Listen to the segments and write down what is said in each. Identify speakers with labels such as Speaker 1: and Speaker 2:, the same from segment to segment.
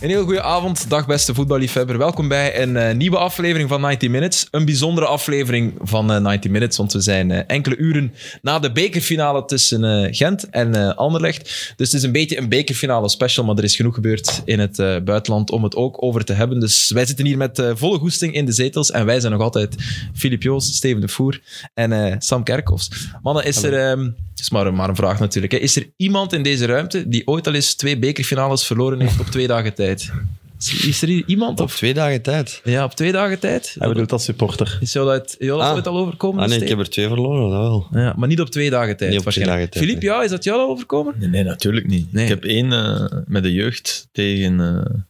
Speaker 1: Een heel goede avond, dag beste voetballiefhebber. Welkom bij een eh, nieuwe aflevering van 90 Minutes. Een bijzondere aflevering van eh, 90 Minutes, want we zijn eh, enkele uren na de bekerfinale tussen eh, Gent en eh, Anderlecht. Dus het is een beetje een bekerfinale special, maar er is genoeg gebeurd in het eh, buitenland om het ook over te hebben. Dus wij zitten hier met eh, volle goesting in de zetels en wij zijn nog altijd Filip Joos, Steven de Voer en eh, Sam Kerkhoffs. Mannen, is er... ehm, het is maar een, maar een vraag natuurlijk. Hè. Is er iemand in deze ruimte die ooit al eens twee bekerfinales verloren heeft op twee dagen tijd? Is- Is er hier iemand?
Speaker 2: Op
Speaker 1: Of,
Speaker 2: twee dagen tijd.
Speaker 1: ja, op twee dagen tijd?
Speaker 3: Hij bedoelt als supporter.
Speaker 1: Is jou dat, jou dat
Speaker 2: Ah.
Speaker 1: ooit al overkomen?
Speaker 2: Ah nee, ik
Speaker 1: Steve?
Speaker 2: heb er twee verloren, dat wel.
Speaker 1: ja, maar niet op twee dagen tijd.
Speaker 2: Niet op twee
Speaker 1: waarschijnlijk.
Speaker 2: dagen tijd,
Speaker 1: Filip, ja, is dat jou al overkomen?
Speaker 3: Nee, nee natuurlijk niet.
Speaker 1: Nee.
Speaker 3: Ik heb één eh, met de jeugd tegen eh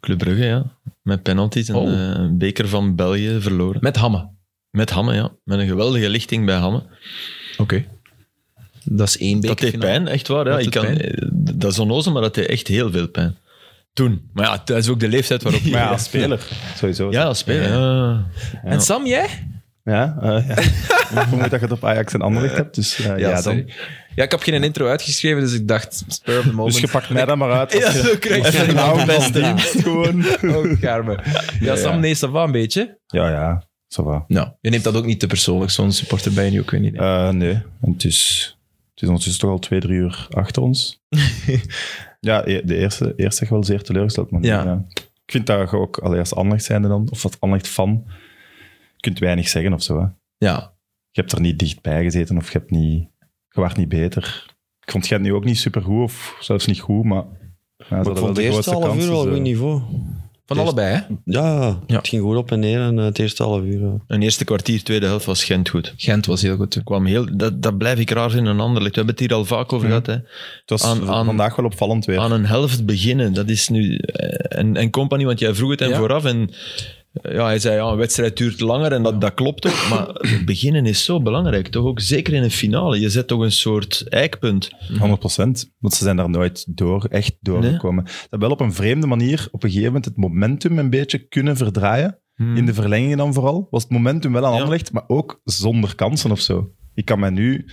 Speaker 3: Club Brugge, ja. Met penalties en
Speaker 1: Oh.
Speaker 3: eh, een beker van België verloren.
Speaker 1: Met Hamme.
Speaker 3: Met Hamme, ja. Met een geweldige lichting bij Hamme.
Speaker 1: Oké. Dat is één
Speaker 3: Dat deed
Speaker 1: bekerfinale.
Speaker 3: pijn, echt waar. Ja.
Speaker 1: Dat
Speaker 3: Ik
Speaker 1: doet
Speaker 3: kan, eh, dat is onnozel, maar dat deed echt heel veel pijn. Toen. Maar ja, dat is ook de leeftijd waarop...
Speaker 4: Maar ja, als speler, sowieso.
Speaker 3: Ja, als speler. Ja.
Speaker 1: En Sam, jij?
Speaker 4: Ja, eh, ja. Ik vermoed dat je het op Ajax en Anderlecht hebt, dus eh, ja,
Speaker 1: sorry.
Speaker 4: dan.
Speaker 1: Ja, ik heb geen intro uitgeschreven, dus ik dacht, spur of the moment.
Speaker 4: Dus je pakt mij dan maar uit. Als je
Speaker 1: zo krijg
Speaker 4: een naam van dienst gewoon.
Speaker 1: Oh, Carmen. Ja, Sam, nee, ça va een beetje.
Speaker 4: Ja, ja, zo va.
Speaker 1: Nou, je neemt dat ook niet te persoonlijk, zo'n supporter ben je ook weer niet. hè?
Speaker 4: Eh, nee, en het is, het is ondertussen toch al twee, drie uur achter ons. ja, e- de eerste, eerste echt wel zeer teleurgesteld. Maar
Speaker 1: Ja.
Speaker 4: Ik vind dat je ook, allee, als Anderlecht zijnde dan, of als Anderlecht fan, je kunt weinig zeggen of zo. Hè.
Speaker 1: Ja,
Speaker 4: Je hebt er niet dichtbij gezeten of je, hebt niet, je waart niet beter. Ik vond Gent nu ook niet supergoed of zelfs niet goed, maar... Ja, ze
Speaker 2: Maar
Speaker 4: hadden
Speaker 2: ik
Speaker 4: wel
Speaker 2: vond
Speaker 4: de
Speaker 2: de eerste
Speaker 4: grootste dus,
Speaker 2: half
Speaker 4: eh,
Speaker 2: uur
Speaker 4: kansen,
Speaker 2: wel
Speaker 4: zo.
Speaker 2: goed niveau.
Speaker 1: Van
Speaker 2: Eerst-
Speaker 1: allebei, hè?
Speaker 2: Ja,
Speaker 1: Ja.
Speaker 2: het ging goed op en neer en eh, het eerste half uur. eh.
Speaker 3: Een eerste kwartier, tweede helft was Gent goed.
Speaker 1: Gent was heel goed.
Speaker 3: Kwam heel, dat, dat blijf ik raar vinden aan Anderlecht. We hebben het hier al vaak over
Speaker 4: Ja.
Speaker 3: gehad. Hè.
Speaker 4: Het was
Speaker 3: Aan- aan-
Speaker 4: vandaag wel opvallend weer.
Speaker 3: aan een helft beginnen. Dat is nu. eh, En, en Company, want jij vroeg het hem
Speaker 1: Ja.
Speaker 3: vooraf. En eh, ja, hij zei: ja, een wedstrijd duurt langer en dat, dat klopt ook. Maar beginnen is zo belangrijk. Toch ook zeker in een finale. Je zet toch een soort eikpunt.
Speaker 4: 100 Want ze zijn daar nooit door, echt doorgekomen. Ze hebben wel op een vreemde manier op een gegeven moment het momentum een beetje kunnen verdraaien. In de verlengingen dan vooral. Was het momentum wel aan
Speaker 3: Hmm. Ja.
Speaker 4: Anderlecht, maar ook zonder kansen of zo. Ik kan mij nu,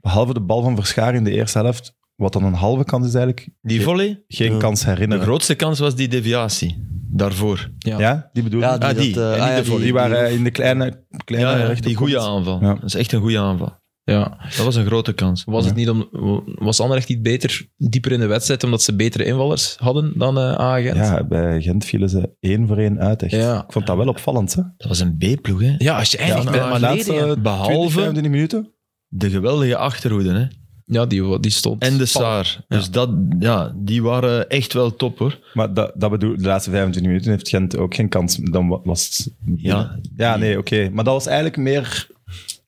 Speaker 4: behalve de bal van Verschaar in de eerste helft, wat dan een halve kans is eigenlijk,
Speaker 3: Die volley,
Speaker 4: geen
Speaker 2: Ja.
Speaker 4: kans
Speaker 3: de
Speaker 4: herinneren.
Speaker 3: grootste kans was die deviatie. Daarvoor.
Speaker 4: Ja, die bedoel ik.
Speaker 2: die,
Speaker 3: Ah, die.
Speaker 2: dat, eh,
Speaker 3: En niet
Speaker 2: ah, ja,
Speaker 3: de
Speaker 4: die,
Speaker 3: volley.
Speaker 4: waren eh, in de kleine, kleine
Speaker 3: Ja, ja, die
Speaker 4: rechterkant.
Speaker 3: goede aanval.
Speaker 4: Ja.
Speaker 3: Dat is echt een goede aanval.
Speaker 1: Ja.
Speaker 3: Dat was een grote kans.
Speaker 1: Was, het niet om, was Anderlecht niet beter, dieper in de wedstrijd, omdat ze betere invallers hadden dan eh Agent?
Speaker 4: Ja, bij Gent vielen ze één voor één uit, echt.
Speaker 1: Ja.
Speaker 4: Ik vond dat wel opvallend, hè.
Speaker 3: Dat was een B-ploeg, hè?
Speaker 1: Ja, als je eindigt
Speaker 3: Ja,
Speaker 1: met
Speaker 3: maar
Speaker 1: maar
Speaker 4: laatste-
Speaker 1: leden, ja.
Speaker 4: Halve. 20,
Speaker 3: Behalve
Speaker 4: 25 minuten.
Speaker 3: de geweldige achterhoede, hè?
Speaker 1: Ja, die, die stond...
Speaker 3: En de
Speaker 1: pal.
Speaker 3: Saar. Dus dat, ja, die waren echt wel top, hoor.
Speaker 4: Maar dat, dat bedoel, de laatste 25 minuten heeft Gent ook geen kans. Dan wa- was het...
Speaker 3: Ja.
Speaker 4: Ja, nee, oké. Maar dat was eigenlijk meer...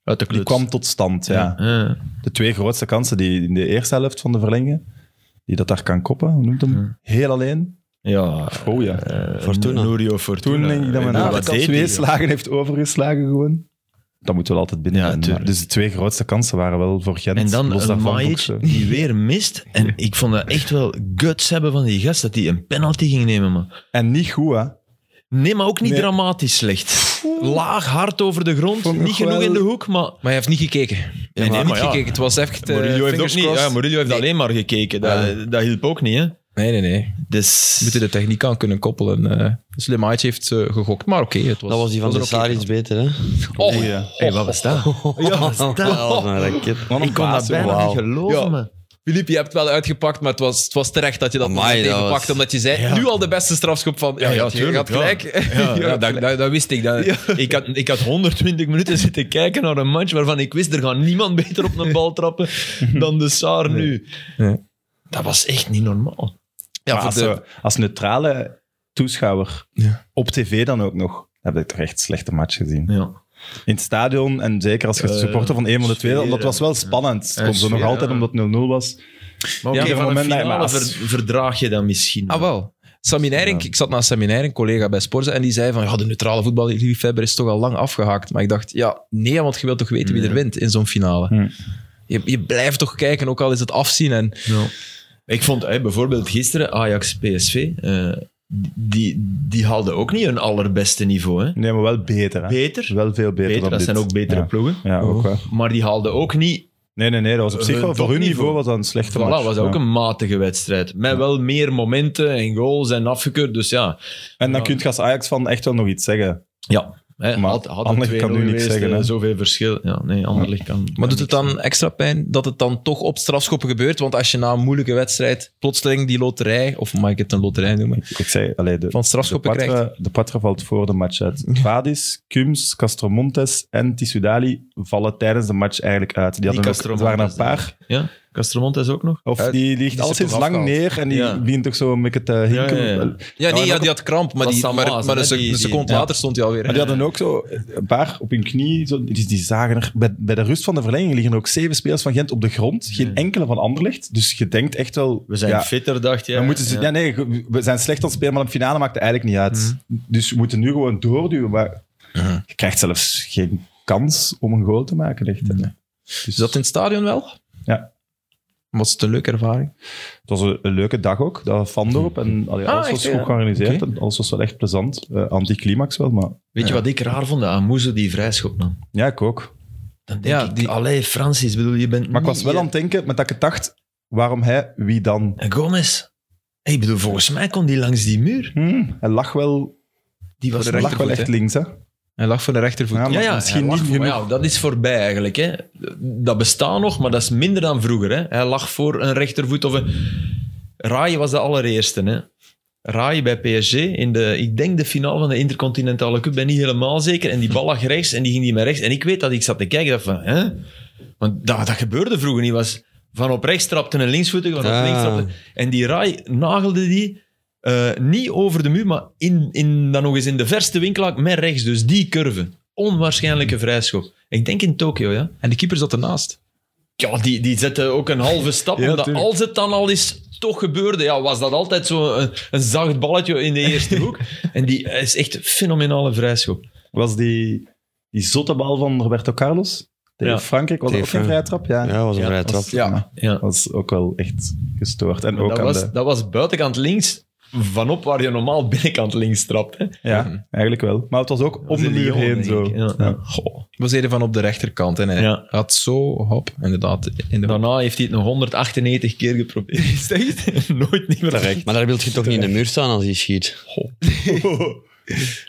Speaker 3: Uit de
Speaker 4: Die
Speaker 3: kluts.
Speaker 4: kwam tot stand, ja.
Speaker 3: Ja.
Speaker 4: De twee grootste kansen die in de eerste helft van de verlenging... Die dat daar kan koppen, hoe noemt hem? Heel alleen.
Speaker 3: Ja,
Speaker 4: Oh ja.
Speaker 3: eh,
Speaker 2: Fortuna.
Speaker 3: Nurio Fortuna.
Speaker 4: Toen denk ik dat men
Speaker 3: Ja,
Speaker 4: ja,
Speaker 3: wat deed
Speaker 4: twee
Speaker 3: hij?
Speaker 4: slagen heeft overgeslagen gewoon. Dat moeten we altijd binnen.
Speaker 3: Ja,
Speaker 4: hebben, maar-
Speaker 3: tuurlijk.
Speaker 4: dus de twee grootste kansen waren wel voor Gent.
Speaker 3: En dan
Speaker 4: los
Speaker 3: een
Speaker 4: daarvan ook
Speaker 3: Majic
Speaker 4: zo.
Speaker 3: die weer mist. En ik vond dat echt wel guts hebben van die gast, dat hij een penalty ging nemen. Man.
Speaker 4: En niet goed, hè.
Speaker 3: Nee, maar ook niet
Speaker 4: Nee.
Speaker 3: dramatisch slecht. Laag, hard over de grond.
Speaker 4: Vond ik
Speaker 3: Niet
Speaker 4: wel-
Speaker 3: genoeg in de hoek, maar...
Speaker 1: Maar hij heeft niet gekeken. Hij
Speaker 3: nee,
Speaker 1: heeft
Speaker 3: maar
Speaker 1: niet
Speaker 3: ja.
Speaker 1: gekeken. Het was echt... eh,
Speaker 3: Murillo heeft ook
Speaker 1: fingers
Speaker 3: niet... Ja,
Speaker 1: crossed.
Speaker 3: Murillo heeft
Speaker 1: Nee.
Speaker 3: alleen maar gekeken. Dat, dat hielp ook niet, hè.
Speaker 1: Nee, nee, nee.
Speaker 3: Dus...
Speaker 1: We moeten de techniek aan kunnen koppelen. eh Slim Aitje heeft eh, gegokt, maar oké. het was,
Speaker 2: Dat was die van de
Speaker 1: er oké.
Speaker 2: Saar iets beter, hè?
Speaker 1: Oh,
Speaker 4: Goeie.
Speaker 3: Hey, wat was dat?
Speaker 2: Ja, dat was een raket.
Speaker 4: Wat een
Speaker 3: Ik kon dat
Speaker 4: baas,
Speaker 3: bijna
Speaker 4: wauw.
Speaker 3: niet geloven,
Speaker 1: Ja.
Speaker 3: man.
Speaker 1: Filip, je hebt wel uitgepakt, maar het was, het was terecht dat je dat
Speaker 2: Amai,
Speaker 1: meteen
Speaker 2: dat
Speaker 1: gepakt,
Speaker 2: was-
Speaker 1: omdat je zei, nu al de beste strafschop van... Ja,
Speaker 3: Ja, ja,
Speaker 1: ja, je
Speaker 3: tuurlijk,
Speaker 1: had gelijk.
Speaker 3: ja. Ja, ja, dat-
Speaker 1: wist ik. Dat,
Speaker 3: Ik had, ik had 120 minuten zitten kijken naar een match waarvan ik wist, er gaat niemand beter op een bal trappen dan de Saar nu.
Speaker 1: Nee.
Speaker 3: Dat was echt niet normaal.
Speaker 1: Ja,
Speaker 4: Maar
Speaker 1: voor
Speaker 4: als,
Speaker 1: de,
Speaker 4: eh, als neutrale toeschouwer,
Speaker 1: Ja.
Speaker 4: op tv dan ook nog, heb ik toch echt slechte match gezien.
Speaker 3: Ja.
Speaker 4: In het stadion, en zeker als je
Speaker 3: Eh,
Speaker 4: supporter van een van de twee,
Speaker 3: sfeer,
Speaker 4: dat was wel spannend. Het
Speaker 3: Eh,
Speaker 4: komt zo nog
Speaker 3: sfeer,
Speaker 4: altijd
Speaker 3: ja.
Speaker 4: omdat het 0-0 was.
Speaker 3: Maar
Speaker 4: Ja,
Speaker 3: oké,
Speaker 4: op
Speaker 3: van een
Speaker 4: het moment dat je
Speaker 3: finale
Speaker 4: maar-
Speaker 3: ver- verdraag je dat misschien.
Speaker 1: Ah, wel. Sammy Nijrink, ik zat naast Sammy Nijrink, collega bij Sporza, en die zei van, ja, de neutrale voetballiefhebber is toch al lang afgehaakt. Maar ik dacht, ja, nee, want je wilt toch weten wie er
Speaker 3: Nee.
Speaker 1: wint in zo'n finale.
Speaker 4: Hm.
Speaker 1: Je, je blijft toch kijken, ook al is het afzien. En,
Speaker 3: Ja. Ik vond hè, bijvoorbeeld gisteren Ajax-PSV, eh, die, die haalden ook niet hun allerbeste niveau. Hè.
Speaker 4: Nee, maar wel beter. Hè?
Speaker 3: Beter.
Speaker 4: Wel veel beter,
Speaker 3: Beter,
Speaker 4: dan
Speaker 3: dat
Speaker 4: dit.
Speaker 3: zijn ook betere
Speaker 4: Ja.
Speaker 3: ploegen.
Speaker 4: Ja, ook wel.
Speaker 3: Maar die haalden ook niet
Speaker 4: Nee, nee, nee. Dat was op zich
Speaker 3: Hun
Speaker 4: wel, voor hun
Speaker 3: topniveau.
Speaker 4: niveau was dat een slechte
Speaker 3: Voilà,
Speaker 4: match.
Speaker 3: Eh, was
Speaker 4: Ja.
Speaker 3: ook een matige wedstrijd. Met wel meer momenten en goals en afgekeurd. Dus ja,
Speaker 4: En dan
Speaker 3: Ja.
Speaker 4: kun je als Ajax van echt wel nog iets zeggen.
Speaker 3: ja hè,
Speaker 4: Maar
Speaker 3: had, had
Speaker 4: Anderlecht
Speaker 3: het
Speaker 4: kan nu
Speaker 3: 2-0
Speaker 4: niks
Speaker 3: geweest,
Speaker 4: zeggen, hè.
Speaker 3: eh, Zoveel verschil. Ja, nee, Anderlecht kan...
Speaker 1: Maar
Speaker 3: kan
Speaker 1: doet het
Speaker 3: niks
Speaker 1: dan extra pijn dat het dan toch op strafschoppen gebeurt? Want als je na een moeilijke wedstrijd plotseling die loterij, of mag ik het een loterij noemen,
Speaker 4: Ik zei, allee, de,
Speaker 1: van
Speaker 4: de,
Speaker 1: strafschoppen krijgt.
Speaker 4: patra, de Patra valt voor de match uit. Vadis, Kums, Castromontes en Tissoudali vallen tijdens de match eigenlijk uit. Die hadden ook,
Speaker 3: Castromontes,
Speaker 4: het waren een
Speaker 3: denk
Speaker 4: paar.
Speaker 3: Ja, Castromontes ook nog.
Speaker 4: Of
Speaker 1: Uit-
Speaker 4: die ligt al
Speaker 1: is
Speaker 4: sinds
Speaker 1: toch
Speaker 4: lang
Speaker 1: afgehaald.
Speaker 4: neer en die
Speaker 3: Ja.
Speaker 4: begint toch zo een beetje te hinken.
Speaker 3: ja, ja.
Speaker 4: Maar
Speaker 1: Ja,
Speaker 4: en
Speaker 1: nee, ja,
Speaker 4: ook
Speaker 1: die had kramp, maar,
Speaker 3: Dat
Speaker 1: die,
Speaker 3: is
Speaker 1: maar,
Speaker 3: Samaas,
Speaker 1: maar
Speaker 3: hè,
Speaker 1: een, sec-
Speaker 3: die-
Speaker 1: een
Speaker 3: die-
Speaker 1: seconde
Speaker 3: ja.
Speaker 1: later stond hij alweer.
Speaker 4: die hadden ook zo een paar op hun knie. Zo, die, die zagen er, bij, bij de rust van de verlenging liggen er ook zeven spelers van Gent op de grond. Geen enkele van Anderlecht. Dus je denkt echt wel...
Speaker 3: We zijn
Speaker 4: ja,
Speaker 3: fitter, dacht je.
Speaker 4: Dan moeten ze, ja.
Speaker 3: ja.
Speaker 4: nee, ge- we zijn slecht aan het spelen, maar in het finale maakt het eigenlijk niet uit. Dus we moeten nu gewoon doorduwen. Maar
Speaker 1: Mhm.
Speaker 4: je krijgt zelfs geen kans om een goal te maken. Echt.
Speaker 1: Dus dat in het stadion wel?
Speaker 4: Ja.
Speaker 1: Was het een leuke ervaring?
Speaker 4: Het was een, een leuke dag ook, dat Vandorp. En allee,
Speaker 1: Ah,
Speaker 4: alles
Speaker 1: echt,
Speaker 4: was
Speaker 1: ja.
Speaker 4: goed georganiseerd.
Speaker 1: Oké.
Speaker 4: En alles was wel echt plezant. Eh, anticlimax wel, maar
Speaker 3: Weet je wat ik raar vond? Aan Moeze die vrijschop nam.
Speaker 4: ja, ik ook.
Speaker 3: Dan denk
Speaker 1: Ja,
Speaker 3: ik,
Speaker 1: die-
Speaker 3: allee, Francis, bedoel, je bent
Speaker 4: Maar ik
Speaker 3: niet-
Speaker 4: was wel
Speaker 3: je-
Speaker 4: aan het denken, met dat ik het dacht, waarom hij, wie dan?
Speaker 3: En Gomez. Ik bedoel, volgens mij kon die langs die muur.
Speaker 4: Hm, hij lag wel,
Speaker 3: Die was
Speaker 1: Voor de
Speaker 4: hij lag wel
Speaker 1: rechtervoet,
Speaker 4: echt
Speaker 1: hè?
Speaker 4: links, hè?
Speaker 1: Hij lag voor de rechtervoet.
Speaker 4: Ja, maar-
Speaker 3: Ja, ja,
Speaker 4: misschien
Speaker 3: hij lag
Speaker 4: niet
Speaker 3: voor-
Speaker 4: genoeg.
Speaker 3: ja, dat is voorbij eigenlijk. Hè. Dat bestaat nog, maar dat is minder dan vroeger. Hè. Hij lag voor een rechtervoet of een... Rai was de allereerste. Hè. Rai bij PSG in de, ik denk de finale van de Intercontinentale Cup, ben niet helemaal zeker. En die bal lag rechts en die ging die met rechts. En ik weet dat ik zat te kijken, dacht van, hè? Want dat, dat gebeurde vroeger niet. Was van op rechts trapte een linksvoetige, van op
Speaker 2: Ah.
Speaker 3: links trapte... En die Rai nagelde die eh, niet over de muur, maar in, in, dan nog eens in de verste winkel met rechts. Dus die curve. Onwaarschijnlijke vrijschop. Ik denk in Tokio, ja.
Speaker 1: En de keeper zat ernaast.
Speaker 3: Ja, die, die zette ook een halve stap.
Speaker 4: Ja,
Speaker 3: omdat
Speaker 4: tuurlijk.
Speaker 3: als het dan al eens toch gebeurde, ja, was dat altijd zo'n een, een zacht balletje in de eerste hoek. En die eh, is echt een fenomenale vrijschop.
Speaker 4: Was die, die zotte bal van Roberto Carlos tegen
Speaker 3: Ja.
Speaker 4: Frankrijk, was dat ook
Speaker 2: Tegen
Speaker 4: geen vrije trap? Ja,
Speaker 2: Ja, was een
Speaker 3: Ja,
Speaker 2: vrij
Speaker 4: Dat
Speaker 2: trap.
Speaker 4: was, ja.
Speaker 3: Ja.
Speaker 4: dat was ook wel echt gestoord. En
Speaker 3: Maar
Speaker 4: ook
Speaker 3: Dat
Speaker 4: aan
Speaker 3: was,
Speaker 4: de...
Speaker 3: dat was buitenkant links, vanop waar je normaal binnenkant links trapt. Hè.
Speaker 4: Ja, eigenlijk wel. Maar het was ook om de muur
Speaker 3: Lyon,
Speaker 4: heen
Speaker 3: denk
Speaker 4: zo.
Speaker 3: ik. Ja.
Speaker 4: Ja.
Speaker 1: Goh. Was eerder van op de rechterkant. En hij
Speaker 3: Ja.
Speaker 1: had zo, hop, inderdaad. In de...
Speaker 3: Daarna heeft hij het nog 198 keer geprobeerd. Is dat echt? Nooit niet meer
Speaker 2: Maar daar wil je toch niet in de muur staan als hij schiet?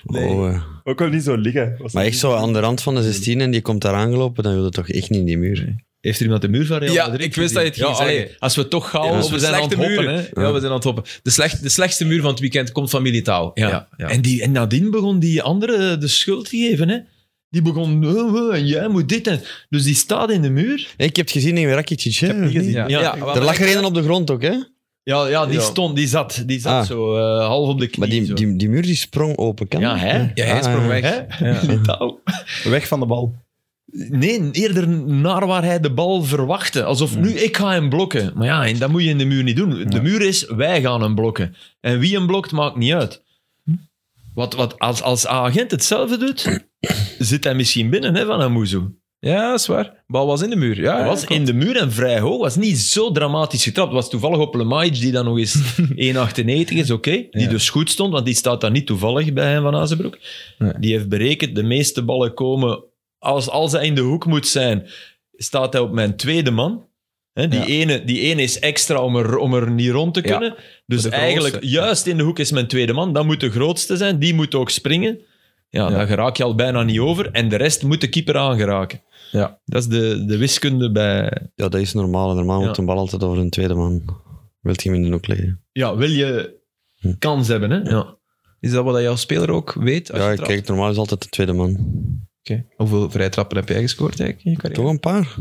Speaker 2: Oh, eh.
Speaker 4: Ook wel niet zo liggen. Was
Speaker 2: Maar
Speaker 4: dat-
Speaker 2: echt zo aan de rand van de 16 en die komt daar aangelopen, dan wil je toch echt niet in die muur. hè?
Speaker 3: Heeft er iemand de muur van Real
Speaker 1: Ja,
Speaker 3: Madrid
Speaker 1: ik wist dat je het
Speaker 3: gezien?
Speaker 1: ging
Speaker 3: Ja,
Speaker 1: zeggen.
Speaker 3: allee, als we toch gaan,
Speaker 1: Ja,
Speaker 3: we zijn aan het hoppen.
Speaker 1: muren.
Speaker 3: Hè.
Speaker 1: Ja, we zijn aan het hoppen. De, slecht, de slechtste muur van het weekend komt van Militaal. Ja. Ja,
Speaker 3: En, die, en nadien begon die andere de schuld te geven. Hè. Die begon, "Eh, eh, en jij moet dit. En, dus die staat in de muur.
Speaker 2: Nee, ik heb het gezien in Rakitic. hè,
Speaker 4: Ik heb het
Speaker 2: of
Speaker 4: niet gezien.
Speaker 1: Ja,
Speaker 3: Ja,
Speaker 1: maar-
Speaker 2: Er lag er een op de grond ook, hè?
Speaker 3: Ja, ja die
Speaker 4: Ja.
Speaker 3: stond, die zat, die zat
Speaker 2: Ah.
Speaker 3: zo eh, half op de knie.
Speaker 2: Maar die,
Speaker 3: zo.
Speaker 2: die, die muur die sprong open, kan
Speaker 3: ja,
Speaker 2: dat?
Speaker 3: hè?
Speaker 1: Ja, hij
Speaker 2: Ah,
Speaker 1: sprong
Speaker 2: ja.
Speaker 1: weg.
Speaker 3: Hè?
Speaker 4: Ja.
Speaker 3: Militao.
Speaker 4: Weg van de bal.
Speaker 3: Nee, eerder naar waar hij de bal verwachtte. Alsof nu ik ga hem blokken. Maar ja, en dat moet je in de muur niet doen. De muur is, wij gaan hem blokken. En wie hem blokt, maakt niet uit.
Speaker 1: Hm?
Speaker 3: Wat, wat, als, als agent hetzelfde doet, zit hij misschien binnen hè, van Amuzu.
Speaker 1: Ja, dat is waar. Bal was in de muur. Ja,
Speaker 3: Hij was
Speaker 1: ja,
Speaker 3: in de muur en vrij hoog. was niet zo dramatisch getrapt. was toevallig op Lemaitre, die dan nog eens 1,98 is, oké. Die
Speaker 1: Ja.
Speaker 3: dus goed stond, want die staat daar niet toevallig bij hem van Azenbroek.
Speaker 1: Nee.
Speaker 3: Die heeft berekend, de meeste ballen komen... Als, als hij in de hoek moet zijn, staat hij op mijn tweede man. Hè, die,
Speaker 4: Ja.
Speaker 3: ene, die ene is extra om er, om er niet rond te
Speaker 1: Ja.
Speaker 3: kunnen. Dus
Speaker 1: De
Speaker 3: eigenlijk,
Speaker 1: grootste.
Speaker 3: juist in de hoek is mijn tweede man. Dat moet de grootste zijn, die moet ook springen.
Speaker 1: Ja.
Speaker 3: Ja, daar raak je al bijna niet over. En de rest moet de keeper aangeraken.
Speaker 1: Ja.
Speaker 3: Dat is de, de wiskunde bij,
Speaker 2: Ja, dat is normaal. Normaal
Speaker 3: Ja.
Speaker 2: moet een bal altijd over een tweede man. Wilt je hem in de hoek leggen?
Speaker 3: ja, wil je kans hebben, hè? Ja.
Speaker 1: Hm. Is dat wat jouw speler ook weet? Als
Speaker 2: Ja,
Speaker 1: je
Speaker 2: ik
Speaker 1: trapt?
Speaker 2: kijk, normaal is altijd de tweede man.
Speaker 1: Oké. Hoeveel vrije trappen heb jij gescoord eigenlijk in je carrière?
Speaker 2: Toch een paar?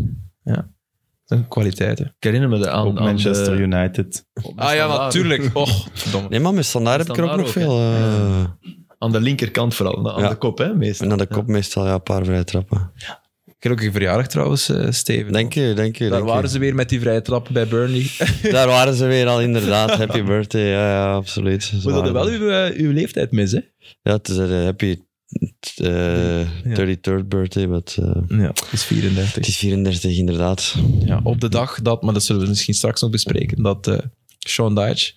Speaker 1: Dat zijn kwaliteiten.
Speaker 3: Ik herinner me de aan,
Speaker 4: Op
Speaker 3: aan
Speaker 4: Manchester
Speaker 3: de-
Speaker 4: United.
Speaker 3: op de
Speaker 1: Ah ja,
Speaker 3: standaard.
Speaker 1: natuurlijk. Och, verdomme.
Speaker 2: Nee, maar met standaard heb ik er ook nog
Speaker 3: Standaard ook,
Speaker 2: veel. eh,
Speaker 3: Aan de linkerkant vooral, aan
Speaker 2: Ja.
Speaker 3: de kop, hè, meestal.
Speaker 2: En aan de kop meestal ja, een paar vrije trappen.
Speaker 1: Gelukkig verjaardag trouwens, eh, Steven.
Speaker 2: Denk je, denk je.
Speaker 1: Daar
Speaker 2: denk je.
Speaker 1: waren ze weer met die vrije trappen bij Burnley.
Speaker 2: Daar waren ze weer al, inderdaad. Happy birthday, ja, ja absoluut. Ze
Speaker 1: We hadden
Speaker 2: waren
Speaker 1: wel
Speaker 2: er.
Speaker 1: uw, eh, uw leeftijd mis, hè?
Speaker 2: Ja, het is een happy eh, 33rd birthday, maar het, eh,
Speaker 1: Ja, het is 34.
Speaker 2: het is 34 inderdaad.
Speaker 1: Ja, op de dag dat, maar dat zullen we misschien straks nog bespreken, dat eh Sean Dyche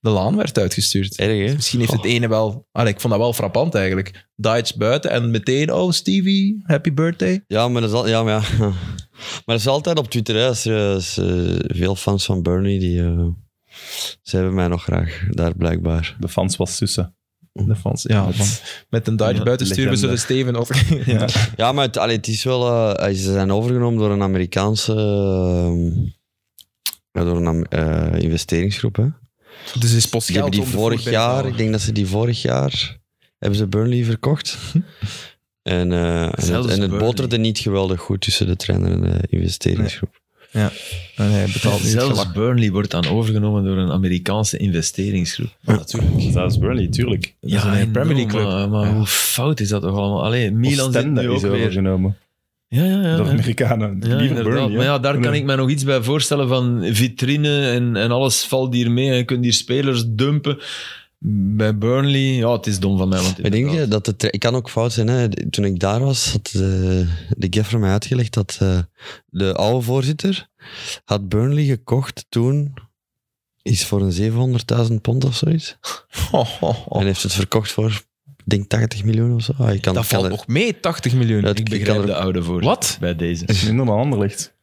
Speaker 1: De Laan werd uitgestuurd.
Speaker 2: Erg, hè?
Speaker 1: Misschien heeft het ene wel... Ah, ik vond dat wel frappant eigenlijk. Dites buiten en meteen, oh Stevie, happy birthday.
Speaker 2: Ja, maar dat is, al- ja, maar ja. Maar dat is altijd op Twitter. Hè. Als er, als, eh, veel fans van Bernie, die, eh, ze hebben mij nog graag daar blijkbaar.
Speaker 4: De fans was Sussen.
Speaker 1: De fans, ja. van- met een Dites
Speaker 4: Ja,
Speaker 1: buiten sturen we
Speaker 4: legende.
Speaker 1: zullen Steven ook...
Speaker 4: Ja.
Speaker 2: Ja, maar het, allee, het is wel... eh, eh, ze zijn overgenomen door een Amerikaanse... ehm, ja, door een Am- eh, investeringsgroep, hè.
Speaker 1: Dus is post
Speaker 2: Die hebben die vorig jaar... Ik denk dat ze die vorig jaar... Hebben ze Burnley verkocht. En, eh, en het,
Speaker 3: Zelfs
Speaker 2: en het
Speaker 3: Burnley.
Speaker 2: boterde niet geweldig goed tussen de trainer en de investeringsgroep.
Speaker 4: Nee, betaalt niet.
Speaker 3: Zelfs
Speaker 4: Zelfs,
Speaker 3: Burnley wordt dan overgenomen door een Amerikaanse investeringsgroep.
Speaker 4: Zelfs Burnley, tuurlijk.
Speaker 1: is een
Speaker 3: enorm,
Speaker 1: Premier League club.
Speaker 3: Maar, maar hoe fout is dat toch allemaal? Allee, Milan zit
Speaker 4: Oostende
Speaker 3: nu ook
Speaker 4: is
Speaker 3: weer.
Speaker 4: overgenomen
Speaker 3: Ja, ja, ja.
Speaker 4: door
Speaker 3: ja.
Speaker 4: Amerikanen.
Speaker 3: Ja,
Speaker 4: Liever
Speaker 3: inderdaad.
Speaker 4: Burnley, hè.
Speaker 3: maar ja, daar kan
Speaker 4: Nee.
Speaker 3: ik mij nog iets bij voorstellen van vitrine en, en alles valt hier mee. En je kunt hier spelers dumpen. Bij Burnley, ja, het is dom van mij. Want
Speaker 2: Ik denk
Speaker 3: inderdaad-
Speaker 2: je dat de tra- Ik kan ook fout zijn. Hè. De- Toen ik daar was, had de, de Geffer mij uitgelegd dat eh, de oude voorzitter had Burnley gekocht toen iets voor een 700.000 pond of zoiets.
Speaker 1: Oh,
Speaker 2: En heeft het verkocht voor, ik denk 80 miljoen of zo. Ah, ik kan,
Speaker 1: Dat
Speaker 2: ik kan
Speaker 1: valt
Speaker 2: er-
Speaker 1: nog mee, 80 miljoen.
Speaker 2: dat-
Speaker 3: ik
Speaker 2: ik
Speaker 3: begrijp
Speaker 2: kan er-
Speaker 3: de oude voor.
Speaker 1: Wat?
Speaker 3: Bij deze.
Speaker 4: Minder dan Anderlecht.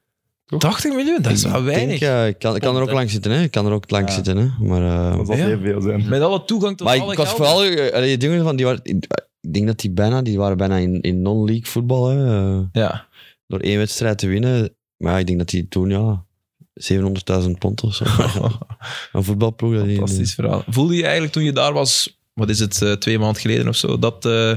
Speaker 1: 80 miljoen, dat is wel
Speaker 2: ik
Speaker 1: weinig.
Speaker 2: denk, eh, ik kan, ik kan er ook lang zitten, hè. Ik kan er ook lang
Speaker 4: Ja.
Speaker 2: zitten, hè. Maar, eh,
Speaker 4: Dat zal
Speaker 1: Ja.
Speaker 4: heel veel zijn.
Speaker 1: Met alle toegang tot
Speaker 2: maar
Speaker 1: alle
Speaker 2: ik was
Speaker 1: gelden.
Speaker 2: vooral... eh, allee, die jongens van, die waren, ik denk dat die bijna... Die waren bijna in, in non-league voetbal, hè. eh.
Speaker 1: Ja.
Speaker 2: door één wedstrijd te winnen. Maar ja, ik denk dat hij toen, ja, 700.000 pond of zo. een voetbalploeg. Dat die-
Speaker 1: Fantastisch verhaal. Voelde je eigenlijk toen je daar was, wat is het, eh, twee maanden geleden of zo, dat eh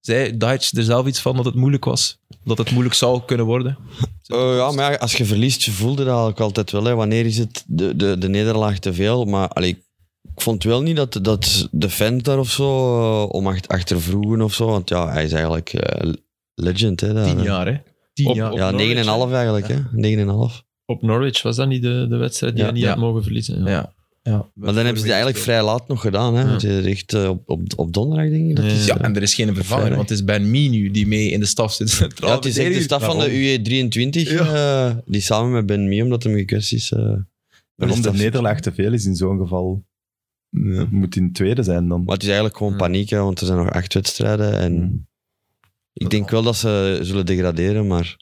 Speaker 1: zei Deutsch er zelf iets van dat het moeilijk was? Dat het moeilijk zou kunnen worden?
Speaker 2: Eh, ja, maar ja, als je verliest, je voelde dat eigenlijk altijd wel. Hè. Wanneer is het de, de, de nederlaag te veel? Maar allee, ik vond wel niet dat, dat de fans daar of zo eh, om acht, achter vroegen of zo. Want ja, hij is eigenlijk eh, legend. Hè, daar,
Speaker 1: Tien
Speaker 2: hè.
Speaker 1: jaar, hè? Tien
Speaker 3: Op-
Speaker 1: jaar.
Speaker 3: op-
Speaker 2: Ja,
Speaker 3: Norwich,
Speaker 2: 9,5 eigenlijk. hè. 9,5.
Speaker 3: Op Norwich was dat niet de, de wedstrijd die
Speaker 2: Ja,
Speaker 3: hij niet
Speaker 1: ja.
Speaker 3: had mogen verliezen.
Speaker 1: Ja. ja.
Speaker 2: Maar dan hebben ze die eigenlijk vrij laat nog gedaan. Hè.
Speaker 3: Ja.
Speaker 2: Want je richt eh, op, op, op donderdag, denk ik. Dat
Speaker 3: Ja.
Speaker 2: is,
Speaker 1: Ja,
Speaker 2: eh,
Speaker 1: en er is geen vervanger,
Speaker 2: Vrijdag.
Speaker 1: want het is Ben Mee nu die mee in de staf zit. Centraal
Speaker 2: Ja, het is echt de
Speaker 1: verdediger.
Speaker 2: staf van de UE23, eh, die samen met Ben Mee, omdat hem gekwetst is. eh, bij
Speaker 4: En om de
Speaker 2: staf zit.
Speaker 4: nederlaag te veel is in zo'n geval, het moet in tweede zijn dan.
Speaker 2: Maar het is eigenlijk gewoon
Speaker 1: Hmm.
Speaker 2: paniek, hè, want er zijn nog acht wedstrijden. En
Speaker 4: Hmm.
Speaker 2: ik denk wel dat ze zullen degraderen, maar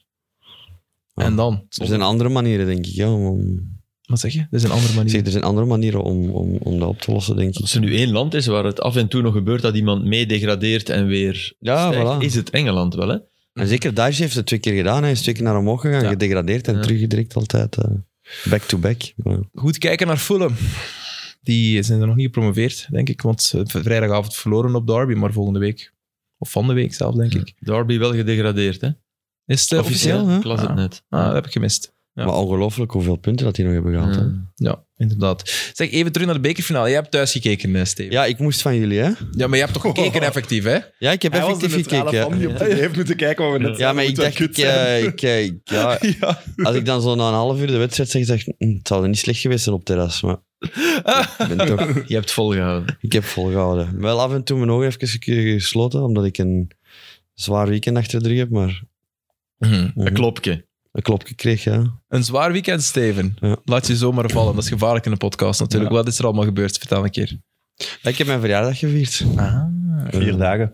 Speaker 1: En dan?
Speaker 2: er zijn andere manieren, denk ik. Ja, om, om-
Speaker 1: Wat zeg je? Dat is een andere
Speaker 2: ik
Speaker 1: manier.
Speaker 2: zeg, er zijn andere manieren om, om, om dat op te lossen, denk ik.
Speaker 3: Als er nu één land is waar het af en toe nog gebeurt dat iemand meedegradeert en weer
Speaker 2: Ja,
Speaker 3: stijgt,
Speaker 2: voilà.
Speaker 3: is het Engeland wel, hè?
Speaker 2: En zeker Dash heeft het twee keer gedaan. Hij is twee keer naar omhoog gegaan,
Speaker 1: Ja.
Speaker 2: gedegradeerd en
Speaker 3: Ja.
Speaker 2: teruggedrekt altijd. eh, Back-to-back. Ja.
Speaker 1: goed kijken naar Fulham. Die zijn er nog niet gepromoveerd, denk ik. Want eh, v- vrijdagavond verloren op Derby, maar volgende week. Of van de week zelf, denk ik.
Speaker 3: Derby wel gedegradeerd, hè?
Speaker 1: Is het eh, officieel?
Speaker 2: hè?
Speaker 3: Ik las het
Speaker 1: Ah.
Speaker 3: net.
Speaker 1: Ah, dat heb ik gemist. Ja.
Speaker 2: Maar ongelooflijk hoeveel punten dat hij nog hebben gehaald. hè.
Speaker 3: Ja.
Speaker 1: Ja, inderdaad. Zeg, even terug naar de bekerfinale. Jij hebt thuis gekeken, eh, Steven. Ja.
Speaker 2: Ja, ik moest van jullie, hè?
Speaker 1: maar je hebt toch gekeken effectief, hè?
Speaker 2: Ja, ik heb
Speaker 4: Hij was de
Speaker 2: effectief
Speaker 4: neutrale
Speaker 2: gekeken.
Speaker 4: fan die op tv heeft moeten kijken wat we net
Speaker 2: Ja, maar
Speaker 4: zeiden,
Speaker 2: ik
Speaker 4: moet wel
Speaker 2: dacht,
Speaker 4: kut
Speaker 2: ik,
Speaker 4: zijn.
Speaker 2: eh, ik, eh, ik- ja,
Speaker 4: Ja.
Speaker 2: als ik dan zo na een half uur de wedstrijd zeg, dacht ik, "Hm, het zou er niet slecht geweest zijn op terras, maar ik, ben toch,
Speaker 3: Je hebt volgehouden.
Speaker 2: ik heb volgehouden. Wel af en toe mijn ogen even ge- gesloten, omdat ik een zwaar weekend achter de rug heb, maar mm,
Speaker 3: Een klopje.
Speaker 2: een klopje kreeg, ja.
Speaker 1: Een zwaar weekend, Steven.
Speaker 2: Ja.
Speaker 1: Laat je zomaar vallen. Dat is gevaarlijk in een podcast natuurlijk.
Speaker 4: Ja.
Speaker 1: Wat is er allemaal gebeurd? Vertel een keer.
Speaker 2: Ik heb mijn verjaardag gevierd.
Speaker 1: Ah.
Speaker 4: Vier dagen.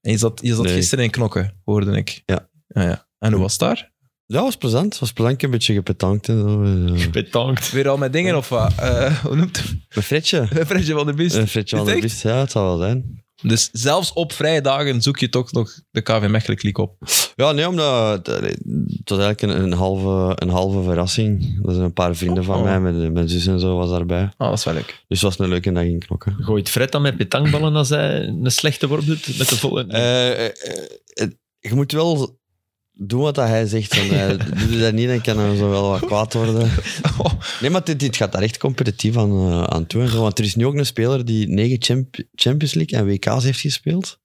Speaker 1: En je zat, je zat
Speaker 2: Nee.
Speaker 1: gisteren in Knokken, hoorde ik.
Speaker 2: Ja.
Speaker 1: Ah, ja. En hoe was het daar?
Speaker 2: Ja, was plezant. was plezant. Ik heb een beetje gepetankt en zo. eh.
Speaker 3: Bedankt.
Speaker 1: Weer al met dingen of wat? Eh, hoe noemt het?
Speaker 2: Met Fredje.
Speaker 1: Fredje van de Biest.
Speaker 2: Eh, Fredje van
Speaker 1: Is
Speaker 2: der
Speaker 1: het
Speaker 2: Bist, ja, het zou wel zijn.
Speaker 1: Dus zelfs op vrije dagen zoek je toch nog de KV Mechelen kliek op.
Speaker 2: Ja, nee, omdat het eh, het was eigenlijk een, een, halve, een halve verrassing. Er zijn een paar vrienden van
Speaker 1: Oh.
Speaker 2: mij, mijn, mijn zus en zo was daarbij.
Speaker 1: Ah, dat is wel leuk.
Speaker 2: Dus het was een leuke dag in knokken.
Speaker 3: Gooit Fred dan met petangballen als hij een slechte worp doet met de volle...
Speaker 2: Eh, eh, eh, je moet wel doen wat dat hij zegt. Want hij doet hij dat niet, dan kan hij zo wel wat kwaad worden. Nee, maar dit, dit gaat daar echt competitief aan, eh, aan toe. En zo, want er is nu ook een speler die negen champ- Champions League en WK's heeft gespeeld.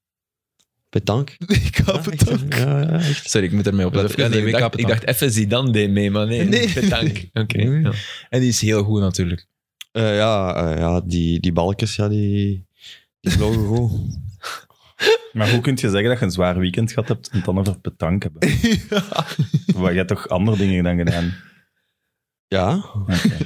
Speaker 2: Petank.
Speaker 1: Ik
Speaker 2: Ja, echt, Ja, ja, echt.
Speaker 1: Sorry, ik moet ermee
Speaker 3: Dat
Speaker 1: opletten.
Speaker 3: is even-
Speaker 1: Ja, nee,
Speaker 3: ik,
Speaker 1: WK
Speaker 3: dacht, ik
Speaker 1: petank.
Speaker 3: dacht even Zidane deed mee, maar nee.
Speaker 1: Nee.
Speaker 3: Petank. Oké. ja.
Speaker 1: En die is heel goed natuurlijk.
Speaker 2: Eh, ja, eh, ja die, die balkjes, ja, die, die vlogen goed.
Speaker 4: Maar hoe kun je zeggen dat je een zwaar weekend gehad hebt en het dan over petank hebben? Wat, jij hebt toch andere dingen dan gedaan?
Speaker 2: Ja,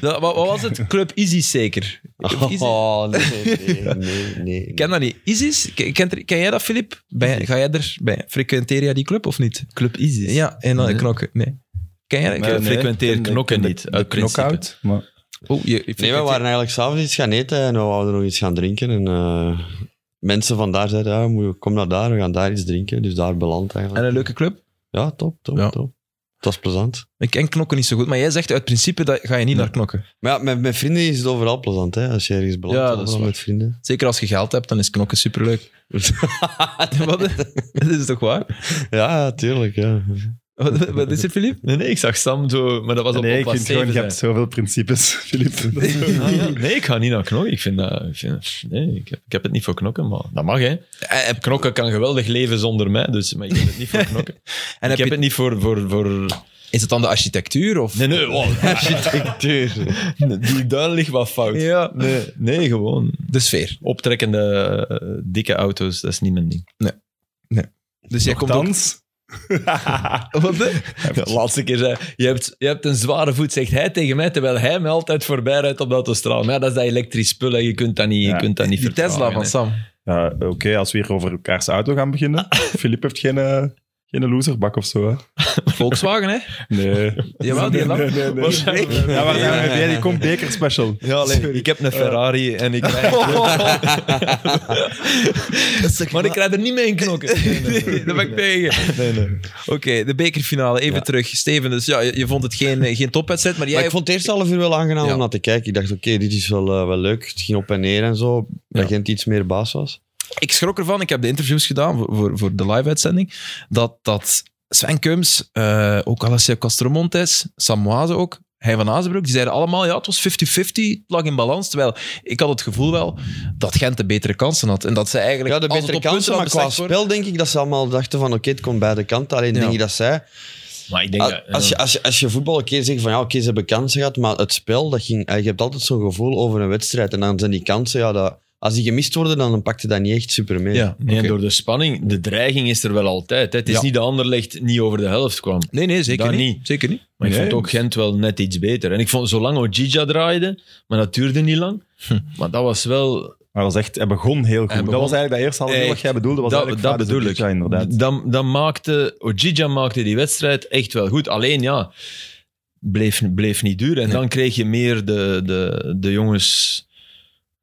Speaker 1: Dat- wat, wat was het? Club Easy zeker. Of Isis?
Speaker 2: Oh, nee, nee, nee. nee.
Speaker 1: Ik ken dat niet. Isis, K- kent er- ken jij dat, Filip? Bij- Ga jij er bij? Frequenteer jij die club of niet?
Speaker 3: Club Isis.
Speaker 1: Ja, en dan
Speaker 3: Nee.
Speaker 1: knokken. Nee. Ken jij dat?
Speaker 3: Nee. frequenteer knokken niet, uit principe.
Speaker 4: Knockout. Maar
Speaker 1: Oh, je, je
Speaker 2: Nee, we waren eigenlijk s'avonds iets gaan eten en we wouden nog iets gaan drinken. En eh, mensen van daar zeiden, ja, moet je- kom naar daar, we gaan daar iets drinken. Dus daar beland
Speaker 1: En
Speaker 2: eigenlijk.
Speaker 1: een leuke club?
Speaker 2: Ja, top, top,
Speaker 1: Ja.
Speaker 2: top. Het was plezant.
Speaker 1: Ik ken knokken niet zo goed, maar jij zegt uit principe dat ga je niet naar knokken.
Speaker 2: Maar ja, met, met vrienden is het overal plezant, hè. Als je ergens belandt,
Speaker 1: Ja,
Speaker 2: ja,
Speaker 1: dat is waar.
Speaker 2: met vrienden.
Speaker 1: Zeker als je geld hebt, dan is knokken superleuk. Wat? Dat is toch waar?
Speaker 2: Ja, tuurlijk, ja.
Speaker 1: Wat, wat is er, Filip?
Speaker 3: Nee, nee, ik zag Sam zo, maar dat was op
Speaker 4: nee, ik
Speaker 3: op
Speaker 4: vind gewoon, je hebt zoveel principes, Filip. Dat is zo-
Speaker 3: Ah, ja. Nee, ik ga niet naar knokken. Ik vind dat, ik vind- nee, ik heb, ik heb het niet voor knokken, maar dat mag, hè. Knokken kan geweldig leven zonder mij, dus, maar ik heb het niet voor knokken.
Speaker 1: En heb
Speaker 3: en ik heb
Speaker 1: je-
Speaker 3: het niet voor... voor, voor...
Speaker 1: Is het dan de architectuur? Of?
Speaker 3: Nee, oh, nee, wow.
Speaker 2: Architectuur.
Speaker 3: Doe ik daar ligt wat fout.
Speaker 1: Ja.
Speaker 3: Nee, nee, gewoon
Speaker 1: De sfeer.
Speaker 3: optrekkende, eh, dikke auto's, dat is niet mijn ding.
Speaker 1: Dus jij komt ook...
Speaker 4: Dans.
Speaker 1: Wat?
Speaker 3: De laatste keer zei je hebt, je hebt een zware voet, zegt hij tegen mij, terwijl hij me altijd voorbij rijdt op de autostraat. Maar ja, dat is dat elektrisch spul, hè. je kunt dat niet, je
Speaker 4: Ja.
Speaker 3: kunt dat niet
Speaker 1: Die Tesla
Speaker 3: vertragen,
Speaker 1: van
Speaker 3: hè.
Speaker 1: Sam.
Speaker 4: Ja, Oké, als we hier over elkaars auto gaan beginnen. Filip heeft geen, eh, geen loserbak of zo. Hè?
Speaker 1: Volkswagen, hè?
Speaker 4: Nee.
Speaker 1: Jawel, die lamp.
Speaker 4: nee, nee, nee.
Speaker 3: Waarschijnlijk.
Speaker 4: Ja, maar daar heb jij die komt beker special.
Speaker 3: Ja, allee, ik heb een Ferrari en ik rijd... maar ik rijd er niet mee in knokken.
Speaker 1: Dat ben ik tegen.
Speaker 3: Nee, nee.
Speaker 1: Oké, de bekerfinale. Even terug. Steven, dus ja, je, je vond het geen, eh, geen topwedstrijd, maar jij...
Speaker 2: Maar ik vond het eerste half uur wel aangenaam
Speaker 1: Ja.
Speaker 2: om naar te kijken. Ik dacht, oké, dit is wel, eh, wel leuk. Het ging op en neer en zo. Dat
Speaker 1: Ja.
Speaker 2: Gent iets meer baas was.
Speaker 1: ik schrok ervan. Ik heb de interviews gedaan voor, voor, voor de live-uitzending. Dat, dat Sven Keums, eh, ook Alessio Castromontes, Samoise ook, hij van Azenbroek, die zeiden allemaal, ja, het was 50-50, het lag in balans. Terwijl ik had het gevoel wel dat Gent de betere kansen had. En dat ze eigenlijk...
Speaker 2: Ja, de
Speaker 1: als het
Speaker 2: betere
Speaker 1: op punten
Speaker 2: kansen,
Speaker 1: had
Speaker 2: maar qua
Speaker 1: beslist worden-
Speaker 2: spel denk ik dat ze allemaal dachten van oké, het komt beide kanten. Alleen
Speaker 1: Ja.
Speaker 2: denk ik dat zij
Speaker 3: Maar ik denk
Speaker 1: Ah,
Speaker 2: Als-
Speaker 3: dat...
Speaker 2: Als je, als, je, als je voetbal een keer zegt van ja, oké, ze hebben kansen gehad, maar het spel, dat ging, eh, je hebt altijd zo'n gevoel over een wedstrijd. En dan zijn die kansen, ja, dat, als die gemist worden, dan pakt je dat niet echt super mee.
Speaker 1: Ja,
Speaker 3: Nee,
Speaker 1: oké.
Speaker 3: door de spanning, de dreiging is er wel altijd. Hè. Het is
Speaker 1: Ja.
Speaker 3: niet dat Anderlecht niet over de helft kwam.
Speaker 1: Nee, nee, zeker
Speaker 3: Dat
Speaker 1: niet.
Speaker 3: niet.
Speaker 1: Zeker niet.
Speaker 3: Maar ik
Speaker 4: Nee.
Speaker 3: vond ook Gent wel net iets beter. En ik vond, zolang Ojija draaide, maar dat duurde niet lang.
Speaker 1: Hm.
Speaker 3: Maar dat was wel...
Speaker 4: Maar dat was echt, hij begon heel goed.
Speaker 3: Hij begon-
Speaker 4: dat was eigenlijk dat eerste half uur wat
Speaker 3: Echt.
Speaker 4: jij bedoelde. Was
Speaker 3: Dat,
Speaker 4: eigenlijk
Speaker 3: dat
Speaker 4: Fabio
Speaker 3: bedoel ik.
Speaker 4: Zubcic, inderdaad.
Speaker 3: Dan, dan maakte... Ojija maakte die wedstrijd echt wel goed. Alleen, ja, bleef, bleef niet duur. En dan kreeg je meer de, de, de jongens...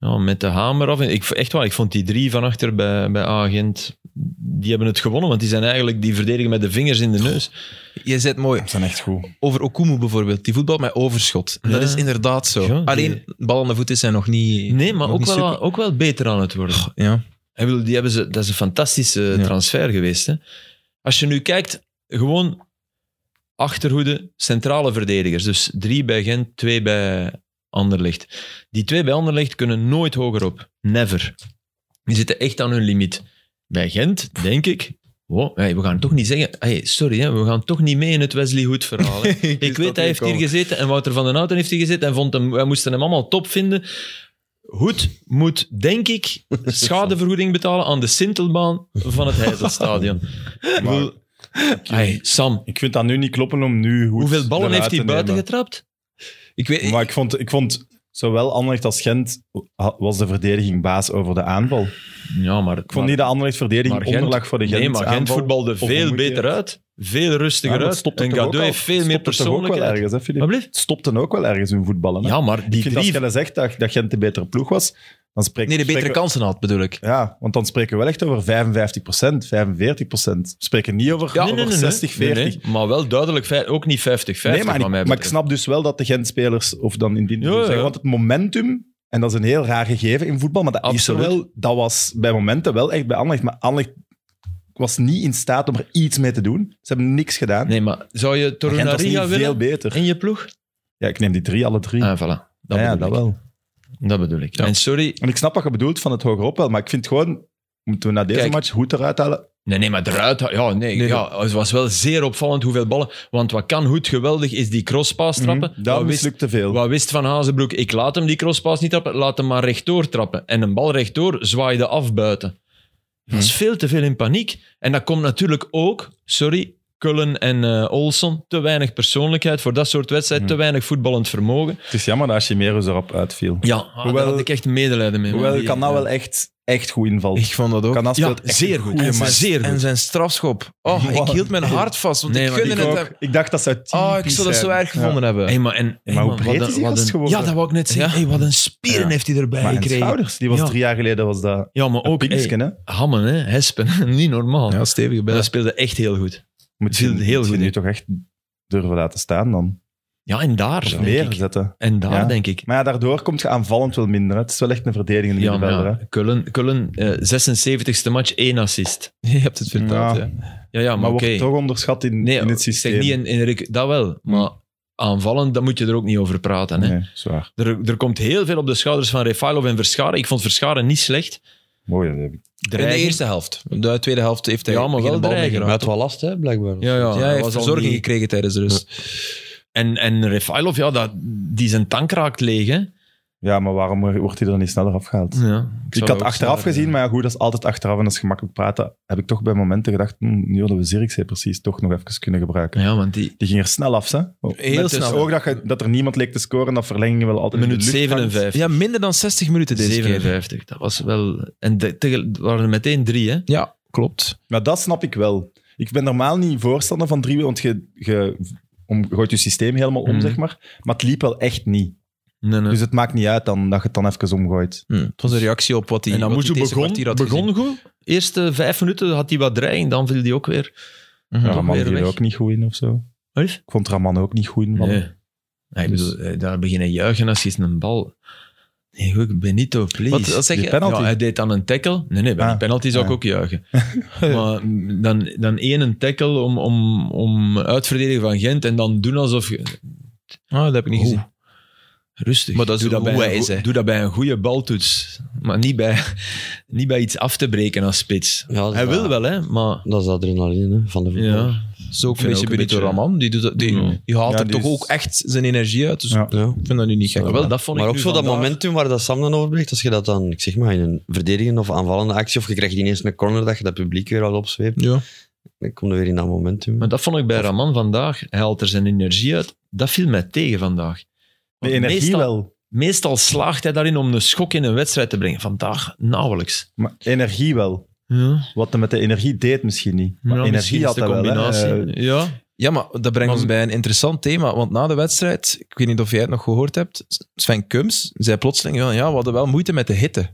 Speaker 3: Ja, met de hamer af. En Ik, echt waar, ik vond die drie van achter bij, bij Agent... Die hebben het gewonnen, want die zijn eigenlijk... Die verdedigen met de vingers in de neus.
Speaker 1: Je zet mooi.
Speaker 4: Ze zijn echt goed.
Speaker 1: Over Okumu bijvoorbeeld. Die voetbalt met overschot. En Dat
Speaker 3: Ja.
Speaker 1: is inderdaad zo.
Speaker 3: Ja, die-
Speaker 1: Alleen, bal aan de voet is hij nog niet...
Speaker 3: Nee, maar
Speaker 1: nog
Speaker 3: ook
Speaker 1: niet
Speaker 3: wel,
Speaker 1: super.
Speaker 3: ook wel beter aan het worden.
Speaker 1: Ja.
Speaker 3: Ik bedoel, die hebben ze, dat is een fantastische
Speaker 1: Ja.
Speaker 3: transfer geweest. Hè? Als je nu kijkt, gewoon achterhoede, centrale verdedigers. Dus drie bij Gent, twee bij Anderlecht. Die twee bij Anderlecht kunnen nooit hoger op. Never. Die zitten echt aan hun limiet. Bij Gent, denk ik... wow, hey, we gaan toch niet zeggen... Hey, sorry, hè, we gaan toch niet mee in het Wesley Hood verhaal. hè.
Speaker 1: wist
Speaker 3: ik
Speaker 1: dat niet
Speaker 3: weet, hij heeft
Speaker 1: komen.
Speaker 3: hier gezeten en Wouter van den Houten heeft hier gezeten en vond hem, wij moesten hem allemaal top vinden. Hoed moet, denk ik, schadevergoeding betalen aan de Sintelbaan van het Heizelstadion. Ik
Speaker 4: Maar
Speaker 3: bedoel, Ai, Sam,
Speaker 4: ik vind dat nu niet kloppen om nu goed
Speaker 3: hoeveel ballen
Speaker 4: eruit
Speaker 3: heeft hij
Speaker 4: te nemen.
Speaker 3: buiten getrapt?
Speaker 1: Ik weet,
Speaker 4: Maar ik vond, ik vond zowel Anderlecht als Gent ha- was de verdediging baas over de aanval. Ik
Speaker 3: Ja, maar...
Speaker 4: vond niet dat Anderlecht verdediging onderlag voor de Gent
Speaker 3: Nee, maar Gent
Speaker 4: aanval.
Speaker 3: voetbalde
Speaker 4: Of
Speaker 3: veel
Speaker 4: omgekeerd.
Speaker 3: beter uit. Veel
Speaker 4: Ja,
Speaker 3: rustiger
Speaker 4: maar het
Speaker 3: uit.
Speaker 4: stopt
Speaker 3: En
Speaker 4: toch ook
Speaker 3: Gadou
Speaker 4: al-
Speaker 3: heeft veel meer
Speaker 4: stopt toch ook wel
Speaker 3: persoonlijkheid.
Speaker 4: ergens, hè, Filip?
Speaker 3: Wat bleef?
Speaker 4: Het stopte ook wel ergens hun voetballen. hè?
Speaker 3: Ja, maar
Speaker 4: ik
Speaker 3: die
Speaker 4: vind als
Speaker 3: drie...
Speaker 4: jij dat zegt dat, dat Gent de betere ploeg was, dan spreek
Speaker 1: nee, de betere
Speaker 4: spreken we-
Speaker 1: kansen had, bedoel ik.
Speaker 4: Ja, want dan spreken we wel echt over 55 45 We spreken niet over,
Speaker 3: Ja,
Speaker 4: over 60, 40. Nee,
Speaker 3: Nee, nee, maar wel duidelijk, vijf- ook niet 50-50
Speaker 4: maar,
Speaker 3: van
Speaker 4: ik,
Speaker 3: mij
Speaker 4: maar ik
Speaker 3: betreft.
Speaker 4: snap dus wel dat de Gent-spelers, of dan in die
Speaker 3: Ja, ja.
Speaker 4: zeggen, want het momentum, en dat is een heel raar gegeven in voetbal, maar dat is
Speaker 3: Absoluut.
Speaker 4: er wel, dat was bij momenten wel echt bij Anderlecht, maar Anderlecht was niet in staat om er iets mee te doen. Ze hebben niks gedaan.
Speaker 3: Nee, maar zou je
Speaker 4: Gent was niet
Speaker 3: Torunariga
Speaker 4: veel
Speaker 3: willen
Speaker 4: beter.
Speaker 3: in je ploeg?
Speaker 4: Ja, ik neem die drie, alle drie.
Speaker 3: Ah, voilà. Dat,
Speaker 4: ja, ja,
Speaker 3: bedoel
Speaker 4: dat
Speaker 3: ik.
Speaker 4: wel.
Speaker 3: dat bedoel ik. En sorry...
Speaker 4: En ik snap wat je bedoelt van het hogerop wel, maar ik vind gewoon, moeten we na deze
Speaker 3: Kijk.
Speaker 4: match goed eruit halen?
Speaker 3: Nee, nee, maar eruit... Ja, nee,
Speaker 1: Nee,
Speaker 3: ja, het was wel zeer opvallend hoeveel ballen... Want wat kan goed geweldig is die crosspaas trappen.
Speaker 4: Mhm,
Speaker 3: Wat
Speaker 4: Dat
Speaker 3: wist-
Speaker 4: mislukt te veel.
Speaker 3: Wat wist Van Hazenbroek? Ik laat hem die crosspaas niet trappen, laat hem maar rechtdoor trappen. En een bal rechtdoor zwaaide
Speaker 4: Mhm.
Speaker 3: af buiten. Dat is veel te veel in paniek. En dat komt natuurlijk ook, sorry, Cullen en eh Olson. Te weinig persoonlijkheid voor dat soort wedstrijd.
Speaker 4: Mhm.
Speaker 3: Te weinig voetballend vermogen.
Speaker 4: Het is jammer dat Chimeros erop uitviel.
Speaker 3: Ja, ah,
Speaker 4: Hoewel-
Speaker 3: daar had ik echt medelijden mee. man.
Speaker 4: Hoewel
Speaker 3: Die,
Speaker 4: kan nou
Speaker 3: eh,
Speaker 4: wel echt, echt goed invallen.
Speaker 1: Ik vond dat ook.
Speaker 4: Kanas
Speaker 3: Ja,
Speaker 4: speelt echt
Speaker 3: zeer
Speaker 4: een
Speaker 3: goed.
Speaker 4: goede
Speaker 3: En
Speaker 1: En
Speaker 4: match.
Speaker 1: zijn,
Speaker 3: zeer
Speaker 1: en
Speaker 3: goed.
Speaker 1: zijn strafschop. Oh, ik
Speaker 4: Man.
Speaker 1: hield mijn hart vast, want
Speaker 3: Nee,
Speaker 1: ik
Speaker 3: maar
Speaker 1: gunde
Speaker 4: Ik,
Speaker 1: het
Speaker 4: ook.
Speaker 1: hem.
Speaker 4: ik dacht dat ze uit
Speaker 3: Ah,
Speaker 4: 10
Speaker 1: Oh, ik zou dat zo erg gevonden hebben.
Speaker 3: Hey, maar, en, hey,
Speaker 4: Maar hoe
Speaker 3: man,
Speaker 4: breed
Speaker 3: wat
Speaker 4: is
Speaker 3: een-
Speaker 4: die
Speaker 3: wat
Speaker 4: gast
Speaker 3: een-
Speaker 4: geworden?
Speaker 3: Ja, dat wou ik net zeggen.
Speaker 1: Ja.
Speaker 3: Hey, wat een spieren
Speaker 4: Ja.
Speaker 3: heeft hij erbij
Speaker 4: Maar en
Speaker 3: gekregen.
Speaker 4: schouders, die was
Speaker 3: Ja.
Speaker 4: drie jaar geleden was dat
Speaker 3: Ja, maar
Speaker 4: een
Speaker 3: ook hey,
Speaker 4: pinkske, hè?
Speaker 3: hammen, hè, hespen. Niet normaal.
Speaker 1: Ja, stevige
Speaker 3: Maar
Speaker 1: bel.
Speaker 3: dat speelde echt heel goed.
Speaker 4: Moet
Speaker 3: Viel
Speaker 4: je,
Speaker 3: heel
Speaker 4: moet je
Speaker 3: goed
Speaker 4: nu
Speaker 3: in.
Speaker 4: toch echt durven laten staan dan.
Speaker 3: Ja, en daar,
Speaker 4: Of
Speaker 3: denk
Speaker 4: meer
Speaker 3: ik.
Speaker 4: zetten.
Speaker 3: En daar,
Speaker 4: Ja.
Speaker 3: denk ik.
Speaker 4: Maar ja, daardoor komt je aanvallend wel minder. hè. Het is wel echt een verdedigende
Speaker 3: Ja, maar
Speaker 4: middenvelder.
Speaker 3: ja,
Speaker 4: hè.
Speaker 3: Cullen, Cullen eh, 76e match, één assist.
Speaker 1: Je hebt het verteld,
Speaker 4: Ja.
Speaker 1: ja.
Speaker 3: Ja, ja,
Speaker 4: Maar
Speaker 3: maar oké.
Speaker 4: wordt toch onderschat in,
Speaker 3: Nee,
Speaker 4: in het
Speaker 3: ik
Speaker 4: systeem.
Speaker 3: zeg niet in, in Rick- dat wel. Maar aanvallend, daar moet je er ook niet over praten. Hè.
Speaker 4: Nee, zwaar.
Speaker 3: Er, er komt heel veel op de schouders van Refailov en Verscharen. Ik vond Verscharen niet slecht.
Speaker 4: Mooi, dat heb ik.
Speaker 1: In de
Speaker 3: Dreigen.
Speaker 1: eerste helft. De tweede helft heeft hij
Speaker 3: Ja, maar
Speaker 1: geen
Speaker 3: wel
Speaker 1: bal meer
Speaker 3: dreigen.
Speaker 1: geraakt.
Speaker 2: Maar het was last, hè, blijkbaar.
Speaker 3: Ja, ja,
Speaker 1: Ja,
Speaker 3: dat
Speaker 1: hij heeft
Speaker 3: was al
Speaker 1: verzorging
Speaker 3: niet-
Speaker 1: gekregen dus- tijdens de rust.
Speaker 3: En, en Refailov, ja, dat, die zijn tank raakt leeg. Hè.
Speaker 4: Ja, maar waarom wordt hij dan niet sneller afgehaald?
Speaker 3: Ja,
Speaker 4: Ik had achteraf gezien,
Speaker 3: eh,
Speaker 4: maar ja, goed, dat is altijd achteraf en dat is gemakkelijk praten. Heb ik toch bij momenten gedacht, hm, nu hadden we Zirkzee precies toch nog even kunnen gebruiken.
Speaker 3: Ja, want die
Speaker 4: Die ging er snel af, hè?
Speaker 1: Heel
Speaker 4: Met
Speaker 1: snel.
Speaker 4: Dus ook dat, je- dat er niemand leek te scoren, en dat verlengingen wel altijd in de
Speaker 3: minuut
Speaker 4: lucht hangt.
Speaker 3: 57.
Speaker 1: Ja, minder dan 60 minuten deze keer.
Speaker 3: 57, dat was wel... En de, tegel- het waren er meteen drie, hè?
Speaker 1: Ja, klopt.
Speaker 4: Maar dat snap ik wel. Ik ben normaal niet voorstander van drieën, want je, je om, gooit je systeem helemaal om,
Speaker 3: Mhm.
Speaker 4: zeg maar. Maar het liep wel echt niet.
Speaker 3: Nee, nee.
Speaker 4: Dus het maakt niet uit dan, dat je het dan even omgooit.
Speaker 1: Hm, Het was een reactie op wat hij,
Speaker 3: en
Speaker 1: wat hij
Speaker 3: dan moest je
Speaker 1: deze
Speaker 3: begon,
Speaker 1: kwartier had gezien.
Speaker 3: begon goed. Eerste vijf minuten had hij wat dreiging, dan viel hij ook weer.
Speaker 1: Mhm.
Speaker 4: Ja,
Speaker 3: Toch
Speaker 4: Raman
Speaker 3: weer
Speaker 4: viel
Speaker 3: weg.
Speaker 4: ook niet goed in of zo.
Speaker 3: Alsjeblieft.
Speaker 4: Ik vond Raman ook niet goed in. man.
Speaker 3: Nee. Ja, ik
Speaker 1: Dus-
Speaker 3: bedoel, eh, daar beginnen juichen als je een bal... Nee, goed, Benito, please.
Speaker 1: Wat, wat zeg
Speaker 4: Die
Speaker 1: je?
Speaker 4: penalty.
Speaker 3: Ja, hij deed dan een tackle. Nee, nee, bij
Speaker 4: Ah.
Speaker 3: een penalty zou ik
Speaker 4: Ah.
Speaker 3: ook juichen. maar mm, dan, dan één een tackle om, om, om uitverdedigen van Gent en dan doen alsof... Je...
Speaker 1: Ah, dat heb ik niet
Speaker 3: Oeh.
Speaker 1: gezien.
Speaker 3: Rustig.
Speaker 1: Maar dat is
Speaker 3: doe, dat bij
Speaker 1: hoe
Speaker 3: een
Speaker 1: hij is,
Speaker 3: goe-
Speaker 1: hè.
Speaker 3: doe dat bij een goede baltoets. Maar niet bij, niet bij iets af te breken als spits.
Speaker 2: Ja, dat is
Speaker 3: Hij
Speaker 2: dat-
Speaker 3: wil wel, hè, maar...
Speaker 2: Dat is de adrenaline hè, van de voetbal.
Speaker 3: Ja.
Speaker 1: Dat is ook een
Speaker 3: Ik vind
Speaker 1: beetje
Speaker 3: ook een
Speaker 1: Benito
Speaker 3: beetje-
Speaker 1: Raman. Die, doet dat, die,
Speaker 3: Ja.
Speaker 1: die haalt
Speaker 4: Ja,
Speaker 1: er
Speaker 4: die
Speaker 1: toch
Speaker 4: is-
Speaker 1: ook echt zijn energie uit. Dus
Speaker 4: Ja.
Speaker 2: Ja.
Speaker 1: ik vind dat nu niet gek.
Speaker 3: Ja, wel, dat vond
Speaker 2: Maar
Speaker 3: ik
Speaker 2: ook
Speaker 3: nu
Speaker 2: zo dat
Speaker 3: vandaag-
Speaker 2: momentum waar dat Sam dan over blijft, als je dat dan, ik zeg maar, in een verdedigende of aanvallende actie, of je krijgt ineens een corner dat je dat publiek weer al opzweept,
Speaker 1: Ja.
Speaker 2: dan kom je weer in dat momentum.
Speaker 3: Maar dat vond ik bij
Speaker 2: Of-
Speaker 3: Raman vandaag. Hij haalt er zijn energie uit. Dat viel mij tegen vandaag.
Speaker 4: De
Speaker 3: Want
Speaker 4: energie
Speaker 3: meestal,
Speaker 4: wel.
Speaker 3: Meestal slaagt hij daarin om een schok in een wedstrijd te brengen. Vandaag nauwelijks.
Speaker 4: Maar energie wel.
Speaker 3: Ja,
Speaker 4: Wat hij met de energie deed misschien niet. Maar
Speaker 3: ja, misschien
Speaker 4: energie
Speaker 3: is
Speaker 4: had
Speaker 3: de
Speaker 4: hij wel. hè.
Speaker 3: combinatie.
Speaker 4: Eh,
Speaker 3: ja.
Speaker 1: ja, maar dat brengt
Speaker 3: Maar-
Speaker 1: ons bij een interessant thema. Want na de wedstrijd, ik weet niet of jij het nog gehoord hebt, Sven Kums zei plotseling, ja, ja, we hadden wel moeite met de hitte.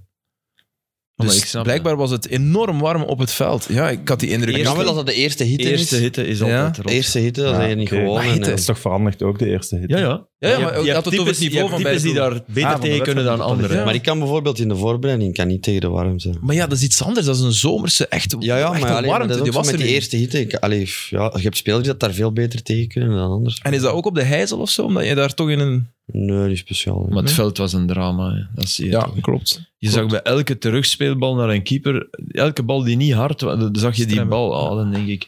Speaker 3: maar ik
Speaker 1: Dus
Speaker 3: snap
Speaker 1: blijkbaar was het enorm warm op het veld. Ja, ik had die indruk.
Speaker 2: Ik
Speaker 1: niet.
Speaker 2: kan wel dat dat de eerste hitte
Speaker 3: De eerste
Speaker 2: is.
Speaker 3: hitte is altijd
Speaker 1: Ja,
Speaker 3: rot.
Speaker 2: De eerste hitte, dat is
Speaker 4: Ja,
Speaker 2: je niet
Speaker 4: oké.
Speaker 2: gewoon.
Speaker 1: Maar
Speaker 2: en,
Speaker 1: hitte
Speaker 2: eh,
Speaker 4: Dat is toch veranderd ook, de eerste hit.
Speaker 3: Ja, ja.
Speaker 1: Ja, ja, maar
Speaker 3: Je
Speaker 1: je
Speaker 3: hebt
Speaker 1: had het over het
Speaker 3: types-
Speaker 1: niveau
Speaker 3: je
Speaker 1: van
Speaker 3: hebt
Speaker 1: beide
Speaker 3: types die
Speaker 1: ploegen.
Speaker 3: daar beter
Speaker 4: Ah, van de
Speaker 3: tegen kunnen dan
Speaker 4: wedstrijd tot de
Speaker 3: anderen.
Speaker 1: Ja.
Speaker 2: Maar ik kan bijvoorbeeld in de voorbereiding kan niet tegen de warmte.
Speaker 1: Maar ja, dat is iets anders. Dat is een zomerse, echt,
Speaker 2: Ja, ja,
Speaker 1: echt
Speaker 2: maar,
Speaker 1: een
Speaker 2: allee, maar
Speaker 1: warmte.
Speaker 2: dat
Speaker 1: Die
Speaker 2: is ook
Speaker 1: was
Speaker 2: zo
Speaker 1: er
Speaker 2: met die
Speaker 1: niet.
Speaker 2: eerste hitte. Ik- allee, f- ja, je hebt spelers die dat daar veel beter tegen kunnen dan anders.
Speaker 1: En is dat ook op de heizel of zo? Omdat je daar toch in een...
Speaker 2: Nee, niet speciaal. hè.
Speaker 3: Maar het veld was een drama. hè. Dat zie je toch.
Speaker 1: klopt.
Speaker 3: Je zag bij elke terugspeelbal naar een keeper, elke bal die niet hard was, dan zag je die
Speaker 1: Stremmen.
Speaker 3: bal. Ah, dan denk ik,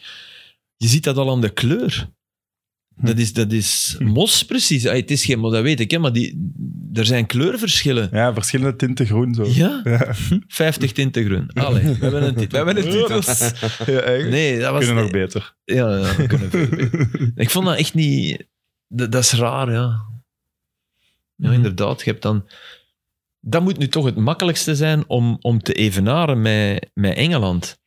Speaker 3: je ziet dat al aan de kleur.
Speaker 1: Hm.
Speaker 3: Dat is, dat is mos precies. Ah, het is geen mos, dat weet ik, hè, maar die, er zijn kleurverschillen.
Speaker 4: Ja, verschillende tinten groen zo.
Speaker 3: Ja, 50 tinten groen. Allee, we hebben een titel.
Speaker 1: We hebben een titel.
Speaker 4: Ja, echt.
Speaker 3: Nee, dat was...
Speaker 4: Kunnen nog beter.
Speaker 3: Ja, ja, we kunnen veel beter. Ik vond dat echt niet... Dat, dat is raar, ja.
Speaker 1: Mhm.
Speaker 3: Ja, inderdaad. Je hebt dan... Dat moet nu toch het makkelijkste zijn om, om te evenaren met, met Engeland.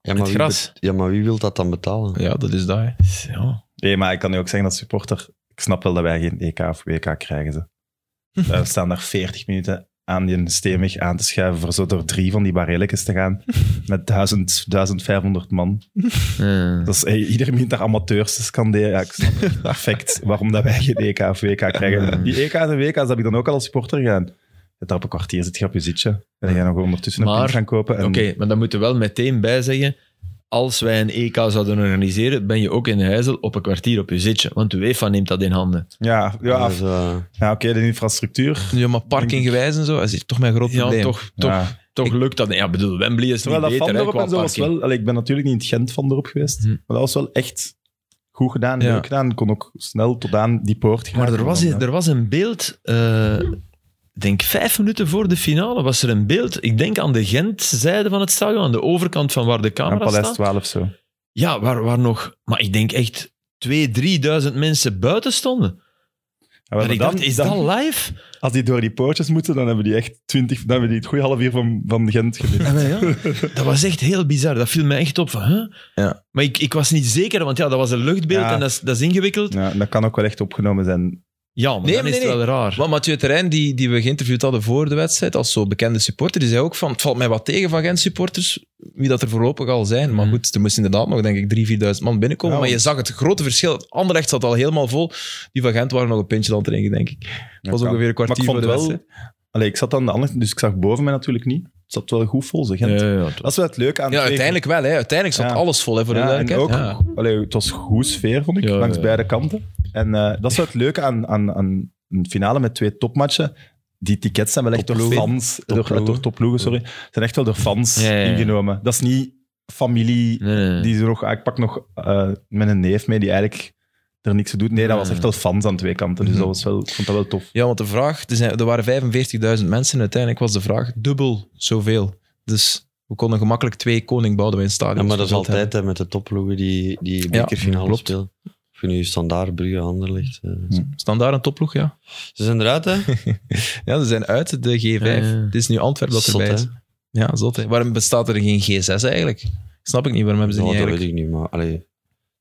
Speaker 2: ja,
Speaker 3: het
Speaker 2: maar wie
Speaker 3: gras.
Speaker 2: bet- ja, maar wie wil dat dan betalen?
Speaker 1: Ja, dat is dat. hè.
Speaker 3: Ja.
Speaker 4: Nee, maar ik kan nu ook zeggen dat supporter... Ik snap wel dat wij geen EK of WK krijgen. Ze. Eh, we staan daar 40 minuten aan die steenweg aan te schuiven voor zo door drie van die barrelletjes te gaan met 1000, 1500 man.
Speaker 3: Eh,
Speaker 4: Dat is hey, iedere minuut daar amateurs te scanderen. Ja, ik snap het perfect waarom dat wij geen EK of WK krijgen. Die EK's en WK's heb ik dan ook al als supporter gegaan. Dat daar op een kwartier zit je op je zitje. En dan ga je nog ondertussen een
Speaker 3: Maar-
Speaker 4: pint gaan kopen. En
Speaker 3: Oké, maar dan moeten we wel meteen bij zeggen... Als wij een EK zouden organiseren, ben je ook in Huizel op een kwartier op je zitje. Want de UEFA neemt dat in handen.
Speaker 4: Ja, ja,
Speaker 2: Dus, eh,
Speaker 4: ja oké, de infrastructuur.
Speaker 1: Ja, maar parkinggewijs en zo, dat is toch mijn groot
Speaker 3: Ja,
Speaker 1: probleem.
Speaker 3: toch, toch,
Speaker 4: Ja.
Speaker 3: toch lukt dat. niet. Ja, bedoel, Wembley is
Speaker 4: Terwijl
Speaker 3: niet
Speaker 4: dat
Speaker 3: beter,
Speaker 4: Van
Speaker 3: hè,
Speaker 4: Dorp
Speaker 3: qua
Speaker 4: en zo was
Speaker 3: parking.
Speaker 4: wel... Allee, ik ben natuurlijk niet in het Gent Van Dorp geweest,
Speaker 3: Hm.
Speaker 4: maar dat was wel echt goed gedaan,
Speaker 1: Ja.
Speaker 4: leuk gedaan. Ik kon ook snel tot aan die poort gaan.
Speaker 3: Maar er was, er was een beeld, eh, ik denk vijf minuten voor de finale was er een beeld. Ik denk aan de Gentzijde van het stadion, aan de overkant van waar de
Speaker 4: Aan
Speaker 3: camera
Speaker 4: Paleis
Speaker 3: staat.
Speaker 4: 12 zo.
Speaker 3: Ja, waar, waar nog... Maar ik denk echt 2.000, 3.000 mensen buiten stonden.
Speaker 4: En we
Speaker 3: Dat ik
Speaker 4: hebben
Speaker 3: dacht,
Speaker 4: dan-
Speaker 3: is
Speaker 4: dan-
Speaker 3: dat live?
Speaker 4: Als die door die poortjes moeten, dan hebben die echt 20, dan hebben die het goede half uur van, van Gent geleerd.
Speaker 3: Ah, Ja, maar ja, dat was echt heel bizar. Dat viel mij echt op. Van, huh?
Speaker 1: Ja.
Speaker 3: Maar ik, ik was niet zeker, want ja, dat was een luchtbeeld
Speaker 4: Ja.
Speaker 3: en dat is, dat is ingewikkeld.
Speaker 4: Ja, dat kan ook wel echt opgenomen zijn.
Speaker 3: Ja, maar
Speaker 1: Nee,
Speaker 3: dan
Speaker 1: nee,
Speaker 3: is het
Speaker 1: nee.
Speaker 3: wel raar.
Speaker 1: Maar Mathieu Terrein, die, die we geïnterviewd hadden voor de wedstrijd, als zo bekende supporter, die zei ook van, het valt mij wat tegen van Gent-supporters, wie dat er voorlopig al zijn. Maar
Speaker 3: Mhm.
Speaker 1: goed, er moesten inderdaad nog, denk ik, 3.000, 4.000 man binnenkomen.
Speaker 4: Ja,
Speaker 1: maar je
Speaker 4: want-
Speaker 1: zag het grote verschil. Anderlecht zat al helemaal vol. Die van Gent waren nog een pintje aan het drinken, denk ik. Het was
Speaker 4: kan.
Speaker 1: ongeveer een kwartier
Speaker 4: maar
Speaker 1: voor
Speaker 4: ik
Speaker 1: de
Speaker 4: vond
Speaker 1: wedstrijd.
Speaker 4: wel... Allee, ik zat aan de andere, dus ik zag boven mij natuurlijk niet. Het zat wel goed vol, zeg. Gent.
Speaker 3: Ja, ja, ja,
Speaker 4: Dat is wel het leuke aan
Speaker 1: Ja,
Speaker 4: het tegen-
Speaker 1: uiteindelijk wel. Hè. Uiteindelijk zat
Speaker 4: Ja.
Speaker 1: alles vol hè, voor de
Speaker 4: ja, en ook,
Speaker 1: duidelijkheid. Ja.
Speaker 4: allee, het was goede sfeer, vond ik,
Speaker 3: Ja,
Speaker 4: langs
Speaker 3: ja.
Speaker 4: beide kanten. En eh, dat is wel het leuke aan, aan, aan een finale met twee topmatchen. Die tickets zijn wel echt door
Speaker 2: Topploegen.
Speaker 4: fans, door,
Speaker 2: Topploegen.
Speaker 4: door topploegen, sorry, zijn echt wel door fans
Speaker 3: Ja, ja, ja.
Speaker 4: ingenomen. Dat is niet familie
Speaker 3: Nee, nee, nee.
Speaker 4: die er nog... ah, Ik pak nog eh met een neef mee die eigenlijk er niks te doet. Nee, dat was
Speaker 3: Ja.
Speaker 4: echt wel fans aan twee kanten. Dus dat was wel, ik vond dat wel tof.
Speaker 1: Ja, want de vraag, er, zijn, er waren 45.000 mensen en uiteindelijk was de vraag dubbel zoveel. Dus we konden gemakkelijk twee Koning Boudewijn stadions
Speaker 2: Ja, maar dat is
Speaker 1: gevuld
Speaker 2: altijd hè, met de topploegen die, die
Speaker 1: Ja,
Speaker 2: bekerfinale
Speaker 1: klopt.
Speaker 2: spelen. Of je nu standaard Brugge Anderlecht. eh.
Speaker 1: hebben. Staan daar een topploeg, ja.
Speaker 2: Ze zijn eruit, hè?
Speaker 1: Ja, ze zijn uit de G5.
Speaker 3: Ja, ja.
Speaker 1: Het is nu Antwerpen dat
Speaker 2: Zot,
Speaker 1: erbij
Speaker 2: hè?
Speaker 1: is. Ja, zot. hè. Waarom bestaat er geen G6 eigenlijk? Snap ik niet, waarom hebben ze
Speaker 2: Ja,
Speaker 1: niet
Speaker 2: Nou, dat weet
Speaker 1: eigenlijk...
Speaker 2: ik niet, maar allee, het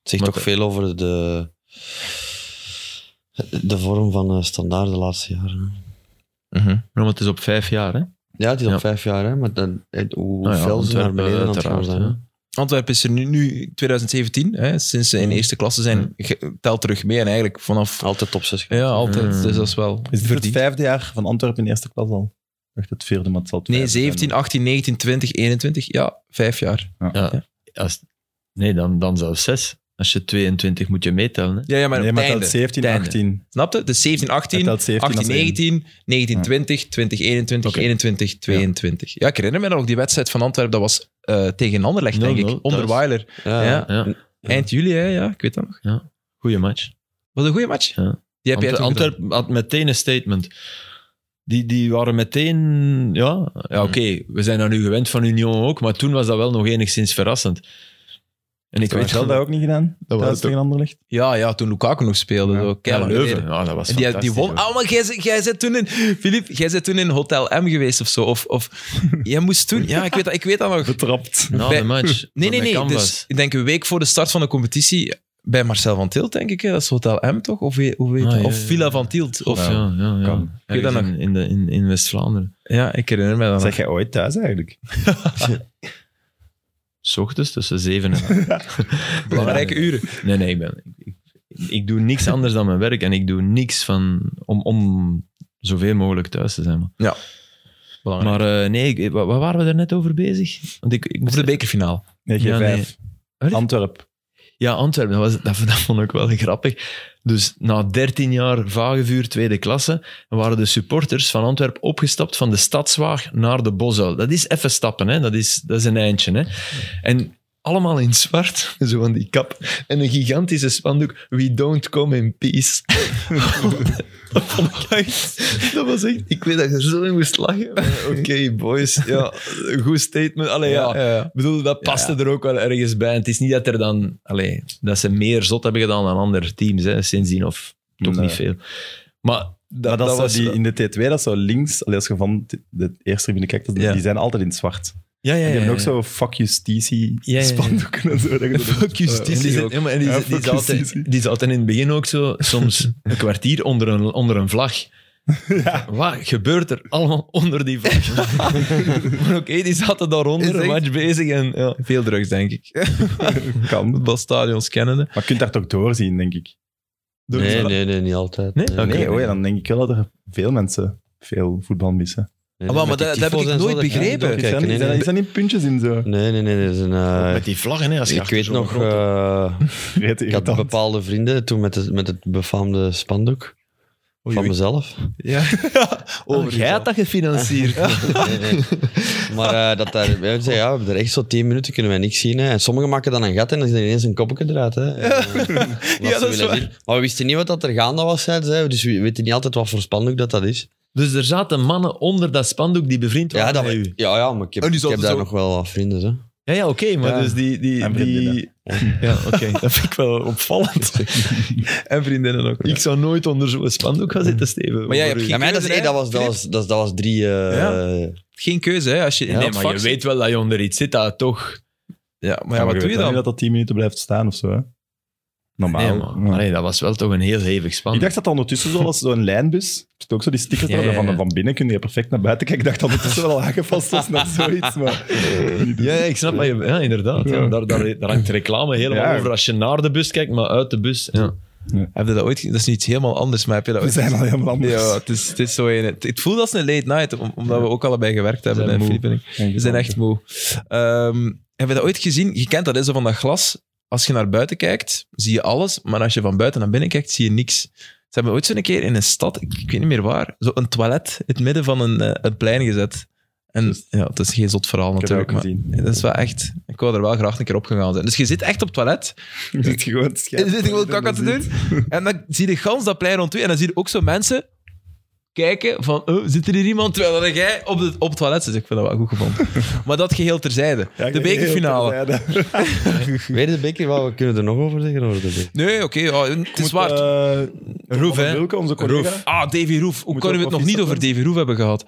Speaker 2: zegt
Speaker 3: Maar
Speaker 2: toch veel over de, de vorm van eh, standaard de laatste jaren.
Speaker 1: Mhm.
Speaker 3: Ja, maar het is op vijf jaar, hè?
Speaker 2: Ja, het is al
Speaker 3: Ja.
Speaker 2: vijf jaar, hè, maar dan, het- hoe
Speaker 3: Nou ja,
Speaker 2: fel ze naar
Speaker 3: Antwerpen,
Speaker 2: beneden aan het gaan
Speaker 3: uiteraard,
Speaker 2: zijn. hè.
Speaker 3: ja.
Speaker 1: Antwerpen is er nu, nu 2017, hè, sinds ze in eerste klasse zijn, ge- telt terug mee en eigenlijk vanaf...
Speaker 2: Altijd top 6.
Speaker 1: Ja, altijd.
Speaker 3: Mm.
Speaker 1: Dus dat is wel
Speaker 4: Is dit voor het
Speaker 1: verdiend.
Speaker 4: vijfde jaar van Antwerpen in eerste klas al? Echt het vierde, maar het zal het
Speaker 1: Nee,
Speaker 4: vijfde zijn.
Speaker 1: 17, 18, 19, 20, 21. Ja, vijf jaar.
Speaker 3: Als, nee, dan, dan zelfs zes. Als je 22 moet je meetellen. Hè?
Speaker 1: Ja, ja maar
Speaker 4: Nee,
Speaker 1: op
Speaker 4: maar
Speaker 1: het
Speaker 4: het telt
Speaker 1: einde.
Speaker 4: 17,
Speaker 1: Het einde.
Speaker 4: 18.
Speaker 1: Snap je? Dus 17, 18,
Speaker 4: Het telt 17
Speaker 1: 18,
Speaker 4: als één.
Speaker 1: 19, 19, 20, 20, 21,
Speaker 3: Oké.
Speaker 1: 21, 22. Ja. ik herinner me nog die wedstrijd van Antwerpen. Dat was eh, tegen Anderlecht, denk
Speaker 3: 0-0
Speaker 1: ik. Onder
Speaker 3: thuis.
Speaker 1: Weiler.
Speaker 2: Ja,
Speaker 1: Ja.
Speaker 3: Ja.
Speaker 1: Eind juli, hè? Ja, ik weet dat nog.
Speaker 3: Goeie match.
Speaker 1: Wat een goede match.
Speaker 3: Ja.
Speaker 1: Die heb jij toen
Speaker 3: Ant-
Speaker 1: gedaan.
Speaker 3: Antwerpen had meteen een statement. Die, die waren meteen, ja, ja oké, we zijn daar nu gewend van Union ook, maar toen was dat wel nog enigszins verrassend. En ik
Speaker 4: Ik weet
Speaker 3: weet
Speaker 4: wel
Speaker 3: wel
Speaker 4: dat ook niet gedaan.
Speaker 3: was
Speaker 4: thuis
Speaker 3: het
Speaker 4: tegen Anderlecht.
Speaker 1: Ja, ja, toen Lukaku nog speelde.
Speaker 4: Ja.
Speaker 1: zo,
Speaker 3: ja,
Speaker 1: keihard
Speaker 3: Leuven,
Speaker 1: geleden.
Speaker 3: ja, dat was
Speaker 1: En die, die
Speaker 3: fantastisch,
Speaker 1: won.
Speaker 3: hoor.
Speaker 1: Ah, maar jij, zit- jij zit toen in... Filip, jij zit toen in Hotel M geweest of zo. Of, of jij moest toen... Ja, ik weet dat, ik weet dat nog.
Speaker 4: Betrapt.
Speaker 3: Na
Speaker 1: Ah, bij-
Speaker 3: de match.
Speaker 1: Nee, nee,
Speaker 3: met
Speaker 1: nee.
Speaker 3: Canvas.
Speaker 1: Dus, ik denk een week voor de start van de competitie bij Marcel van Tielt, denk ik. hè. Dat is Hotel M, toch? Of, hoe- hoe heet
Speaker 3: Ah,
Speaker 1: dat?
Speaker 3: ja,
Speaker 1: of
Speaker 3: ja,
Speaker 1: Villa
Speaker 3: ja.
Speaker 1: van Tielt. Of,
Speaker 3: Of
Speaker 1: ja.
Speaker 3: ja, ja, ja.
Speaker 4: Kan.
Speaker 1: Weet dat
Speaker 3: Ergens in, in, de- in, in West-Vlaanderen.
Speaker 1: ik herinner me dat nog.
Speaker 4: Zeg jij ooit thuis eigenlijk?
Speaker 3: S ochtends tussen zeven en acht.
Speaker 1: Belangrijke uren.
Speaker 3: Nee, nee, ik, ben, ik, ik- ik doe niks anders dan mijn werk en ik doe niks van, om, om zoveel mogelijk thuis te zijn. man.
Speaker 1: Belangrijk.
Speaker 3: Maar eh, nee, ik- wa- waar waren we er net over bezig? Want ik, ik
Speaker 1: of
Speaker 3: moest
Speaker 1: de bekerfinale.
Speaker 4: Nee, G5.
Speaker 3: Ja, nee. Wat?
Speaker 4: Antwerp.
Speaker 3: Ja, Antwerpen, dat, was, dat, dat vond ik wel grappig. Dus na 13 jaar vagevuur tweede klasse waren de supporters van Antwerpen opgestapt van de stadswaag naar de Bosuil. Dat is even stappen, hè? Dat, is, dat is een eindje. Hè? En allemaal in zwart, zo van die kap. En een gigantische spandoek, we don't come in peace. dat vond ik echt... Dat was echt... Ik weet dat je er zo in moest lachen. maar Oké, boys. Ja, een goed statement. Allee, ja. Ik bedoel, dat paste er ook wel ergens bij. En het is niet dat, er dan, allee, dat ze meer zot hebben gedaan dan andere teams, hè, sindsdien, of toch
Speaker 4: Nee.
Speaker 3: niet veel. Maar dat,
Speaker 4: Maar dat
Speaker 3: dat
Speaker 4: zou
Speaker 3: was...
Speaker 4: die, in de T2, dat zo links, allee, als je van t- de eerste tribune kijkt, dat-
Speaker 3: Ja.
Speaker 4: die zijn altijd in het zwart.
Speaker 3: ja, ja,
Speaker 4: En
Speaker 3: ja,
Speaker 4: die hebben ook
Speaker 3: ja.
Speaker 4: zo fuck justitie
Speaker 3: Ja, ja, ja.
Speaker 4: spandoeken en zo. Dat je zo-
Speaker 3: Fuck justitie.
Speaker 4: En die zijn-
Speaker 3: ook. Ja, maar die,
Speaker 4: Ja,
Speaker 3: die
Speaker 4: fuck
Speaker 3: zaten,
Speaker 4: justitie.
Speaker 3: die zaten in het begin ook zo, soms een kwartier onder een, onder een vlag. Wat gebeurt er allemaal onder die vlag? maar oké, die zaten daaronder,
Speaker 1: Is
Speaker 3: een
Speaker 1: echt-
Speaker 3: match bezig en... Ja.
Speaker 1: Veel drugs, denk ik.
Speaker 4: kan. Maar
Speaker 1: Voetbalstadions kennende.
Speaker 4: je kunt daar toch doorzien, denk ik.
Speaker 2: Nee, nee, nee, niet altijd.
Speaker 3: Nee? Oké.
Speaker 4: Nee, oh ja, dan denk ik wel dat er veel mensen veel voetbal missen.
Speaker 1: Ah, maar dat- dat heb ik nooit begrepen.
Speaker 4: Is daar-
Speaker 2: nee,
Speaker 4: is daar-
Speaker 2: nee,
Speaker 4: Is daar niet puntjes in zo?
Speaker 2: nee, nee, nee, dat is een, eh,
Speaker 3: Met die vlaggen, hè, als je
Speaker 2: ik
Speaker 3: achter
Speaker 2: weet
Speaker 3: zo'n
Speaker 2: nog,
Speaker 3: grote-
Speaker 2: eh, ik
Speaker 4: Reet
Speaker 2: had
Speaker 4: irritant.
Speaker 2: bepaalde vrienden toen met het, met het befaamde spandoek van mezelf.
Speaker 1: Ja.
Speaker 3: Oh, jij had dat gefinancierd.
Speaker 2: Nee, nee. Maar eh, dat daar, ja, ik zei, ja, we hebben er echt zo 10 minuten kunnen wij niks zien. Hè. En sommigen maken dan een gat en dan is er ineens een koppetje eruit. Hè. eh, ja,
Speaker 1: dat is waar.
Speaker 2: Maar we wisten niet wat dat er gaande was, zeiden ze, dus we weten niet altijd wat voor spandoek dat, dat is.
Speaker 3: Dus er zaten mannen onder dat spandoek die bevriend
Speaker 2: Ja,
Speaker 3: waren
Speaker 2: dat,
Speaker 3: met
Speaker 2: ja,
Speaker 3: u.
Speaker 2: ja, maar ik heb,
Speaker 1: En die
Speaker 2: ik
Speaker 1: zaten
Speaker 2: heb daar
Speaker 1: zo-
Speaker 2: nog wel wat vrienden. Hè.
Speaker 3: Ja, ja oké, maar
Speaker 2: Ja.
Speaker 3: dus die... die,
Speaker 4: En
Speaker 3: die
Speaker 4: vriendinnen.
Speaker 3: ja, oké. Dat vind ik wel opvallend. en vriendinnen ook. Mm. Ik zou nooit onder zo'n spandoek gaan zitten, Steven.
Speaker 1: Maar jij
Speaker 3: Over
Speaker 1: hebt
Speaker 3: u.
Speaker 1: geen-
Speaker 2: Ja, maar dat, is,
Speaker 1: Philip,
Speaker 2: eh, dat, was, dat, was, dat, was- dat was drie... eh,
Speaker 1: Geen keuze, hè? Als je in
Speaker 3: Nee,
Speaker 1: dat
Speaker 3: maar
Speaker 1: vak
Speaker 3: je
Speaker 1: zit.
Speaker 3: weet wel dat je onder iets zit, dat toch...
Speaker 1: Ja, maar ja, wat doe je
Speaker 4: niet
Speaker 1: dan?
Speaker 4: dat dat 10 minuten blijft staan of zo, hè? Normaal.
Speaker 3: Nee, man.
Speaker 4: Ja.
Speaker 3: Allee, dat was wel toch een heel hevig span.
Speaker 4: Ik dacht dat ondertussen zo was, zo'n lijnbus. Er zitten ook zo die stickers
Speaker 3: Ja,
Speaker 4: dat
Speaker 3: ja, ja.
Speaker 4: Van, van binnen kun je perfect naar buiten kijken. Ik dacht dat ondertussen wel al aangepast was naar zoiets, maar...
Speaker 3: Ja, ja, ik snap wat je... Ja, inderdaad. Ja.
Speaker 4: Ja.
Speaker 3: Daar, daar, daar hangt reclame helemaal
Speaker 4: Ja.
Speaker 3: over als je naar de bus kijkt, maar uit de bus... Ja.
Speaker 1: Heb je dat ooit... ge- Dat is niet helemaal anders, maar heb je dat
Speaker 4: We
Speaker 1: ooit...
Speaker 4: zijn al helemaal anders.
Speaker 1: Ja, het is, het is zo een... Het het voelt als een late night, om- omdat we ook allebei gewerkt hebben,
Speaker 3: zijn
Speaker 1: hè,
Speaker 3: moe.
Speaker 1: Filip en ik. We zijn echt moe. Ehm, heb je dat ooit gezien? Je kent dat, hè, zo van dat glas. Als je naar buiten kijkt, zie je alles. Maar als je van buiten naar binnen kijkt, zie je niks. Ze hebben ooit zo'n keer in een stad, ik, ik weet niet meer waar, zo een toilet in het midden van een, eh, een plein gezet. En ja, het is geen zot verhaal
Speaker 4: Dus- Ik heb het
Speaker 1: natuurlijk,
Speaker 4: ook
Speaker 1: maar
Speaker 4: gezien.
Speaker 1: dat is wel echt... Ik wou er wel graag een keer op gegaan zijn. Dus je zit echt op het toilet,
Speaker 4: Je zit gewoon
Speaker 1: en je zit gewoon kakken te doen, en dan zie je gans dat plein rond u, en dan zie je ook zo mensen kijken van, oh, zit er hier iemand? Terwijl dat jij op, het op het toilet zit. Ik vind dat wel goed gevonden. Maar dat geheel terzijde. de bekerfinale.
Speaker 2: Weet je de beker? Wat, we kunnen er nog over zeggen. Over de beker.
Speaker 1: Nee, oké. ja, het is waar.
Speaker 4: eh,
Speaker 1: Roef, hè.
Speaker 4: Wilke, onze collega.
Speaker 1: Roef. Ah, Davy Roef. Hoe
Speaker 4: Moet
Speaker 1: kunnen we
Speaker 4: ook
Speaker 1: het nog
Speaker 4: nog
Speaker 1: niet
Speaker 4: iets
Speaker 1: over Davy Roef hebben gehad?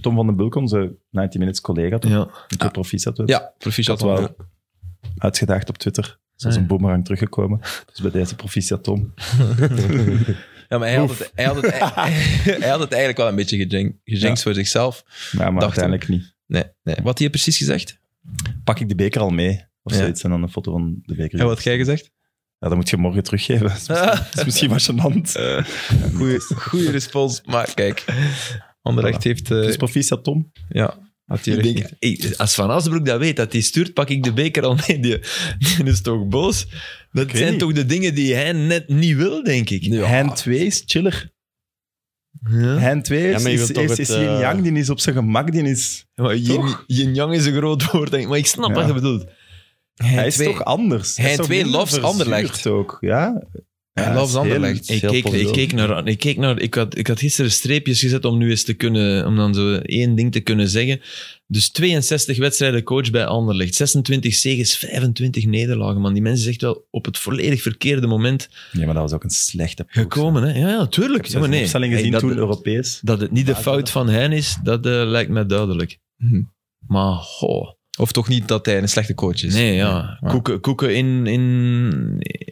Speaker 4: Tom van den Bulk, onze 90 Minutes collega, toch?
Speaker 3: Ja.
Speaker 4: Die twee profies hadden we.
Speaker 1: Ja, proficiat.
Speaker 4: Dat wel.
Speaker 1: Ja.
Speaker 4: Uitgedaagd op Twitter. Zoals
Speaker 3: Ah,
Speaker 4: een boemerang teruggekomen. Dus bij deze proficiat Tom.
Speaker 1: Ja, maar hij had, het, hij, had het, hij, hij had het eigenlijk wel een beetje gejink- gejinxed voor zichzelf.
Speaker 4: Maar, maar
Speaker 1: Dacht hem.
Speaker 4: uiteindelijk niet.
Speaker 1: Nee, nee. Wat had hij precies gezegd?
Speaker 4: Pak ik de beker al mee? Of
Speaker 1: Ja.
Speaker 4: zoiets. En dan een foto van de beker.
Speaker 1: En wat had jij gezegd?
Speaker 4: Ja, dat moet je morgen teruggeven. Dat is misschien, dat is misschien wat gênant.
Speaker 1: Goede respons. Maar kijk, Anderlecht heeft... eh,
Speaker 4: Dus proficiat Tom.
Speaker 1: ja, had hij
Speaker 3: Ik
Speaker 1: recht
Speaker 3: denk,
Speaker 1: niet.
Speaker 3: hey, als Van Asbroek dat weet, dat hij stuurt, pak ik de beker al mee. Die, die is toch boos? Dat
Speaker 4: weet
Speaker 3: zijn
Speaker 4: niet.
Speaker 3: toch de dingen die hij net niet wil, denk ik.
Speaker 1: Ja.
Speaker 4: Hein 2 is chiller.
Speaker 3: Ja.
Speaker 4: Hein 2
Speaker 2: Ja,
Speaker 4: is,
Speaker 2: maar je
Speaker 4: is,
Speaker 2: wilt toch
Speaker 4: is,
Speaker 2: het,
Speaker 4: is
Speaker 2: eh,
Speaker 4: yin-yang. Die is op zijn gemak. Die is...
Speaker 3: Maar yin,
Speaker 4: Toch?
Speaker 3: yin-yang is een groot woord, denk ik. Maar ik snap
Speaker 4: Ja.
Speaker 3: wat je bedoelt.
Speaker 4: Hij is
Speaker 1: twee-
Speaker 4: toch anders. Hij is
Speaker 1: Hein
Speaker 4: toch
Speaker 1: twee
Speaker 4: minder
Speaker 1: loves
Speaker 4: verzuurd
Speaker 1: Anderlecht.
Speaker 4: ook, ja.
Speaker 1: Hij
Speaker 4: Ja,
Speaker 1: loves
Speaker 4: is heel-
Speaker 1: Anderlecht.
Speaker 3: Ik
Speaker 2: Heel
Speaker 3: keek, ik
Speaker 2: positief.
Speaker 3: keek naar... Ik, keek naar ik, had, ik had gisteren streepjes gezet om nu eens te kunnen... Om dan zo één ding te kunnen zeggen. Dus 62 wedstrijden coach bij Anderlecht. 26 zegens, 25 nederlagen, man. Die mensen is echt wel op het volledig verkeerde moment
Speaker 4: Ja, maar dat was ook een slechte ploeg.
Speaker 3: gekomen, hè. Ja, ja, tuurlijk.
Speaker 4: Ik
Speaker 3: Ja, maar nee.
Speaker 4: opstelling
Speaker 3: Hey,
Speaker 4: gezien
Speaker 3: dat-
Speaker 4: toen Europees.
Speaker 3: Dat het niet de fout van hen is, dat eh, lijkt mij duidelijk.
Speaker 1: Mhm.
Speaker 3: Maar, goh.
Speaker 1: Of toch niet dat hij een slechte coach is?
Speaker 3: Nee, ja.
Speaker 1: Ja.
Speaker 3: Koeken, koeken in, in,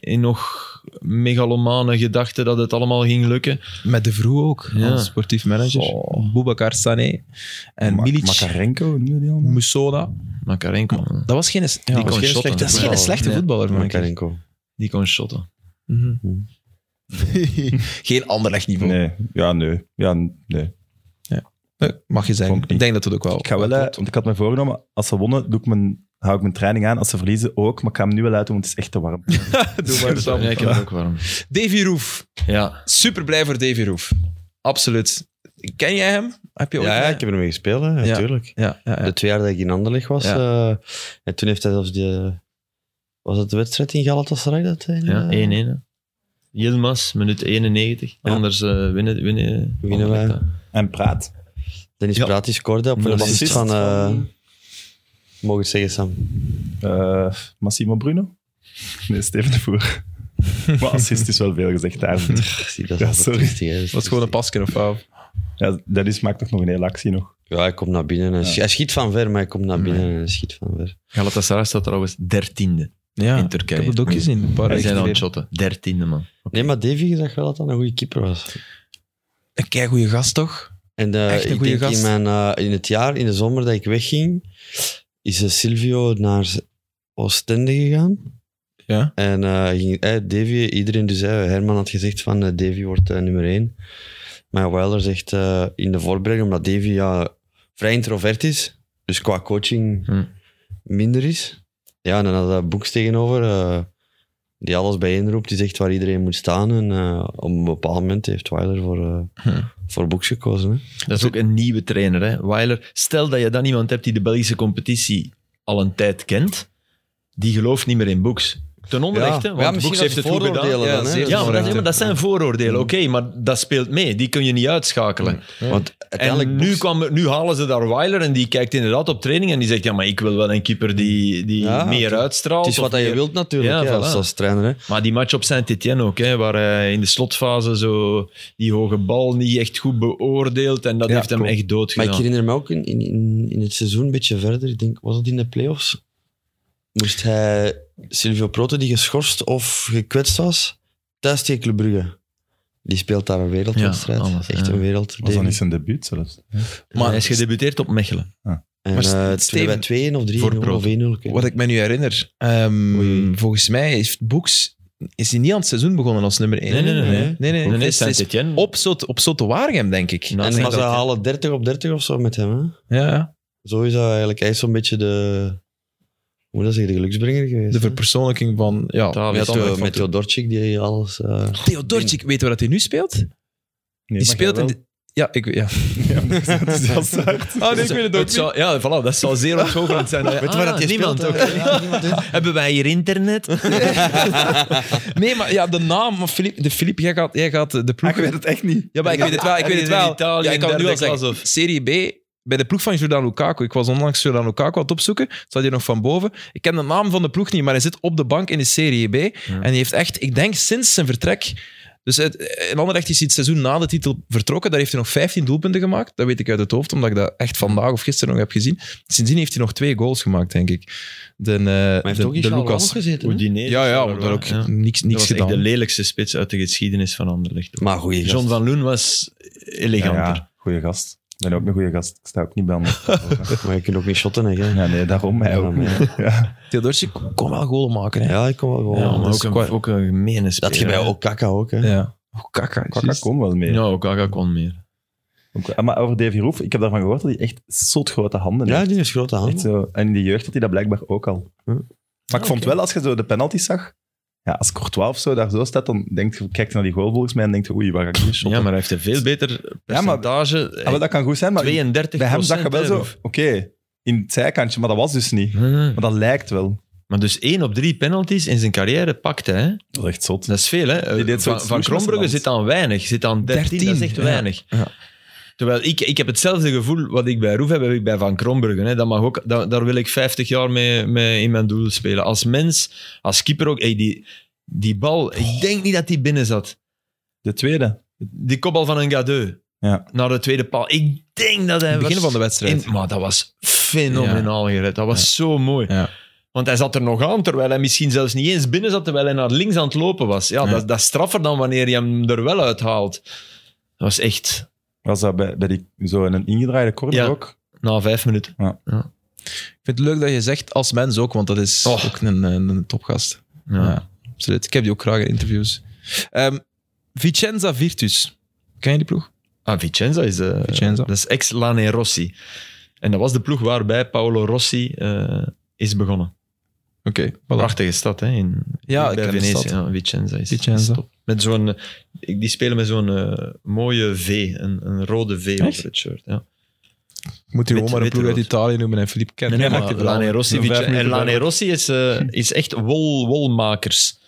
Speaker 3: in nog megalomane gedachten dat het allemaal ging lukken.
Speaker 1: Met de Vroe ook,
Speaker 3: Ja.
Speaker 1: als sportief manager.
Speaker 3: Goh.
Speaker 1: Boubacar Sané en
Speaker 4: Ma-
Speaker 1: Milic.
Speaker 4: Makarenko, noemde die allemaal?
Speaker 1: Musola.
Speaker 3: Makarenko,
Speaker 1: Dat was geen, ja,
Speaker 3: kon
Speaker 1: dat was geen
Speaker 3: shotten.
Speaker 1: slechte, dat is geen slechte
Speaker 3: Nee.
Speaker 1: voetballer, man.
Speaker 2: Makarenko.
Speaker 3: die kon shotten. Mhm.
Speaker 1: geen ander niveau.
Speaker 4: Nee, ja, nee. Ja, nee.
Speaker 1: Nee, Eh, Mag je zijn.
Speaker 4: Vond
Speaker 1: Ik,
Speaker 4: ik niet.
Speaker 1: denk dat het ook wel. eh,
Speaker 4: Ik ga wel, uit, want ik had me voorgenomen, als ze wonnen, doe ik mijn, hou ik mijn training aan. Als ze verliezen, ook. Maar ik ga hem nu wel uit doen, want het is echt te warm.
Speaker 1: Doe maar
Speaker 3: Ja, ik heb het ook warm.
Speaker 1: Davy Roef.
Speaker 3: Ja.
Speaker 1: Super blij voor Davy Roef. Absoluut. Ken jij hem? Heb je ooit
Speaker 2: Ja, ja,
Speaker 1: met-
Speaker 2: ik heb ermee gespeeld, hè,
Speaker 1: Ja.
Speaker 2: natuurlijk.
Speaker 1: ja, ja, ja.
Speaker 2: De twee jaar dat ik in Anderlecht was. eh, en toen heeft hij zelfs de... Was het de wedstrijd in Galatasaray dat hij...
Speaker 3: Ja,
Speaker 2: eh,
Speaker 3: 1-1. Yilmaz, minuut 91.
Speaker 2: Ja.
Speaker 3: Anders eh, winnen, winnen, Oh,
Speaker 2: Winnen wij.
Speaker 3: Anderlecht, hè.
Speaker 4: En praat.
Speaker 2: Dennis
Speaker 3: Ja.
Speaker 2: Praat die scoorde op een
Speaker 3: Maar dat is
Speaker 2: assist
Speaker 4: Assist
Speaker 2: van... eh
Speaker 4: van,
Speaker 2: Mogen we het zeggen, Sam?
Speaker 4: eh, Massimo Bruno? Nee, Steven de Voer. maar assist is wel veel gezegd daar.
Speaker 2: Zie, dat
Speaker 4: Ja,
Speaker 2: altijd
Speaker 4: sorry.
Speaker 2: triestig, hè. Dat is
Speaker 1: was gewoon een
Speaker 2: triestig.
Speaker 1: pasken of wat?
Speaker 4: Ja, Dennis maakt toch nog een hele actie nog.
Speaker 2: Ja, hij komt naar binnen. Hij,
Speaker 4: Ja.
Speaker 2: schiet, hij schiet van ver, maar hij komt naar binnen en hij schiet van ver.
Speaker 3: Galatasaray staat trouwens dertiende
Speaker 1: Ja,
Speaker 3: in
Speaker 1: ik
Speaker 3: Turkije.
Speaker 1: heb het ook gezien. Een paar
Speaker 3: Wij zijn
Speaker 1: weken
Speaker 3: aan het
Speaker 1: geleden.
Speaker 3: shotten. Dertiende, man.
Speaker 2: Nee, maar Davy zag wel dat dat een goede keeper was.
Speaker 1: Een keigoeie gast, toch?
Speaker 2: En eh,
Speaker 1: Echt een
Speaker 2: ik
Speaker 1: goeie
Speaker 2: denk
Speaker 1: gast.
Speaker 2: In, mijn, eh, in het jaar, in de zomer dat ik wegging, is eh, Silvio naar Oostende gegaan.
Speaker 1: Ja.
Speaker 2: En eh, ging, eh, Davy, iedereen dus, eh, Herman had gezegd van eh, Davy wordt eh, nummer één. Maar Wilder zegt eh, in de voorbereiding, omdat Davy ja, vrij introvert is, dus qua coaching
Speaker 3: Hm.
Speaker 2: minder is. Ja, en dan had dat Boeks tegenover, eh, die alles bijeenroept, die zegt waar iedereen moet staan. En eh, op een bepaald moment heeft Wilder voor, eh,
Speaker 1: Hm.
Speaker 2: voor Boeks gekozen. Hè.
Speaker 3: Dat is ook een nieuwe trainer, hè? Weiler. Stel dat je dan iemand hebt die de Belgische competitie al een tijd kent, die gelooft niet meer in Boeks. Ten onrechte,
Speaker 2: Ja,
Speaker 3: want
Speaker 2: misschien
Speaker 3: Brooks heeft
Speaker 2: dat
Speaker 3: het goed
Speaker 2: vooroordelen
Speaker 3: gedaan.
Speaker 2: dan, hè.
Speaker 1: zeer
Speaker 2: Dat is
Speaker 3: Ja, maar dat,
Speaker 2: onrechte.
Speaker 3: ja, maar dat zijn vooroordelen, oké, maar dat speelt mee. Die kun je niet uitschakelen.
Speaker 2: Want Mm. uiteindelijk
Speaker 3: En nu,
Speaker 2: Brooks-
Speaker 3: kwam, nu halen ze daar Weiler en die kijkt inderdaad op training en die zegt, ja, maar ik wil wel een keeper die, die
Speaker 2: Ja,
Speaker 3: meer
Speaker 2: het-
Speaker 3: uitstraalt.
Speaker 2: Het is
Speaker 3: of
Speaker 2: wat dat je
Speaker 3: meer-
Speaker 2: wilt natuurlijk,
Speaker 3: Ja,
Speaker 2: hè, als,
Speaker 3: voilà.
Speaker 2: als trainer. Hè.
Speaker 3: Maar die match op Saint-Etienne ook, hè, waar hij in de slotfase zo die hoge bal niet echt goed beoordeeld en dat
Speaker 1: Ja,
Speaker 3: heeft hem
Speaker 1: klopt.
Speaker 3: echt
Speaker 2: Maar ik
Speaker 3: doodgedaan.
Speaker 2: herinner me ook in, in, in, in het seizoen een beetje verder. Ik denk, was dat in de playoffs? Moest hij Silvio Proto, die geschorst of gekwetst was, thuis tegen Club Brugge. Die speelt daar een wereldwedstrijd.
Speaker 3: Ja, alles,
Speaker 2: Echt
Speaker 3: ja.
Speaker 2: een wereld.
Speaker 4: Was dat niet zijn debuut zelfs?
Speaker 3: Maar hij is gedebuteerd op Mechelen.
Speaker 2: En
Speaker 1: Maar
Speaker 2: eh,
Speaker 1: Steven-
Speaker 2: toen bij 2 of 3
Speaker 3: Voor
Speaker 2: of 1-0.
Speaker 3: Proto.
Speaker 2: ik weet
Speaker 1: Wat
Speaker 2: niet.
Speaker 1: ik me nu herinner, ehm,
Speaker 2: Oei.
Speaker 1: volgens mij heeft Boeks is hij niet aan het seizoen begonnen als nummer 1.
Speaker 3: Nee, nee, nee,
Speaker 1: nee.
Speaker 3: nee.
Speaker 1: nee,
Speaker 3: Nee, nee,
Speaker 1: het is- het is
Speaker 3: Saint-Etienne.
Speaker 1: op Zot- op Zotte Waregem, denk ik.
Speaker 3: Nou, Ah,
Speaker 2: En
Speaker 3: Saint-
Speaker 2: maar ze halen 30 op 30 of zo met hem. Hè?
Speaker 1: ja,
Speaker 2: Zo is dat eigenlijk. Hij is zo'n beetje de... Hoe moet ik dat zeggen? De geluksbrenger geweest.
Speaker 1: de
Speaker 2: hè?
Speaker 1: verpersoonlijking van... Ja,
Speaker 3: Taal-
Speaker 1: wie had
Speaker 2: met
Speaker 1: dat nog
Speaker 2: Theo-
Speaker 1: van
Speaker 2: met
Speaker 1: toen?
Speaker 2: Theodorczyk, die alles... eh,
Speaker 1: Theodorczyk, weten we dat hij nu speelt? die speelt in... de- Ja, ik weet... Ja. Oh, nee, ik weet het ook niet. Ah,
Speaker 3: zou, ja, voilà, dat zou zeer ontgoochelend zijn. Weet
Speaker 2: waar dat je
Speaker 3: Ah, niemand
Speaker 2: speelt,
Speaker 3: ook.
Speaker 2: hè? Ja, niemand, hè?
Speaker 1: dus.
Speaker 3: Hebben wij hier internet?
Speaker 1: Nee, maar ja, de naam van Filip... De Filip, jij gaat, jij gaat de
Speaker 4: Ah, ik
Speaker 1: ploeg...
Speaker 4: weet het echt niet.
Speaker 1: Ja, maar ik weet het wel. Ik
Speaker 3: Hij
Speaker 1: weet
Speaker 3: is
Speaker 1: het
Speaker 3: in
Speaker 1: wel.
Speaker 3: Italië
Speaker 1: ja, ik kan
Speaker 3: in
Speaker 1: het nu al
Speaker 3: derde
Speaker 1: zeggen.
Speaker 3: klas of-
Speaker 1: Serie B, bij de ploeg van Jordan Lukaku. Ik was onlangs Jordan Lukaku aan het opzoeken. Zat hier nog van boven. Ik ken de naam van de ploeg niet, maar hij zit op de bank in de Serie B. En die heeft echt, ik denk sinds zijn vertrek... Dus het, in Anderlecht is hij het seizoen na de titel vertrokken. Daar heeft hij nog 15 doelpunten gemaakt. Dat weet ik uit het hoofd, omdat ik dat echt vandaag of gisteren nog heb gezien. Sindsdien heeft hij nog twee goals gemaakt, denk ik. De, eh,
Speaker 2: Maar hij
Speaker 1: de,
Speaker 2: heeft ook in
Speaker 1: de
Speaker 2: Charleroi
Speaker 1: Lucas.
Speaker 2: gezeten. hè?
Speaker 3: Udinese
Speaker 1: Ja, ja,
Speaker 3: zou er
Speaker 1: maar daar
Speaker 3: wel,
Speaker 1: ook
Speaker 3: ja.
Speaker 1: niks,
Speaker 3: Dat
Speaker 1: niks
Speaker 3: was echt de
Speaker 1: gedaan.
Speaker 3: lelijkste spits uit de geschiedenis van Anderlecht.
Speaker 2: Maar goeie gast.
Speaker 3: John van Loen was
Speaker 4: Ja,
Speaker 3: eleganter.
Speaker 4: ja, goeie gast. Ik ben ook een goede gast. Ik sta ook niet bij anderen.
Speaker 2: Maar je kunt ook niet shotten, hè. jij.
Speaker 4: Ja, nee, daarom mij ook niet.
Speaker 1: Theodorczyk kon wel goal maken. Hè.
Speaker 2: Ja, ik kom wel gewoon.
Speaker 3: Ja, Oh, maar
Speaker 1: dat
Speaker 3: ook
Speaker 1: is
Speaker 3: een,
Speaker 1: qua-
Speaker 3: ook een gemene speler.
Speaker 2: dat je bij
Speaker 3: hè.
Speaker 2: Okaka ook, hè.
Speaker 1: Ja. Oh, kaka.
Speaker 4: Kaka
Speaker 1: juist.
Speaker 4: kon wel mee.
Speaker 3: Ja, Okaka kon meer.
Speaker 4: Ook- ah, Maar over Davy Roof, ik heb daarvan gehoord dat hij echt zot grote handen
Speaker 2: Ja,
Speaker 4: heeft.
Speaker 2: die is grote hand.
Speaker 4: Echt
Speaker 3: eh,
Speaker 4: zo. En in de jeugd had hij dat blijkbaar ook al.
Speaker 2: Hm.
Speaker 4: Maar ik vond wel, als je zo de penalty zag, ja, als Courtois of zo daar zo staat, dan denkt je, kijkt je naar die goal volgens mij en denkt je, oei, waar ga ik nu shotten?
Speaker 3: Ja, maar hij heeft een veel beter percentage. eh,
Speaker 4: Ah, maar dat kan goed zijn, maar
Speaker 3: 32
Speaker 4: bij hem zag je wel zo, oké, in het zijkantje, maar dat was dus niet. Maar dat lijkt wel.
Speaker 3: Maar dus 1 op 3 penalties in zijn carrière pakte hij.
Speaker 4: Dat is echt zot.
Speaker 3: Dat is veel, hè? Eh,
Speaker 4: Die deed
Speaker 3: van
Speaker 4: zo'n
Speaker 3: van Krombrugge
Speaker 4: snoesmessenland.
Speaker 3: zit aan weinig, zit aan 13, dat is echt
Speaker 1: 13, ja.
Speaker 3: weinig. Terwijl ik, ik heb hetzelfde gevoel wat ik bij Roef heb, heb ik bij Van Krombrugge. Hè. Dat mag ook, da- daar wil ik 50 jaar mee, mee in mijn doel spelen. Als mens, als keeper ook. Hey, die, die bal, ik denk niet dat die binnen zat.
Speaker 4: De tweede.
Speaker 3: Die kopbal van een gadeu
Speaker 4: Ja.
Speaker 3: naar de tweede paal. Ik denk dat hij...
Speaker 1: het begin
Speaker 3: was-
Speaker 1: van de wedstrijd.
Speaker 3: in- maar dat was fenomenaal gered. Dat was zo mooi.
Speaker 1: Ja.
Speaker 3: Want hij zat er nog aan, terwijl hij misschien zelfs niet eens binnen zat, terwijl hij naar links aan het lopen was. Ja,
Speaker 1: Ja.
Speaker 3: Dat, dat is straffer dan wanneer je hem er wel uithaalt. Dat was echt
Speaker 4: Was dat bij, bij die, zo in een ingedraaide corner
Speaker 3: Ja.
Speaker 4: ook?
Speaker 3: na vijf minuten.
Speaker 1: Ik vind het leuk dat je zegt als mens ook, want dat is
Speaker 3: Oh.
Speaker 1: ook een, een, een topgast. Ja. absoluut. Ik heb die ook graag in interviews. Ehm, Vicenza Virtus. Ken je die ploeg?
Speaker 3: Ah, Vicenza is, eh,
Speaker 1: Vicenza.
Speaker 3: Dat is ex-Lane Rossi. En dat was de ploeg waarbij Paolo Rossi eh, is begonnen.
Speaker 1: Oké, voilà.
Speaker 3: Prachtige stad, hè? In,
Speaker 1: Ja, ik
Speaker 3: bij
Speaker 1: ken de
Speaker 3: Venetië.
Speaker 1: stad.
Speaker 3: Ja, Vicenza is,
Speaker 1: Vicenza.
Speaker 3: is top. Met zo'n, eh, die spelen met zo'n eh, mooie V, een, een rode V
Speaker 1: Echt?
Speaker 3: over het shirt. Ja.
Speaker 1: Ik moet je
Speaker 3: Wit-
Speaker 1: gewoon maar een
Speaker 3: witte
Speaker 1: ploeg uit
Speaker 3: rood.
Speaker 1: Italië noemen en Filip kent.
Speaker 3: Nee, nee,
Speaker 1: Ja,
Speaker 3: maar
Speaker 1: maakt
Speaker 3: Lane
Speaker 1: het wel.
Speaker 3: Rossi,
Speaker 4: Vijf
Speaker 3: Vicenza- en
Speaker 4: minuten
Speaker 3: Lane Rossi is, eh, is echt wol, wolmakers.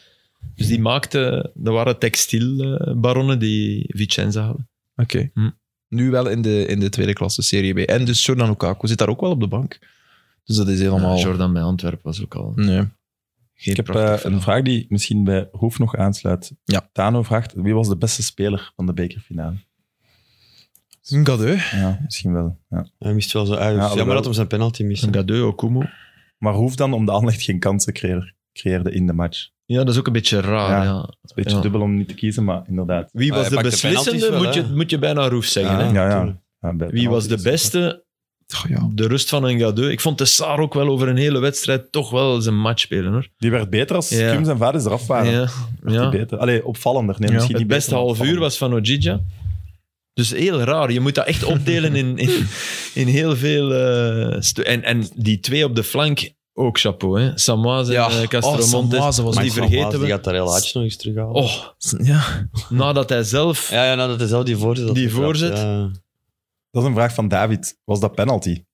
Speaker 3: Dus die maakte, dat waren textielbaronnen die Vicenza hadden.
Speaker 1: Oké.
Speaker 3: Hm.
Speaker 1: Nu wel in de, in de tweede klasse, Serie B. En dus Jordan Lukaku zit daar ook wel op de bank. Dus dat is helemaal...
Speaker 3: Ja, Jordan bij Antwerpen was ook al.
Speaker 1: nee.
Speaker 3: Geen
Speaker 4: Ik heb
Speaker 3: prachtig
Speaker 4: eh,
Speaker 3: verhaal.
Speaker 4: een vraag die misschien bij Hoef nog aansluit.
Speaker 1: Ja.
Speaker 4: Tano vraagt, wie was de beste speler van de bekerfinale?
Speaker 1: Een cadeau.
Speaker 4: Ja, misschien wel. Ja.
Speaker 2: Hij mist wel zo uit.
Speaker 4: Ja,
Speaker 2: Ja, Jammer
Speaker 4: wel.
Speaker 2: dat hem zijn penalty mist.
Speaker 3: Een gadeu, Okumu.
Speaker 4: Maar Hoef dan, omdat Anderlecht geen kansen creëer- creëerde in de match. Het
Speaker 3: Ja, dat is ook een beetje raar.
Speaker 4: Ja.
Speaker 3: ja.
Speaker 4: is een beetje
Speaker 3: Ja.
Speaker 4: dubbel om niet te kiezen, maar inderdaad.
Speaker 3: Wie
Speaker 2: Maar
Speaker 3: was
Speaker 2: hij
Speaker 3: de
Speaker 2: pakt de penalties
Speaker 3: beslissende,
Speaker 2: wel,
Speaker 3: moet, je,
Speaker 2: hè?
Speaker 3: moet je bijna Roef zeggen. hè.
Speaker 4: Ja, ja.
Speaker 2: natuurlijk.
Speaker 4: Ja, bij
Speaker 3: Ah, Wie was de
Speaker 4: penalties.
Speaker 3: beste?
Speaker 1: Oh, ja.
Speaker 3: De rust van een gadeu. Ik vond de Saar ook wel over een hele wedstrijd toch wel zijn match spelen. Hoor.
Speaker 4: Die werd beter als
Speaker 3: Ja.
Speaker 4: Kums en Vadis eraf waren.
Speaker 3: Ja,
Speaker 4: Ah, Die
Speaker 3: ja.
Speaker 4: Beter. Allee, opvallender. Nee,
Speaker 1: Ja.
Speaker 4: misschien
Speaker 3: Het
Speaker 4: niet
Speaker 3: beste
Speaker 4: beter, maar
Speaker 3: half uur
Speaker 4: opvallender.
Speaker 3: was van Ojija. Dus heel raar. Je moet dat echt opdelen in, in, in heel veel... eh, stu- en, en die twee op de flank, ook chapeau. hè. Samoas en
Speaker 1: Ja.
Speaker 3: eh, Castromontes.
Speaker 1: Oh, Samoas was
Speaker 3: die
Speaker 1: niet
Speaker 3: vergeten
Speaker 2: Die
Speaker 3: we.
Speaker 2: gaat daar heel hard nog eens terughalen.
Speaker 3: Oh,
Speaker 1: Ja.
Speaker 3: nadat hij zelf...
Speaker 2: Ja, ja, nou, dat is wel die voorzet. dat
Speaker 3: Die
Speaker 2: hij trapt,
Speaker 3: voorzet.
Speaker 2: ja.
Speaker 4: Dat is een vraag van David. Was dat penalty?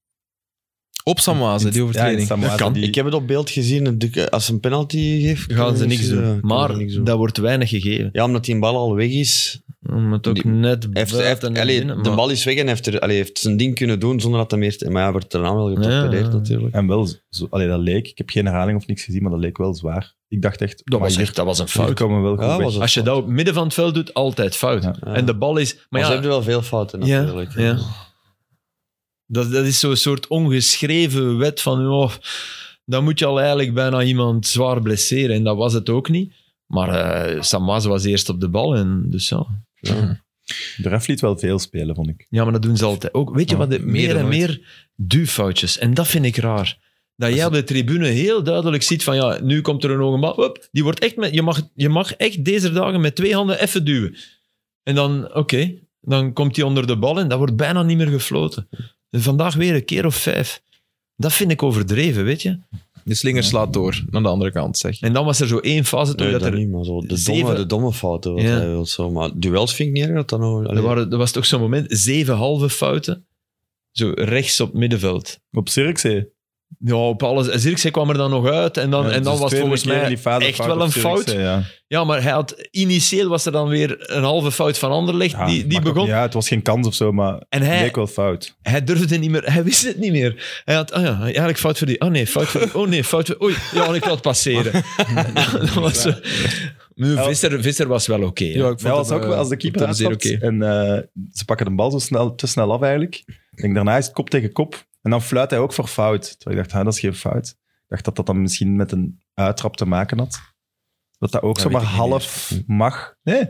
Speaker 1: Op
Speaker 3: Ah,
Speaker 1: Samwaze, die
Speaker 4: Ja, in
Speaker 1: overtreding.
Speaker 4: Samoa
Speaker 3: kan.
Speaker 4: die-
Speaker 2: Ik heb het op beeld gezien. het dik- Als ze een penalty geeft...
Speaker 3: Gaan ze niks
Speaker 2: ja,
Speaker 3: doen.
Speaker 2: kunnen ze
Speaker 3: Maar
Speaker 2: niks doen.
Speaker 3: dat wordt weinig gegeven.
Speaker 2: Ja, omdat die bal al weg is.
Speaker 3: Omdat het ook
Speaker 2: Die-
Speaker 3: net
Speaker 2: Hij Heeft, hij heeft,
Speaker 3: buiten en
Speaker 2: allee,
Speaker 3: binnen,
Speaker 2: de
Speaker 3: maar-
Speaker 2: bal is weg en hij heeft, er, allee, heeft zijn ding kunnen doen zonder dat hij meer... Maar hij wordt daarna wel getorpedeerd
Speaker 3: Ja.
Speaker 2: natuurlijk.
Speaker 4: En wel, zo, allee, dat leek, ik heb geen herhaling of niks gezien, maar dat leek wel zwaar. Ik dacht echt,
Speaker 3: Dat
Speaker 4: maar
Speaker 3: was,
Speaker 4: hier,
Speaker 3: echt, dat was een
Speaker 4: hier
Speaker 3: fout.
Speaker 4: komen we wel goed
Speaker 2: Ja,
Speaker 4: weg.
Speaker 2: was het.
Speaker 3: Als je dat op het midden van het veld doet, altijd fout.
Speaker 4: Ja.
Speaker 3: En de bal is...
Speaker 2: Maar
Speaker 3: Maar
Speaker 2: ze
Speaker 3: ja,
Speaker 2: hebben wel veel fouten
Speaker 3: Ja,
Speaker 2: natuurlijk.
Speaker 3: ja. dat, dat is zo'n soort ongeschreven wet van... Oh, dan moet je al eigenlijk bijna iemand zwaar blesseren. En dat was het ook niet. Maar eh Samwaz was eerst op de bal. En dus ja.
Speaker 4: De ref liet wel veel spelen, vond ik.
Speaker 3: ja, maar dat doen ze altijd ook. Weet je
Speaker 4: Ja,
Speaker 3: wat? de-
Speaker 1: meer
Speaker 3: meer
Speaker 1: dan
Speaker 3: en
Speaker 1: ooit.
Speaker 3: meer duwfoutjes. En dat vind ik raar. Dat jij op de tribune heel duidelijk ziet van ja, nu komt er een hoge bal. Hup, die wordt echt met, je, mag, je mag echt deze dagen met twee handen even duwen. En dan, oké, dan komt die onder de bal en dat wordt bijna niet meer gefloten. En vandaag weer een keer of vijf. Dat vind ik overdreven, weet je.
Speaker 1: De slinger slaat door naar de andere kant, zeg.
Speaker 3: En dan was er zo één fase toen
Speaker 2: Nee, dat
Speaker 3: dat er...
Speaker 2: niet, maar zo. De,
Speaker 3: zeven-
Speaker 2: domme, de domme fouten, wat
Speaker 3: Ja.
Speaker 2: hij wil. Zo. Maar duels vind ik niet erg dat dan nog...
Speaker 3: Er,
Speaker 2: allee,
Speaker 3: waren, er was toch zo'n moment, zeven halve fouten. Zo rechts op middenveld.
Speaker 4: Op Cirkzee.
Speaker 3: Ja, op alles. En Zirkzee kwam er dan nog uit. En dan,
Speaker 4: Ja,
Speaker 3: en
Speaker 4: dus
Speaker 3: dan was het
Speaker 4: tweede
Speaker 3: volgens
Speaker 4: keer
Speaker 3: mij
Speaker 4: die fase
Speaker 3: echt wel
Speaker 4: op
Speaker 3: een
Speaker 4: Zirkzee,
Speaker 3: fout.
Speaker 4: Ja.
Speaker 3: Ja, maar hij had, initieel was er dan weer een halve fout van Anderlecht.
Speaker 4: Ja,
Speaker 3: die die
Speaker 4: Ah, maakt ook
Speaker 3: begon.
Speaker 4: niet uit, het was geen kans of zo, maar
Speaker 3: En
Speaker 4: het
Speaker 3: hij,
Speaker 4: leek wel fout.
Speaker 3: hij durfde niet meer. Hij wist het niet meer. Hij had, ah ja, eigenlijk fout voor die. Oh nee, fout voor die. Oh nee, fout voor. Oei, ja, ik laat het passeren. dat was zo. Nu, Visser, Visser was wel oké. hè.
Speaker 1: Ja, ik
Speaker 4: Hij was
Speaker 1: dat,
Speaker 4: ook
Speaker 1: eh,
Speaker 4: wel als de
Speaker 1: ik vond
Speaker 4: keeper
Speaker 1: dat zeer
Speaker 4: uitstapt
Speaker 1: oké.
Speaker 4: en eh, ze pakken de bal zo snel, te snel af eigenlijk. Ik denk, daarna is het kop tegen kop. En dan fluit hij ook voor fout. Terwijl ik dacht, ah, dat is geen fout. Ik dacht dat dat dan misschien met een uittrap te maken had. Dat dat ook
Speaker 2: Dat
Speaker 4: zomaar
Speaker 2: weet ik niet
Speaker 4: half
Speaker 3: Hm.
Speaker 4: mag. Nee,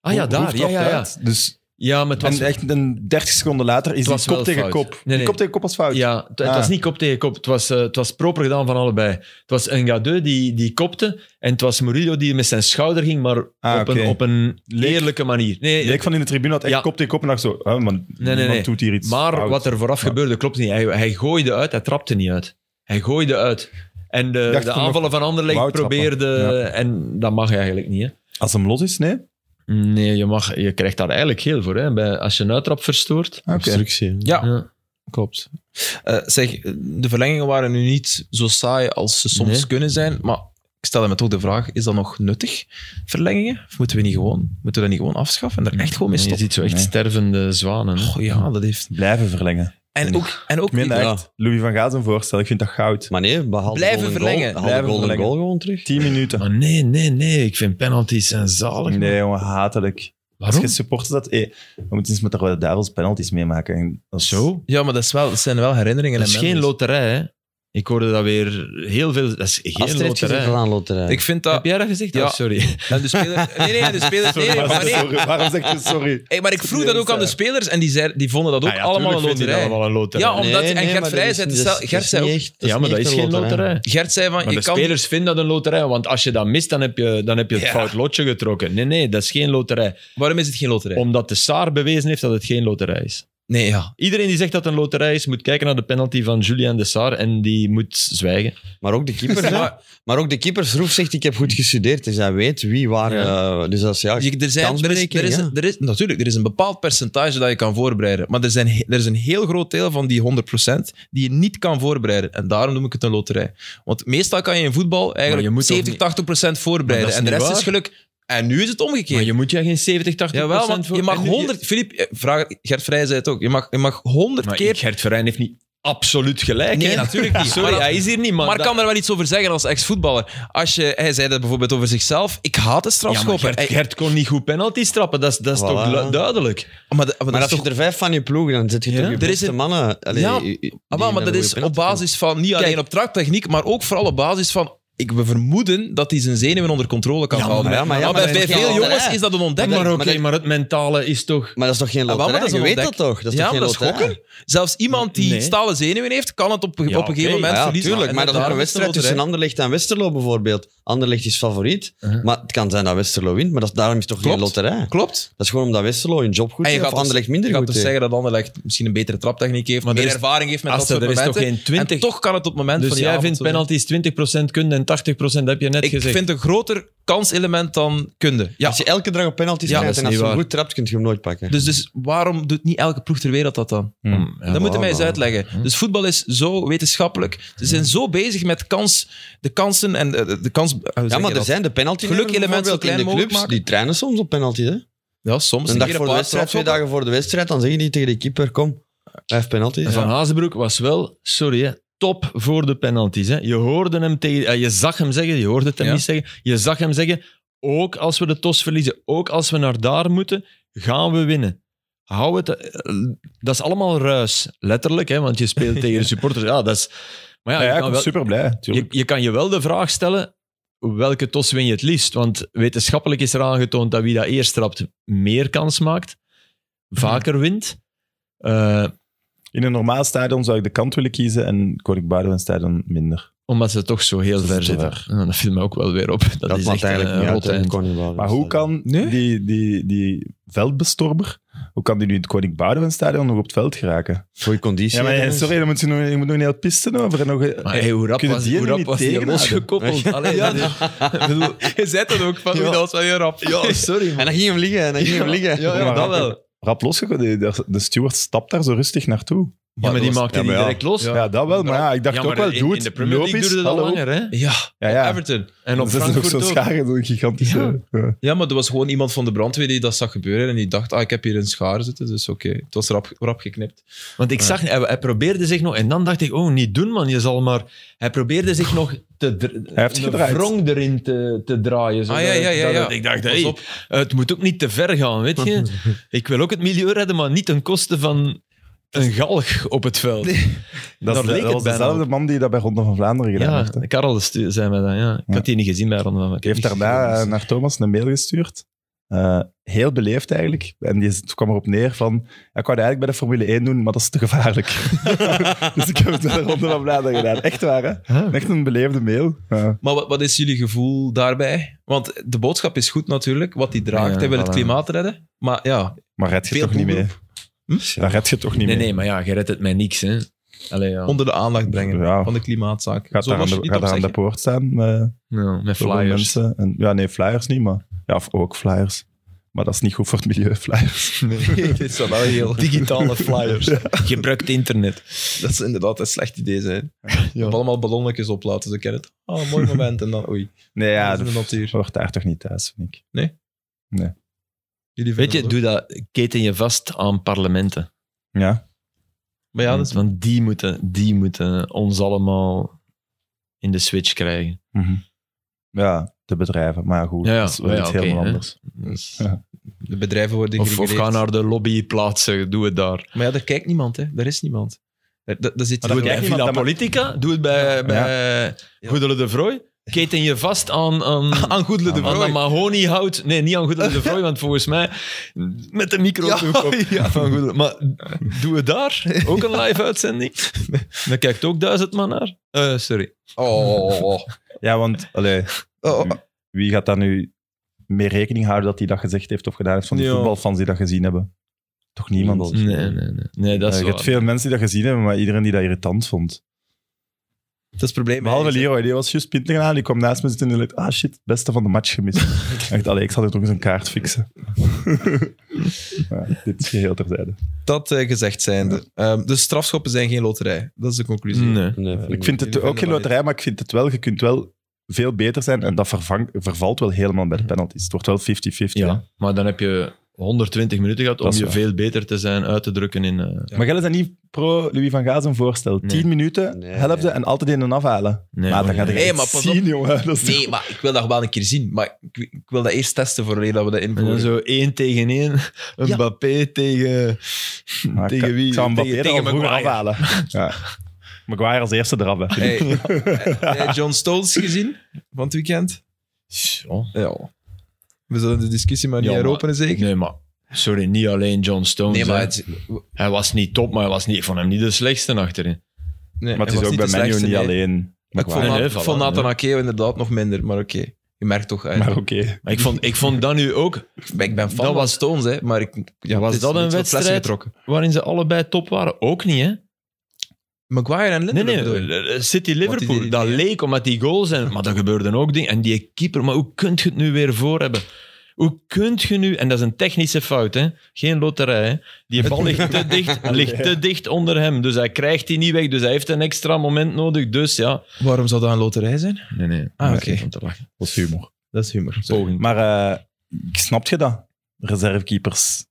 Speaker 3: Ah ja, daar. Ja,
Speaker 4: hoofdtrapt
Speaker 3: ja, ja.
Speaker 4: uit. Dus
Speaker 3: ja maar het was,
Speaker 4: en echt een 30 seconden later
Speaker 3: Het
Speaker 4: is die
Speaker 3: was
Speaker 4: kop
Speaker 3: wel
Speaker 4: tegen
Speaker 3: fout.
Speaker 4: kop.
Speaker 3: Nee, nee.
Speaker 4: Die kop tegen kop was fout.
Speaker 3: ja, het, het
Speaker 4: Ah.
Speaker 3: was niet kop tegen kop. Het was, eh, het was proper gedaan van allebei. Het was Ngadeu die, die kopte. En het was Murillo die met zijn schouder ging, maar
Speaker 4: Ah,
Speaker 3: op,
Speaker 4: oké.
Speaker 3: een, op een
Speaker 4: Leek-
Speaker 3: eerlijke manier. Nee,
Speaker 4: Leek van in de tribune had echt
Speaker 3: Ja.
Speaker 4: kop tegen kop en dacht zo, ah, man,
Speaker 3: nee,
Speaker 4: niemand
Speaker 3: nee.
Speaker 4: doet hier iets
Speaker 3: Maar
Speaker 4: fout.
Speaker 3: wat er vooraf
Speaker 4: Ja.
Speaker 3: gebeurde, klopt niet. Hij, hij gooide uit, hij trapte niet uit. Hij gooide uit. En de,
Speaker 4: dacht
Speaker 3: de
Speaker 4: van
Speaker 3: aanvallen van Anderlecht
Speaker 4: wou trappen.
Speaker 3: probeerde... En dat mag eigenlijk niet, hè?
Speaker 4: Als hem los is, nee?
Speaker 3: Nee, je, mag, je krijgt daar eigenlijk heel voor, hè? Bij, als je een uittrap verstoort.
Speaker 4: Oké.
Speaker 2: Obstructie.
Speaker 1: Ja,
Speaker 3: Ja.
Speaker 1: klopt. Eh, zeg, de verlengingen waren nu niet zo saai als ze soms
Speaker 3: Nee.
Speaker 1: kunnen zijn, maar ik stel hem toch de vraag, is dat nog nuttig, verlengingen? Of moeten we, niet gewoon, moeten we dat niet gewoon afschaffen en er echt gewoon mee
Speaker 3: En je
Speaker 1: stoppen?
Speaker 3: ziet zo echt
Speaker 4: Nee.
Speaker 3: stervende zwanen. hè.
Speaker 1: Oh ja, dat heeft...
Speaker 4: Blijven verlengen.
Speaker 1: En
Speaker 4: Nee.
Speaker 1: ook, en ook
Speaker 4: Ik meen dat
Speaker 1: niet-
Speaker 4: echt. Louis van Gaal zijn voorstel, ik vind dat goud.
Speaker 2: Maar nee, behalve
Speaker 1: Blijven
Speaker 2: golden
Speaker 1: verlengen.
Speaker 2: Goal, haal de
Speaker 4: Blijven
Speaker 2: golden
Speaker 4: verlengen.
Speaker 2: goal gewoon terug.
Speaker 4: 10 minuten.
Speaker 3: Maar Ah, nee, nee, nee. Ik vind penalties zijn zalig. man.
Speaker 4: Nee, jongen, hatelijk. Als
Speaker 3: Waarom?
Speaker 4: je supporters dat... eh, we moeten eens met de Rode Duivels penalties meemaken. En dat is-
Speaker 3: Zo?
Speaker 1: Ja, maar dat, is wel, dat zijn wel herinneringen.
Speaker 3: Dat is
Speaker 1: en
Speaker 3: geen
Speaker 1: memories.
Speaker 3: loterij, hè? Ik hoorde dat weer heel veel... Dat is geen
Speaker 2: Astrid
Speaker 3: loterij.
Speaker 2: gezegd aan loterij.
Speaker 1: Ik vind dat...
Speaker 3: Heb jij dat gezegd?
Speaker 1: Ja.
Speaker 3: Oh, sorry.
Speaker 1: en de speler, nee, nee, de speler... Nee,
Speaker 4: Sorry,
Speaker 1: nee, maar
Speaker 4: waarom,
Speaker 1: nee.
Speaker 4: sorry, waarom zeg je sorry?
Speaker 1: Hey, maar ik vroeg dat ook aan de spelers en die, zei, die vonden dat ook
Speaker 4: Ah ja,
Speaker 1: allemaal een
Speaker 4: tuurlijk vinden die
Speaker 1: loterij.
Speaker 3: allemaal een loterij.
Speaker 1: Ja, omdat- en Gert
Speaker 2: maar dat
Speaker 1: Vrij
Speaker 2: is
Speaker 1: zei het
Speaker 2: niet-
Speaker 1: zelf-
Speaker 2: dat is
Speaker 1: Gert zei
Speaker 2: niet
Speaker 1: ook-
Speaker 2: echt-
Speaker 3: ja, maar dat
Speaker 2: niet
Speaker 3: is
Speaker 2: echt
Speaker 3: geen
Speaker 2: een
Speaker 3: loterij.
Speaker 1: Gert zei van,
Speaker 3: Maar
Speaker 1: je
Speaker 3: de
Speaker 1: kan...
Speaker 3: spelers vinden dat een loterij, want als je dat mist, dan heb je, dan heb je het
Speaker 1: Ja.
Speaker 3: fout lotje getrokken. Nee, nee, dat is geen loterij.
Speaker 1: Waarom is het geen loterij?
Speaker 3: Omdat de SAR bewezen heeft dat het geen loterij is.
Speaker 1: Nee, ja.
Speaker 3: Iedereen die zegt dat het een loterij is, moet kijken naar de penalty van Julien de SAR en die moet zwijgen.
Speaker 2: Maar ook de keeper. hè. maar ook de keeper Roef zegt, ik heb goed gestudeerd. Dus hij weet wie waar... eh, dus dat is ja...
Speaker 1: Je- er, zijn, er, is, er, is,
Speaker 2: kansberekening,
Speaker 1: er is- natuurlijk, er is een bepaald percentage dat je kan voorbereiden. Maar er, zijn, he- er is een heel groot deel van die 100% die je niet kan voorbereiden. En daarom noem ik het een loterij. Want meestal kan je in voetbal eigenlijk
Speaker 3: Maar je moet toch
Speaker 1: 70, 80% voorbereiden. en
Speaker 3: Maar dat is
Speaker 1: de rest
Speaker 3: niet
Speaker 1: is geluk. En nu is het
Speaker 3: Maar
Speaker 1: omgekeerd.
Speaker 3: je moet je geen 70, 80
Speaker 1: Jawel, want
Speaker 3: voor-
Speaker 1: je mag
Speaker 3: en nu-
Speaker 1: 100... Filip, eh, vraag, Gert Vrij zei het ook. Je mag, je mag 100
Speaker 3: Maar
Speaker 1: keer...
Speaker 3: Gert Verijn heeft niet absoluut gelijk.
Speaker 1: Nee,
Speaker 3: hè?
Speaker 1: natuurlijk niet.
Speaker 3: Sorry,
Speaker 1: Maar-
Speaker 3: hij is hier niet, man.
Speaker 1: Maar ik kan er wel iets over zeggen als ex-voetballer. Als je, hij zei dat bijvoorbeeld over zichzelf. Ik haat de
Speaker 3: ja, maar
Speaker 1: strafschoppen.
Speaker 3: Gert, Gert kon niet goed penalties trappen, dat is, dat is
Speaker 2: Voilà.
Speaker 3: toch lu- duidelijk.
Speaker 1: Eh, maar, de- maar
Speaker 2: Maar
Speaker 1: dat is
Speaker 2: als
Speaker 1: toch
Speaker 2: je er vijf van je ploeg, dan zit je
Speaker 3: Ja.
Speaker 2: toch je
Speaker 1: Er is
Speaker 2: beste
Speaker 1: een-
Speaker 2: mannen. Allee,
Speaker 1: Ja,
Speaker 2: u- u- die
Speaker 1: Ah, wel, maar
Speaker 2: naar
Speaker 1: dat
Speaker 2: de
Speaker 1: is
Speaker 2: goede
Speaker 1: op
Speaker 2: penalty
Speaker 1: basis van, niet alleen
Speaker 3: Kijk.
Speaker 1: op traptechniek, maar ook vooral op basis van, ik, we vermoeden dat hij zijn zenuwen onder controle kan
Speaker 2: Ja, maar
Speaker 1: houden.
Speaker 2: ja, maar ja,
Speaker 1: Maar
Speaker 2: maar
Speaker 1: bij,
Speaker 2: dat
Speaker 1: bij
Speaker 2: is geen
Speaker 1: veel
Speaker 2: loterij.
Speaker 1: jongens is dat een ontdekking.
Speaker 3: maar
Speaker 2: maar
Speaker 3: oké,
Speaker 2: dat-
Speaker 3: maar het mentale is toch...
Speaker 2: komen. Maar dat is toch geen
Speaker 1: Ah, wel, maar
Speaker 2: loterij?
Speaker 1: dat is
Speaker 2: je
Speaker 1: een
Speaker 2: weet
Speaker 1: ontdek-
Speaker 2: dat toch? Dat is
Speaker 1: ja,
Speaker 2: toch
Speaker 1: maar
Speaker 2: geen
Speaker 1: dat is
Speaker 2: loterij?
Speaker 1: gokken. Zelfs iemand die
Speaker 3: Nee.
Speaker 1: stalen zenuwen heeft, kan het op, op een
Speaker 3: oké.
Speaker 1: gegeven moment
Speaker 2: Ja, ja,
Speaker 1: verliezen.
Speaker 2: tuurlijk. Maar dat is
Speaker 1: En
Speaker 2: maar een
Speaker 1: daarom
Speaker 2: wedstrijd tussen
Speaker 1: loterij.
Speaker 2: Anderlecht en Westerlo bijvoorbeeld. Anderlecht is favoriet, maar het kan zijn dat Westerlo wint. Maar dat, is- daarom is het toch geen
Speaker 1: Uh-huh. Klopt.
Speaker 2: loterij?
Speaker 1: Klopt.
Speaker 2: Dat is gewoon omdat Westerlo hun job goed
Speaker 1: En je
Speaker 2: heeft
Speaker 1: gaat
Speaker 2: of Anderlecht
Speaker 1: Je
Speaker 2: minder
Speaker 1: gaat
Speaker 2: goed
Speaker 1: dus
Speaker 2: heeft.
Speaker 1: zeggen dat Anderlecht misschien een betere traptechniek heeft,
Speaker 3: Maar er
Speaker 1: meer
Speaker 3: is-
Speaker 1: ervaring heeft met dat
Speaker 3: Aster,
Speaker 1: soort
Speaker 3: er is toch
Speaker 1: momenten.
Speaker 3: geen 20...
Speaker 1: En toch kan het op het moment
Speaker 3: Dus
Speaker 1: van die
Speaker 3: jij
Speaker 1: avond
Speaker 3: vindt
Speaker 1: zo zijn.
Speaker 3: penalties 20% kunnen en 85% heb je net
Speaker 1: Ik
Speaker 3: gezegd.
Speaker 1: vind een groter kanselement dan kunde. Ja.
Speaker 2: Als je elke dag op penalty
Speaker 1: Ja,
Speaker 2: ja,
Speaker 1: dat is
Speaker 2: en als
Speaker 1: niet
Speaker 2: je hem
Speaker 1: waar.
Speaker 2: goed trapt, kun je hem nooit pakken.
Speaker 1: Dus, dus waarom doet niet elke ploeg ter wereld dat dan?
Speaker 4: Hmm.
Speaker 1: dat moeten mij
Speaker 2: wauw,
Speaker 1: eens
Speaker 2: man.
Speaker 1: uitleggen. Dus voetbal is zo wetenschappelijk. Ze zijn zo bezig met kans, de kansen en eh, de, de kans... hoe zeg
Speaker 2: ja,
Speaker 1: je
Speaker 2: maar er
Speaker 1: dat?
Speaker 2: zijn de penalty
Speaker 1: Gelukelementen zo
Speaker 2: bijvoorbeeld
Speaker 1: klein
Speaker 2: in de
Speaker 1: mogelijk
Speaker 2: clubs,
Speaker 1: maken.
Speaker 2: die trainen soms op penalty. Hè?
Speaker 1: Ja, soms.
Speaker 2: Een
Speaker 1: keer
Speaker 2: dag voor de
Speaker 1: paar
Speaker 2: wedstrijd, twee
Speaker 1: trappen.
Speaker 2: dagen voor de wedstrijd, dan zeg je niet tegen de keeper, kom, vijf penalties.
Speaker 3: En Van Hazenbroek was wel, sorry hè, top voor de penalties. Hè. Je hoorde hem tegen, eh, je zag hem zeggen, je hoorde het hem
Speaker 1: Ja.
Speaker 3: niet zeggen, je zag hem zeggen, ook als we de tos verliezen, ook als we naar daar moeten, gaan we winnen. Hou het, eh, dat is allemaal ruis, letterlijk, hè, want je speelt tegen de supporters. Ja, dat is, maar ja,
Speaker 4: Ja,
Speaker 3: je,
Speaker 4: ik
Speaker 3: kan
Speaker 4: ben
Speaker 3: wel,
Speaker 4: super blij.
Speaker 3: je, je kan je wel de vraag stellen, welke tos win je het liefst? Want wetenschappelijk is er aangetoond dat wie dat eerst trapt, meer kans maakt, vaker wint. Eh,
Speaker 4: In een normaal stadion zou ik de kant willen kiezen en Koning Boudewijn stadion minder.
Speaker 3: Omdat ze toch zo heel
Speaker 4: Ze
Speaker 3: ver
Speaker 4: zitten
Speaker 3: zitten. En dat viel me ook wel weer op. Dat, is echt een
Speaker 2: uit,
Speaker 3: eh, rot
Speaker 2: hè, in het
Speaker 3: eind.
Speaker 2: Koningbouw.
Speaker 4: Maar hoe kan
Speaker 1: Nee?
Speaker 4: die, die, die veldbestorber, hoe kan die nu in het Koning Boudewijn stadion nog op het veld geraken?
Speaker 2: Goeie conditie.
Speaker 4: Ja, maar
Speaker 2: hè,
Speaker 4: eh, sorry, dan moet je nog, je moet nog een heel pisten over. En nog, een-
Speaker 3: Maar hey, hoe rap
Speaker 4: Kun je
Speaker 3: was
Speaker 4: die
Speaker 3: hoe
Speaker 4: er
Speaker 3: rap
Speaker 4: niet
Speaker 3: was die
Speaker 4: tegenhouden?
Speaker 3: losgekoppeld? Allee, dat is- ik bedoel,
Speaker 1: Je zei dat ook, van, oei, dat was wel heel rap.
Speaker 3: ja, sorry.
Speaker 2: En dan ging hem liggen, en dan ging hem liggen.
Speaker 3: Ja, ja,
Speaker 4: Maar
Speaker 3: dat
Speaker 4: rap-
Speaker 3: wel.
Speaker 4: Rap losgekomen, de, de steward stapt daar zo rustig naartoe.
Speaker 3: Ja, maar die
Speaker 4: dat was-
Speaker 3: maakte
Speaker 4: ja,
Speaker 3: die
Speaker 4: maar ja.
Speaker 3: direct los.
Speaker 4: Ja, dat wel, maar ja, ik dacht
Speaker 3: Ja,
Speaker 4: ook
Speaker 3: maar
Speaker 4: wel,
Speaker 3: in-
Speaker 4: doe
Speaker 3: In
Speaker 4: het.
Speaker 3: de Premier League
Speaker 4: Loop eens,
Speaker 3: duurde dat al
Speaker 4: hallo.
Speaker 3: langer, hè?
Speaker 1: Ja,
Speaker 4: Ja, ja.
Speaker 1: Everton.
Speaker 3: En op
Speaker 4: Dat is ook
Speaker 3: Frankfurt
Speaker 4: zo'n
Speaker 3: ook.
Speaker 4: schare, zo'n gigantische... Ja.
Speaker 1: Ja, maar er was gewoon iemand van de brandweer die dat zag gebeuren en die dacht, ah, ik heb hier een schaar zitten, dus oké. Het was rap, rap geknipt.
Speaker 3: Want ik zag, hij, hij probeerde zich nog... En dan dacht ik, oh, niet doen, man. Je zal maar... Hij probeerde zich nog te... dr-
Speaker 4: Hij heeft
Speaker 3: een
Speaker 4: gedraaid.
Speaker 3: wrong erin te, te draaien. zodat-
Speaker 1: Ah, ja, ja, ja,
Speaker 3: dat-
Speaker 1: ja.
Speaker 3: dat Ik dacht,
Speaker 1: Pas
Speaker 3: hey,
Speaker 1: op.
Speaker 3: het moet ook niet te ver gaan, weet je. ik wil ook het milieu redden, maar niet ten koste van een galg op het veld.
Speaker 4: Dat, is
Speaker 3: Daar
Speaker 4: de-
Speaker 3: leek
Speaker 4: dat
Speaker 3: het
Speaker 4: was
Speaker 3: bijna
Speaker 4: dezelfde man die dat bij Ronde van Vlaanderen gedaan
Speaker 3: Ja,
Speaker 4: heeft. hè. Die
Speaker 3: Karel Stu- zei mij dat, ja. Ik
Speaker 4: Ja.
Speaker 3: had die niet gezien bij Ronde van Vlaanderen.
Speaker 4: heeft
Speaker 3: Ik heb
Speaker 4: daarna
Speaker 3: niet
Speaker 4: eh,
Speaker 3: gezien.
Speaker 4: naar Thomas een mail gestuurd. Eh, heel beleefd eigenlijk. En die is- kwam erop neer van... ja, Ik wou dat eigenlijk bij de Formule 1 doen, maar dat is te gevaarlijk. dus ik heb het bij de Ronde van Vlaanderen gedaan. Echt waar, hè?
Speaker 3: Huh?
Speaker 4: Echt een beleefde mail. Ja.
Speaker 1: Maar wat, wat is jullie gevoel daarbij? Want de boodschap is goed natuurlijk, wat die draagt.
Speaker 3: Ja,
Speaker 1: hij wil
Speaker 3: voilà.
Speaker 1: het klimaat redden, maar ja,
Speaker 4: Maar red je
Speaker 1: Veel
Speaker 4: toch niet mee? Daar red je toch niet
Speaker 3: Nee,
Speaker 4: mee?
Speaker 3: nee, maar ja, je redt het met niks, hè. Allee, ja.
Speaker 1: onder de aandacht brengen
Speaker 4: Ja.
Speaker 1: van de klimaatzaak.
Speaker 4: Gaat
Speaker 1: Zo
Speaker 4: daar aan
Speaker 1: mag je het
Speaker 4: de, gaat
Speaker 1: niet
Speaker 4: daar aan de
Speaker 1: opzeggen.
Speaker 4: poort staan eh, met
Speaker 3: Ja, met
Speaker 4: zoveel
Speaker 3: flyers.
Speaker 4: mensen. En, ja, nee, flyers niet, maar... Ja, of ook flyers. Maar dat is niet goed voor het milieu, flyers.
Speaker 1: Dit is wel heel...
Speaker 3: Digitale flyers. Gebruikt internet.
Speaker 1: Dat is inderdaad een slecht idee zijn. Op allemaal ballonnetjes dus oplaten, ze kennen het. Ah, mooi moment en dan oei.
Speaker 4: Nee, ja,
Speaker 1: dat is in de natuur.
Speaker 4: hoort daar toch niet thuis, vind ik.
Speaker 1: Jullie
Speaker 3: Weet
Speaker 1: vinden
Speaker 3: je,
Speaker 1: dat
Speaker 3: doe dat, keten je vast aan parlementen.
Speaker 4: Ja.
Speaker 1: ook? Maar ja, dat is-
Speaker 3: Want die moeten, die moeten ons allemaal in de switch krijgen.
Speaker 4: Mhm. Ja, de bedrijven. Maar ja, goed,
Speaker 3: Ja, ja.
Speaker 4: dat is wel
Speaker 3: Ja,
Speaker 4: iets
Speaker 3: oké,
Speaker 4: helemaal
Speaker 3: hè.
Speaker 4: anders.
Speaker 3: Dus-
Speaker 4: Ja.
Speaker 1: de bedrijven worden
Speaker 3: Of, of
Speaker 1: gereguleerd.
Speaker 3: ga naar de lobbyplaatsen, doe het daar.
Speaker 1: Maar ja, daar kijkt niemand, hè. Daar is niemand. Daar, daar, daar zit
Speaker 4: Maar
Speaker 3: Doe het
Speaker 4: dat
Speaker 1: je...
Speaker 3: bij
Speaker 4: kijkt
Speaker 3: Villa
Speaker 4: niemand, maar-
Speaker 3: Politica, doe het bij, bij Goedele de Vrooy. Keten je vast aan, aan,
Speaker 1: Aan Goedele de
Speaker 3: aan
Speaker 1: Vrooy.
Speaker 3: dat mahoniehout. Nee, niet aan Goedele de Vrooy, want volgens mij met de microfoon op. Van Goedele. Maar doe het daar ook een live uitzending? Dan kijkt ook duizend man naar. Eh, sorry.
Speaker 1: Oh.
Speaker 4: Ja, want allee,
Speaker 1: Oh.
Speaker 4: wie gaat daar nu mee rekening houden dat hij dat gezegd heeft of gedaan heeft van die
Speaker 1: Ja.
Speaker 4: voetbalfans die dat gezien hebben? Toch niemand.
Speaker 2: Niemand.
Speaker 3: Nee, nee, nee. nee dat
Speaker 4: Eh,
Speaker 3: is
Speaker 4: je
Speaker 3: waar.
Speaker 4: hebt veel mensen die dat gezien hebben, maar iedereen die dat irritant vond.
Speaker 1: Dat is het probleem.
Speaker 4: Behalve
Speaker 1: hè.
Speaker 4: Leroy, die was juist pinten gedaan, die kwam naast me zitten en die dacht, ah shit, beste van de match gemist. Echt, allee, ik zal er toch eens een kaart fixen. ja, dit is geheel terzijde.
Speaker 1: Dat eh, gezegd zijnde. Ehm, dus strafschoppen zijn geen loterij. Dat is de conclusie.
Speaker 3: Nee.
Speaker 2: Nee, vind
Speaker 4: Ik vind
Speaker 1: Jullie
Speaker 4: het
Speaker 1: vinden
Speaker 4: ook geen
Speaker 1: dat
Speaker 4: loterij, maar ik vind het wel, je kunt wel veel beter zijn. En dat vervang- vervalt wel helemaal bij de penalties. Het wordt wel 50-50. hè.
Speaker 3: Ja, maar dan heb je 120 minuten gehad om
Speaker 4: Dat is
Speaker 3: je
Speaker 4: waar.
Speaker 3: veel beter te zijn uit te drukken in... eh,
Speaker 1: Ja.
Speaker 4: Maar jij bent niet pro Louis van Gaal zijn voorstel.
Speaker 3: Nee.
Speaker 4: 10 minuten,
Speaker 2: Nee,
Speaker 4: helft
Speaker 2: nee.
Speaker 4: en altijd in een afhalen.
Speaker 3: nee,
Speaker 4: maar dan
Speaker 3: nee.
Speaker 4: gaat je
Speaker 1: Nee,
Speaker 4: echt
Speaker 1: maar pas op.
Speaker 4: zien, jongen. Dat is
Speaker 1: Nee, maar ik wil dat wel een keer zien. Maar ik, ik wil dat eerst testen voordat we dat
Speaker 3: En dan
Speaker 1: invoeren.
Speaker 3: zo één tegen één.
Speaker 1: Ja.
Speaker 3: Mbappé tegen,
Speaker 4: Maar ik-
Speaker 3: tegen wie?
Speaker 4: Ik zou hem
Speaker 3: tegen
Speaker 4: Mbappé er al vroeger afhalen. Ja. Maguire als eerste eraf. hè.
Speaker 1: Hey, heb jij John Stones gezien van het weekend?
Speaker 3: Ja.
Speaker 1: Ja. We zullen de discussie maar niet
Speaker 3: Ja, maar-
Speaker 1: heropenen, zeker?
Speaker 3: Nee, maar sorry, niet alleen John Stones.
Speaker 1: Nee, maar
Speaker 3: hè.
Speaker 1: het,
Speaker 3: Hij was niet top, maar hij was niet, ik vond hem niet de slechtste achterin.
Speaker 1: nee,
Speaker 4: Maar het is ook bij Menu niet alleen.
Speaker 1: Ik vond,
Speaker 4: Maguire.
Speaker 3: Nee,
Speaker 1: Na-
Speaker 3: nee,
Speaker 1: ik
Speaker 3: voilà,
Speaker 1: vond Nathan
Speaker 3: nee.
Speaker 1: Akeo inderdaad nog minder, maar oké. Je merkt toch uit.
Speaker 4: Maar oké.
Speaker 3: Maar ik vond, ik vond dat nu ook,
Speaker 1: ik ben fan
Speaker 3: Dat
Speaker 1: van
Speaker 3: was-
Speaker 1: Stones, hè, maar ik, ja, het
Speaker 3: Was
Speaker 1: is
Speaker 3: dat een
Speaker 1: niet zo flessen
Speaker 3: wedstrijd?
Speaker 1: getrokken.
Speaker 3: waarin ze allebei top waren, ook niet, hè?
Speaker 1: Maguire en
Speaker 3: Nee, eh,
Speaker 1: Lindelof bedoel je?
Speaker 3: nee,
Speaker 1: Want die-
Speaker 3: City-Liverpool. Dat
Speaker 1: die-
Speaker 3: leek omdat die goals zijn, maar dat gebeurden ook dingen. En die keeper, maar hoe kunt je het nu weer voor hebben? Hoe kunt je nu, en dat is een technische fout, hè? geen loterij. Hè? Die bal ligt te dicht, ligt te dicht onder hem. Dus hij krijgt die niet weg, dus hij heeft een extra moment nodig. Dus ja.
Speaker 1: Waarom zou dat een loterij zijn?
Speaker 3: Nee, nee.
Speaker 1: Ah,
Speaker 3: Ah,
Speaker 1: oké.
Speaker 3: oké. Om te lachen.
Speaker 4: Dat is humor.
Speaker 1: Dat is humor.
Speaker 3: Poging.
Speaker 4: Maar eh, snap je dat? Reservekeepers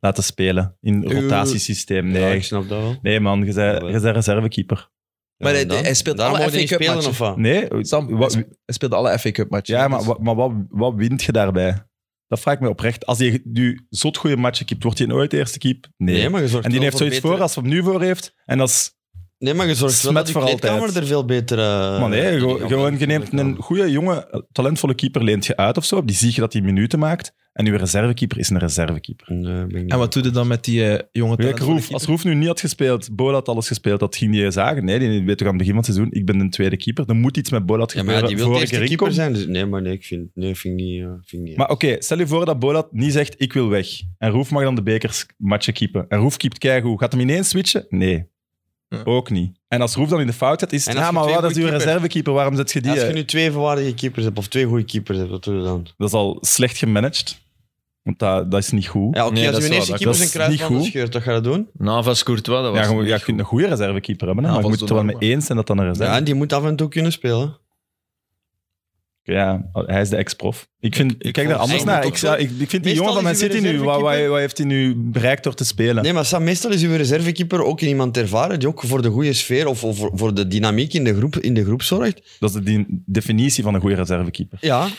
Speaker 4: laten spelen in
Speaker 1: Eh,
Speaker 4: rotatiesysteem.
Speaker 2: Ja,
Speaker 4: Nee,
Speaker 2: ik snap dat wel.
Speaker 4: nee man, je bent, je bent reservekeeper.
Speaker 1: Maar
Speaker 2: Ja,
Speaker 1: hij-
Speaker 2: en dan?
Speaker 1: hij speelt
Speaker 2: Daarom
Speaker 1: alle
Speaker 2: mogen die
Speaker 1: FA Cup
Speaker 2: spelen,
Speaker 1: matchen.
Speaker 2: of wat?
Speaker 4: Nee,
Speaker 1: Sam,
Speaker 4: wat-
Speaker 1: hij speelde alle FA Cup matchen.
Speaker 4: ja, maar,
Speaker 1: Dus-
Speaker 4: wat, maar wat, wat wint je daarbij? Dat vraag ik me oprecht. Als je nu zo'n goede matchen keept, wordt hij nooit de eerste keep? Nee.
Speaker 2: maar je zorgt
Speaker 4: en die
Speaker 2: wel
Speaker 4: heeft zoiets
Speaker 2: betere-
Speaker 4: voor als hem nu voor heeft. En dat is...
Speaker 2: Nee, maar je zorgt wel
Speaker 4: Smet
Speaker 2: dat die
Speaker 4: voor altijd.
Speaker 2: kleedkamer er veel beter... eh,
Speaker 4: maar nee,
Speaker 2: in
Speaker 4: gewoon-
Speaker 2: kan.
Speaker 4: gewoon, je neemt een goede, jonge, talentvolle keeper leent je uit of zo. Die zie je dat hij minuten maakt. En uw reservekeeper is een reservekeeper.
Speaker 2: Nee, ben ik niet.
Speaker 1: En wat doe je dan met die eh, jonge
Speaker 4: Kijk,
Speaker 1: talentvolle
Speaker 4: Roef, als
Speaker 1: keeper?
Speaker 4: Roef nu niet had gespeeld, Bola had alles gespeeld, dat ging die zagen. Nee, die weet toch aan het begin van het seizoen, ik ben de tweede keeper. Er moet iets met Bola
Speaker 2: Ja, maar ja,
Speaker 4: gebeuren
Speaker 2: die wil
Speaker 4: voor
Speaker 2: de
Speaker 4: ik
Speaker 2: eerste
Speaker 4: erin
Speaker 2: keeper
Speaker 4: kom.
Speaker 2: zijn. Dus, nee, maar nee, ik vind, nee, vind ik niet... eh, vind ik niet
Speaker 4: Maar oké, stel je voor dat Bolat niet zegt, ik wil weg. En Roef mag dan de bekers matchen keepen. En Roef keept keigoed. Gaat hem ineens switchen? Nee.
Speaker 1: Ja.
Speaker 4: Ook niet. En als Roef dan in de fout zit, is
Speaker 2: En
Speaker 4: het,
Speaker 2: als
Speaker 4: ja,
Speaker 2: je
Speaker 4: maar
Speaker 2: twee
Speaker 4: wat, dat is uw
Speaker 2: goede keepers-
Speaker 4: reservekeeper, waarom zet je die?
Speaker 2: als je
Speaker 4: eh?"
Speaker 2: nu twee volwaardige keepers hebt, of twee goede keepers hebt, wat doe je dan?
Speaker 4: Dat is al slecht gemanaged. Want dat, dat is niet goed.
Speaker 2: Ja, oké,
Speaker 3: Nee, dat
Speaker 2: als
Speaker 3: is
Speaker 2: je
Speaker 3: wel
Speaker 2: eerste
Speaker 3: waar.
Speaker 2: keeper
Speaker 4: Dat
Speaker 2: zijn
Speaker 4: is niet
Speaker 2: kruisband
Speaker 4: goed.
Speaker 2: scheurt, dat ga je doen?
Speaker 3: Navas Courtois, dat was...
Speaker 4: Ja, je, moet- ja, je kunt een goede reservekeeper hebben, hè,
Speaker 1: Ja,
Speaker 4: maar je
Speaker 1: volgens
Speaker 4: moet het er wel
Speaker 1: de
Speaker 4: mee eens zijn dat dan een
Speaker 2: Ja,
Speaker 4: reserve...
Speaker 2: en die moet af en toe kunnen spelen.
Speaker 4: Ja, hij is de ex-prof. Ik, vind, ik kijk daar
Speaker 2: volg-
Speaker 4: anders
Speaker 2: hij
Speaker 4: naar.
Speaker 2: moet
Speaker 4: Ik,
Speaker 2: toch
Speaker 4: zou- ik, ik vind die
Speaker 2: Meestal
Speaker 4: jongen van Man
Speaker 2: is hij
Speaker 4: City
Speaker 2: weer
Speaker 4: nu, wat, wat,
Speaker 2: reservekeeper.
Speaker 4: wat heeft hij nu bereikt door te spelen?
Speaker 2: Nee, maar Sam, meestal is uw reservekeeper ook in iemand ervaren die ook voor de goede sfeer of, of voor, voor de dynamiek in de, groep, in de groep zorgt.
Speaker 4: Dat is de di- definitie van een goede reservekeeper.
Speaker 2: Ja,
Speaker 4: Ik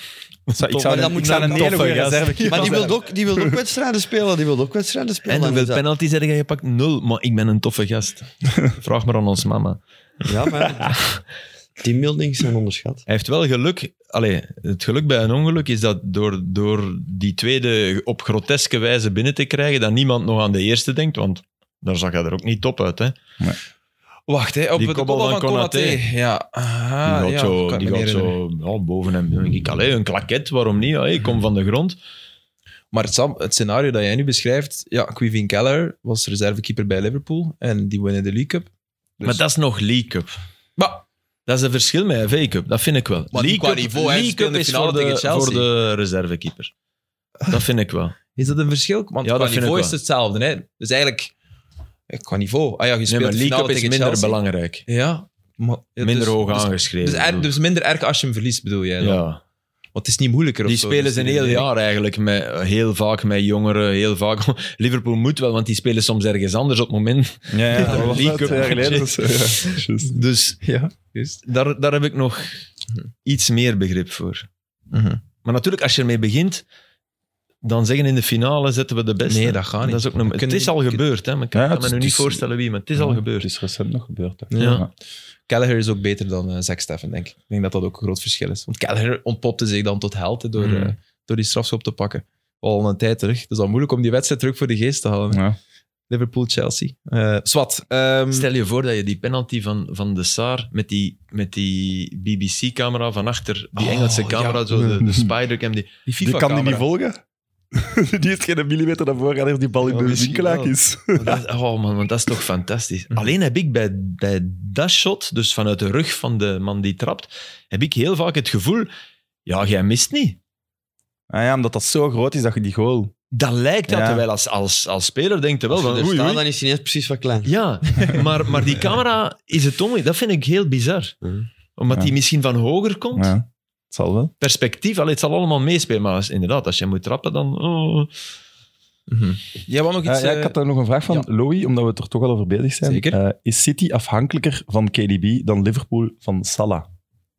Speaker 4: zou, ik
Speaker 2: maar
Speaker 4: zou,
Speaker 2: dat
Speaker 4: ik
Speaker 2: moet
Speaker 4: zou
Speaker 2: dan
Speaker 4: een hele
Speaker 2: toffe
Speaker 4: goede
Speaker 2: gast.
Speaker 4: reservekeeper
Speaker 2: maar die
Speaker 4: zijn.
Speaker 2: wil ook, die wil ook wedstrijden spelen. Die wil ook wedstrijden spelen.
Speaker 3: En hoeveel
Speaker 2: Dus dat-
Speaker 3: penalties heb jij gepakt? Nul. Maar ik ben een toffe gast. Vraag maar aan ons mama.
Speaker 2: Ja, maar... Teambuildings zijn onderschat.
Speaker 3: Hij heeft wel geluk. Allee, het geluk bij een ongeluk is dat door, door die tweede op groteske wijze binnen te krijgen, dat niemand nog aan de eerste denkt, want daar zag hij er ook niet top uit. Hè?
Speaker 1: Wacht, hè, op
Speaker 3: Die
Speaker 1: de
Speaker 3: kobbel
Speaker 1: kopbal van,
Speaker 3: van
Speaker 1: Konaté.
Speaker 3: Konaté.
Speaker 1: Ja, aha,
Speaker 3: die
Speaker 1: Ah, ja,
Speaker 3: gaat zo,
Speaker 1: kan ik
Speaker 3: die
Speaker 1: me
Speaker 3: gaat
Speaker 1: herinneren.
Speaker 3: zo ja, boven hem. Dan denk ik, allee, een klaket, waarom niet? Allee, kom van de grond.
Speaker 1: Dus- Maar Sam, het scenario dat jij nu beschrijft, ja, Quivin Keller was reservekeeper bij Liverpool en die winnen de League Cup. Dus-
Speaker 3: Maar dat is nog League Cup.
Speaker 1: Maar
Speaker 3: Dat is een verschil met FA Cup, dat vind ik wel.
Speaker 1: Maar die qua niveau, hè,
Speaker 3: League
Speaker 1: ze spelen
Speaker 3: Cup
Speaker 1: de
Speaker 3: is
Speaker 1: finale
Speaker 3: voor de,
Speaker 1: tegen Chelsea.
Speaker 3: voor de reservekeeper. Dat vind ik wel.
Speaker 1: is dat een verschil? Want
Speaker 3: Ja,
Speaker 1: qua
Speaker 3: dat vind ik
Speaker 1: niveau
Speaker 3: wel.
Speaker 1: is het hetzelfde. Hè? Dus eigenlijk, eh, qua niveau. Ah ja, je
Speaker 3: Nee,
Speaker 1: speelt
Speaker 3: maar
Speaker 1: de
Speaker 3: League
Speaker 1: finale
Speaker 3: Cup is
Speaker 1: tegen
Speaker 3: minder
Speaker 1: Chelsea.
Speaker 3: belangrijk.
Speaker 1: Ja. Maar, ja,
Speaker 3: Minder
Speaker 1: dus-
Speaker 3: hoog
Speaker 1: dus-
Speaker 3: aangeschreven.
Speaker 1: Dus, er-
Speaker 3: bedoel ik.
Speaker 1: dus minder erg als je hem verliest, bedoel jij dan?
Speaker 3: ja.
Speaker 1: Want het is niet moeilijker of
Speaker 3: Die
Speaker 1: zo,
Speaker 3: spelen
Speaker 1: dus
Speaker 3: ze een
Speaker 1: die-
Speaker 3: heel jaar eigenlijk, met, eh, heel vaak met jongeren, heel vaak. Liverpool moet wel, want die spelen soms ergens anders op het moment.
Speaker 4: Ja, ja, dat was
Speaker 3: League
Speaker 4: wel
Speaker 3: Cup
Speaker 4: twee jaar geleden.
Speaker 3: matches.
Speaker 4: dus, ja, juist.
Speaker 3: Dus
Speaker 1: Ja,
Speaker 3: daar, daar heb ik nog iets meer begrip voor.
Speaker 1: Mhm.
Speaker 3: Maar natuurlijk, als je ermee begint, dan zeggen in de finale zetten we de beste.
Speaker 1: Nee, dat gaat niet.
Speaker 3: Dat is ook een, het
Speaker 1: Kunnen
Speaker 3: is
Speaker 1: die-
Speaker 3: al gebeurd, hè. maar ik
Speaker 4: Ja,
Speaker 3: kan
Speaker 4: het
Speaker 3: me
Speaker 4: is-
Speaker 3: nu
Speaker 4: het
Speaker 3: niet
Speaker 4: is-
Speaker 3: voorstellen wie, maar het is al
Speaker 1: Mhm.
Speaker 4: Ja,
Speaker 3: gebeurd.
Speaker 4: Het is recent nog gebeurd. hè.
Speaker 3: Ja.
Speaker 1: Kelleher is ook beter dan eh Zack Steffen, denk ik. Ik denk dat dat ook een groot verschil is. Want Kelleher ontpopte zich dan tot held hè, door,
Speaker 3: Mm.
Speaker 1: eh, door die strafschop te pakken. Al een tijd terug. Het is al moeilijk om die wedstrijd terug voor de geest te halen.
Speaker 4: Ja.
Speaker 1: Liverpool-Chelsea. Eh Swat. ehm,
Speaker 2: Hmm.
Speaker 3: Stel je voor dat je die penalty van, van de Saar met die, met die BBC-camera van achter, die
Speaker 1: Oh,
Speaker 3: Engelse
Speaker 1: ja.
Speaker 3: camera, zo de, de Spider-Cam, die,
Speaker 1: die
Speaker 4: Die kan die niet
Speaker 1: FIFA-camera.
Speaker 4: volgen. die heeft geen millimeter naar voren gaan, heeft die bal in
Speaker 3: Ja,
Speaker 4: de
Speaker 3: misschien
Speaker 4: winkelaak
Speaker 3: wel.
Speaker 4: is.
Speaker 3: Dat, oh man, want dat is toch fantastisch. Alleen heb ik bij, bij dat shot, dus vanuit de rug van de man die trapt, heb ik heel vaak het gevoel, ja, jij mist niet.
Speaker 4: Ah ja, omdat dat zo groot is dat je die goal...
Speaker 3: Dat lijkt dat,
Speaker 4: Ja.
Speaker 3: terwijl als, als, als speler denkt er wel
Speaker 2: Als je
Speaker 3: van,
Speaker 2: er
Speaker 3: oei,
Speaker 2: staat,
Speaker 3: oei.
Speaker 2: dan is hij net precies wat klein.
Speaker 3: Ja, maar, maar die camera is het om. Dat vind ik heel bizar.
Speaker 2: Mhm.
Speaker 3: Omdat
Speaker 4: Ja.
Speaker 3: die misschien van hoger komt.
Speaker 4: Ja, het zal wel.
Speaker 3: Perspectief, allee, het zal allemaal meespelen. Maar als- inderdaad, als je moet trappen, dan... oh.
Speaker 1: Mhm. Jij wou nog
Speaker 4: Ja,
Speaker 1: iets...
Speaker 4: Ah, ja,
Speaker 1: eh,
Speaker 4: ik had daar nog een vraag van
Speaker 1: ja.
Speaker 4: Louis, omdat we het er toch al over bezig zijn.
Speaker 1: Zeker.
Speaker 4: Eh, is City afhankelijker van KDB dan Liverpool van Salah?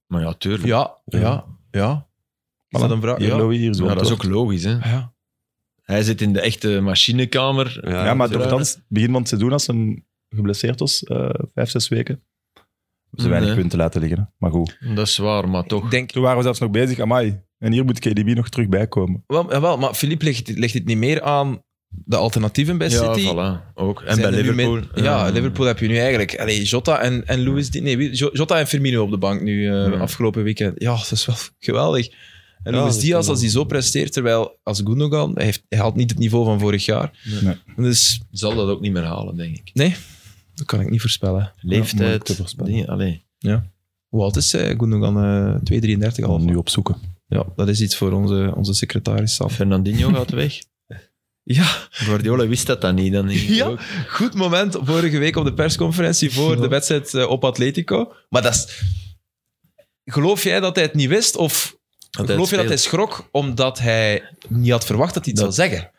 Speaker 3: Maar ja, tuurlijk.
Speaker 1: ja, ja, ja. Is dat een vraag?
Speaker 4: Hier,
Speaker 1: Ja.
Speaker 4: Louis, hier zo.
Speaker 3: Ja, dat is ook logisch. Hè.
Speaker 1: Ja.
Speaker 3: Hij zit in de echte machinekamer.
Speaker 2: Ja,
Speaker 4: Ja, maar
Speaker 3: Terwijl-
Speaker 4: doorgaans, begin van het seizoen, als ze geblesseerd was, eh, vijf, zes weken, hebben ze weinig
Speaker 3: Nee.
Speaker 4: punten laten liggen. hè. Maar goed.
Speaker 3: Dat is waar, maar toch.
Speaker 1: Ik denk...
Speaker 4: Toen waren we zelfs nog bezig, amai. En hier moet KDB nog terug bij komen.
Speaker 1: Wel, jawel, maar Philippe legt, legt het niet meer aan de alternatieven bij
Speaker 3: ja,
Speaker 1: City.
Speaker 3: voilà, ook. En
Speaker 1: Zijn
Speaker 3: bij
Speaker 1: er nu
Speaker 3: Liverpool. eh.
Speaker 1: min- ja, Liverpool heb je nu eigenlijk. Allee, Jota en, en Louis. Di- Nee, wie- Jo- Jota en Firmino op de bank nu eh,
Speaker 3: Ja.
Speaker 1: afgelopen weekend. Ja, dat is wel geweldig. En
Speaker 2: Ja,
Speaker 1: Luis
Speaker 2: dat is
Speaker 1: Diaz,
Speaker 2: wel-
Speaker 1: als hij zo presteert, terwijl als Gundogan, hij, heeft, hij haalt niet het niveau van vorig jaar.
Speaker 4: Nee.
Speaker 1: Dus
Speaker 3: Zal dat ook niet meer halen, denk ik.
Speaker 1: nee, Dat kan ik niet voorspellen.
Speaker 4: moeilijk te
Speaker 3: Leeftijd.
Speaker 4: voorspellen.
Speaker 3: dingen, allee.
Speaker 1: Hoe oud is eh, Gundogan? eh 2,33 al?
Speaker 4: Al nu opzoeken.
Speaker 1: Ja, dat is iets voor onze, onze secretaris. Sam.
Speaker 3: Fernandinho gaat weg.
Speaker 1: Ja,
Speaker 3: Guardiola wist dat dan niet. Dan denk ik
Speaker 1: Ja.
Speaker 3: ook.
Speaker 1: goed moment vorige week op de persconferentie voor de wedstrijd eh, op Atletico. Maar dat is... Geloof jij dat hij het niet wist? Of
Speaker 3: hij
Speaker 1: geloof je dat
Speaker 3: speelt.
Speaker 1: hij schrok omdat hij niet had verwacht dat hij het
Speaker 3: Dat-
Speaker 1: zou zeggen?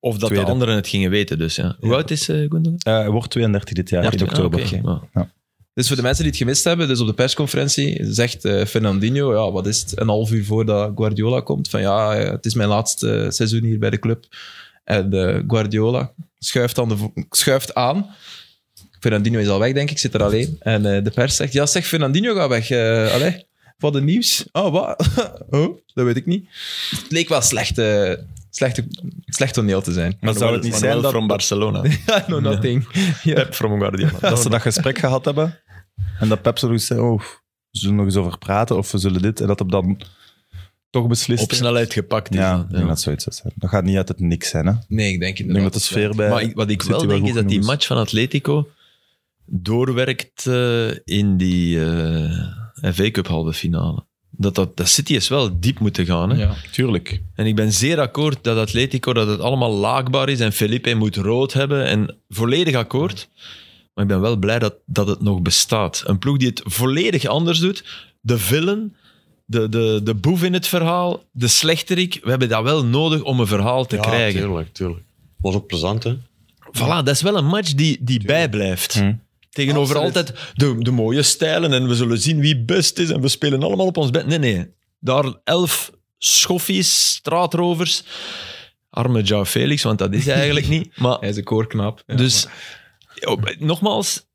Speaker 3: Of dat
Speaker 4: Tweede.
Speaker 3: de anderen het gingen weten. Dus, ja. Hoe oud is eh Gundogan?
Speaker 4: Eh, hij wordt 32 dit jaar, in
Speaker 3: Ah,
Speaker 4: oktober.
Speaker 3: oké. Maar
Speaker 1: Dus voor de mensen die het gemist hebben, dus op de persconferentie zegt eh, Fernandinho, ja, wat is het, een half uur voordat Guardiola komt, van ja, eh, het is mijn laatste seizoen hier bij de club. En eh, Guardiola schuift, aan de, vo- schuift aan. Fernandinho is al weg, denk ik, zit er alleen. En eh, de pers zegt, ja zeg, Fernandinho gaat weg. eh allee, wat een nieuws. Oh, wat? oh, dat weet ik niet. Het leek wel slecht, eh, slechte, slecht toneel te zijn.
Speaker 4: Maar zou het niet zijn dat,
Speaker 3: from Barcelona.
Speaker 1: I know nothing. Ja.
Speaker 3: Pep from Guardiola.
Speaker 4: dat ze dat gesprek gehad hebben en dat Pep zoiets zei, oh, we zullen nog eens over praten of we zullen dit en dat hem dan toch beslist.
Speaker 3: op snelheid gepakt. is
Speaker 4: Ja,
Speaker 3: dat,
Speaker 4: ik denk dat zoiets zou zijn. Dat gaat niet uit het niks zijn. Hè? Ik
Speaker 1: Nee, ik denk inderdaad.
Speaker 4: denk dat de
Speaker 1: het
Speaker 4: sfeer bij.
Speaker 3: Maar ik- wat ik
Speaker 4: City
Speaker 3: wel denk
Speaker 4: goed
Speaker 3: is dat die
Speaker 4: genoeg
Speaker 3: match van Atletico doorwerkt eh, in die eh FA Cup halve finale. Dat, dat, dat City is wel diep moeten gaan. Hè?
Speaker 1: Ja.
Speaker 4: Tuurlijk.
Speaker 3: En ik ben zeer akkoord dat Atletico dat het allemaal laagbaar is en Felipe moet rood hebben. En volledig akkoord. Maar ik ben wel blij dat, dat het nog bestaat. Een ploeg die het volledig anders doet. De villain, de, de, de boef in het verhaal, de slechterik. We hebben dat wel nodig om een verhaal te krijgen.
Speaker 2: Tuurlijk, tuurlijk. Was ook plezant, hè?
Speaker 3: Voilà, dat is wel een match die, die bijblijft.
Speaker 4: Hm.
Speaker 3: Tegenover altijd de, de mooie stijlen en we zullen zien wie best is en we spelen allemaal op ons bed. Nee, nee. Daar elf schoffies, straatrovers. Arme Joao Felix, want dat is hij eigenlijk niet. Maar
Speaker 1: Hij is een koorknap. Ja,
Speaker 3: dus ja, nogmaals,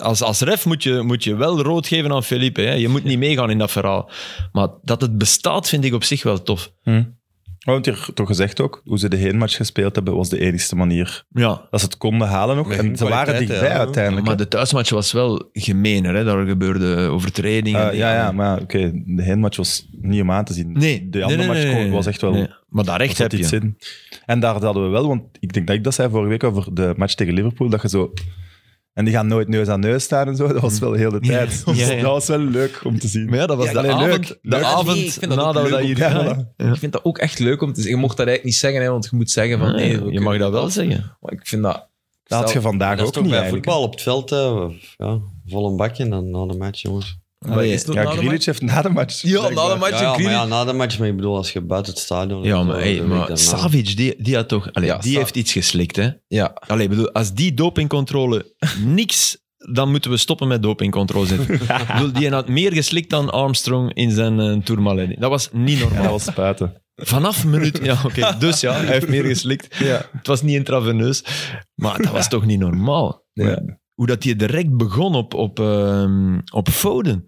Speaker 3: als, als ref moet je, moet je wel rood geven aan Felipe. Hè? Je moet niet meegaan in dat verhaal. Maar dat het bestaat vind ik op zich wel tof.
Speaker 4: We hebben het hier toch gezegd ook, hoe ze de heenmatch gespeeld hebben, was de enigste manier.
Speaker 3: Ja.
Speaker 4: Dat ze het konden halen ook.
Speaker 2: Met
Speaker 4: En
Speaker 2: goede
Speaker 4: ze waren
Speaker 2: kwaliteit,
Speaker 4: dichtbij
Speaker 2: ja.
Speaker 4: uiteindelijk.
Speaker 3: Maar
Speaker 4: hè.
Speaker 3: de thuismatch was wel gemener. Hè? Daar gebeurde overtredingen.
Speaker 4: Eh, ja, ja, maar oké, de heenmatch was niet om aan te zien.
Speaker 3: Nee.
Speaker 4: De andere
Speaker 3: nee, nee,
Speaker 4: match
Speaker 3: nee,
Speaker 4: kon-
Speaker 3: nee.
Speaker 4: was echt wel...
Speaker 3: Nee, Maar daar
Speaker 4: was
Speaker 3: recht
Speaker 4: dat
Speaker 3: heb
Speaker 4: iets
Speaker 3: je.
Speaker 4: in. En daar hadden we wel, want ik denk dat ik dat zei vorige week over de match tegen Liverpool, dat je zo... En die gaan nooit neus aan neus staan en zo. Dat was wel heel de
Speaker 3: Mm. Ja.
Speaker 4: tijd. Dus
Speaker 3: Ja, ja.
Speaker 4: Dat was wel leuk om te zien.
Speaker 3: Maar ja, dat was
Speaker 4: Ja,
Speaker 3: de
Speaker 4: alleen
Speaker 3: avond,
Speaker 4: leuk.
Speaker 3: de
Speaker 4: Leuk.
Speaker 3: avond
Speaker 1: Nee, ik vind dat ook
Speaker 3: nadat we
Speaker 1: leuk
Speaker 3: dat
Speaker 1: om
Speaker 3: hier...
Speaker 1: te
Speaker 3: Ja,
Speaker 4: doen.
Speaker 1: Ik vind dat ook echt leuk om te zeggen. Je mocht dat eigenlijk niet zeggen, hè, want je moet zeggen van nee. we
Speaker 3: je mag
Speaker 1: kunnen-
Speaker 3: dat wel zeggen.
Speaker 1: Maar ik vind dat...
Speaker 4: Dat had je vandaag
Speaker 2: Dat is
Speaker 4: ook
Speaker 2: toch
Speaker 4: niet
Speaker 2: bij
Speaker 4: eigenlijk.
Speaker 2: voetbal op het veld, hè? Ja, vol een bakje dan na de match, jongens.
Speaker 3: Allee,
Speaker 1: is dat
Speaker 4: Ja,
Speaker 1: na de
Speaker 4: Grealish heeft na de match...
Speaker 1: Ja, na de
Speaker 4: blijkbaar.
Speaker 1: match.
Speaker 2: Ja,
Speaker 1: je
Speaker 2: ja, maar
Speaker 1: Grealish-
Speaker 2: ja, na de match, maar ik bedoel, als je buiten het stadion...
Speaker 3: Ja, maar,
Speaker 2: eh,
Speaker 3: hey,
Speaker 2: de week
Speaker 3: maar
Speaker 2: daarna.
Speaker 3: Savic, die, die had toch... Allee,
Speaker 1: Ja,
Speaker 3: die
Speaker 1: Sa-
Speaker 3: heeft iets geslikt, hè?
Speaker 1: Ja.
Speaker 3: Allee, bedoel, als die dopingcontrole niks... Dan moeten we stoppen met dopingcontrole zetten. Ik bedoel, die had meer geslikt dan Armstrong in zijn eh, Tourmalet. Dat was niet
Speaker 4: Ja, dat
Speaker 3: normaal.
Speaker 4: was buiten.
Speaker 3: Vanaf minuut... Ja, oké. Dus ja, hij heeft meer geslikt. Het was niet intraveneus. Maar dat was toch niet normaal?
Speaker 1: Ja.
Speaker 3: Hoe dat hij direct begon op, op, ehm, op Foden.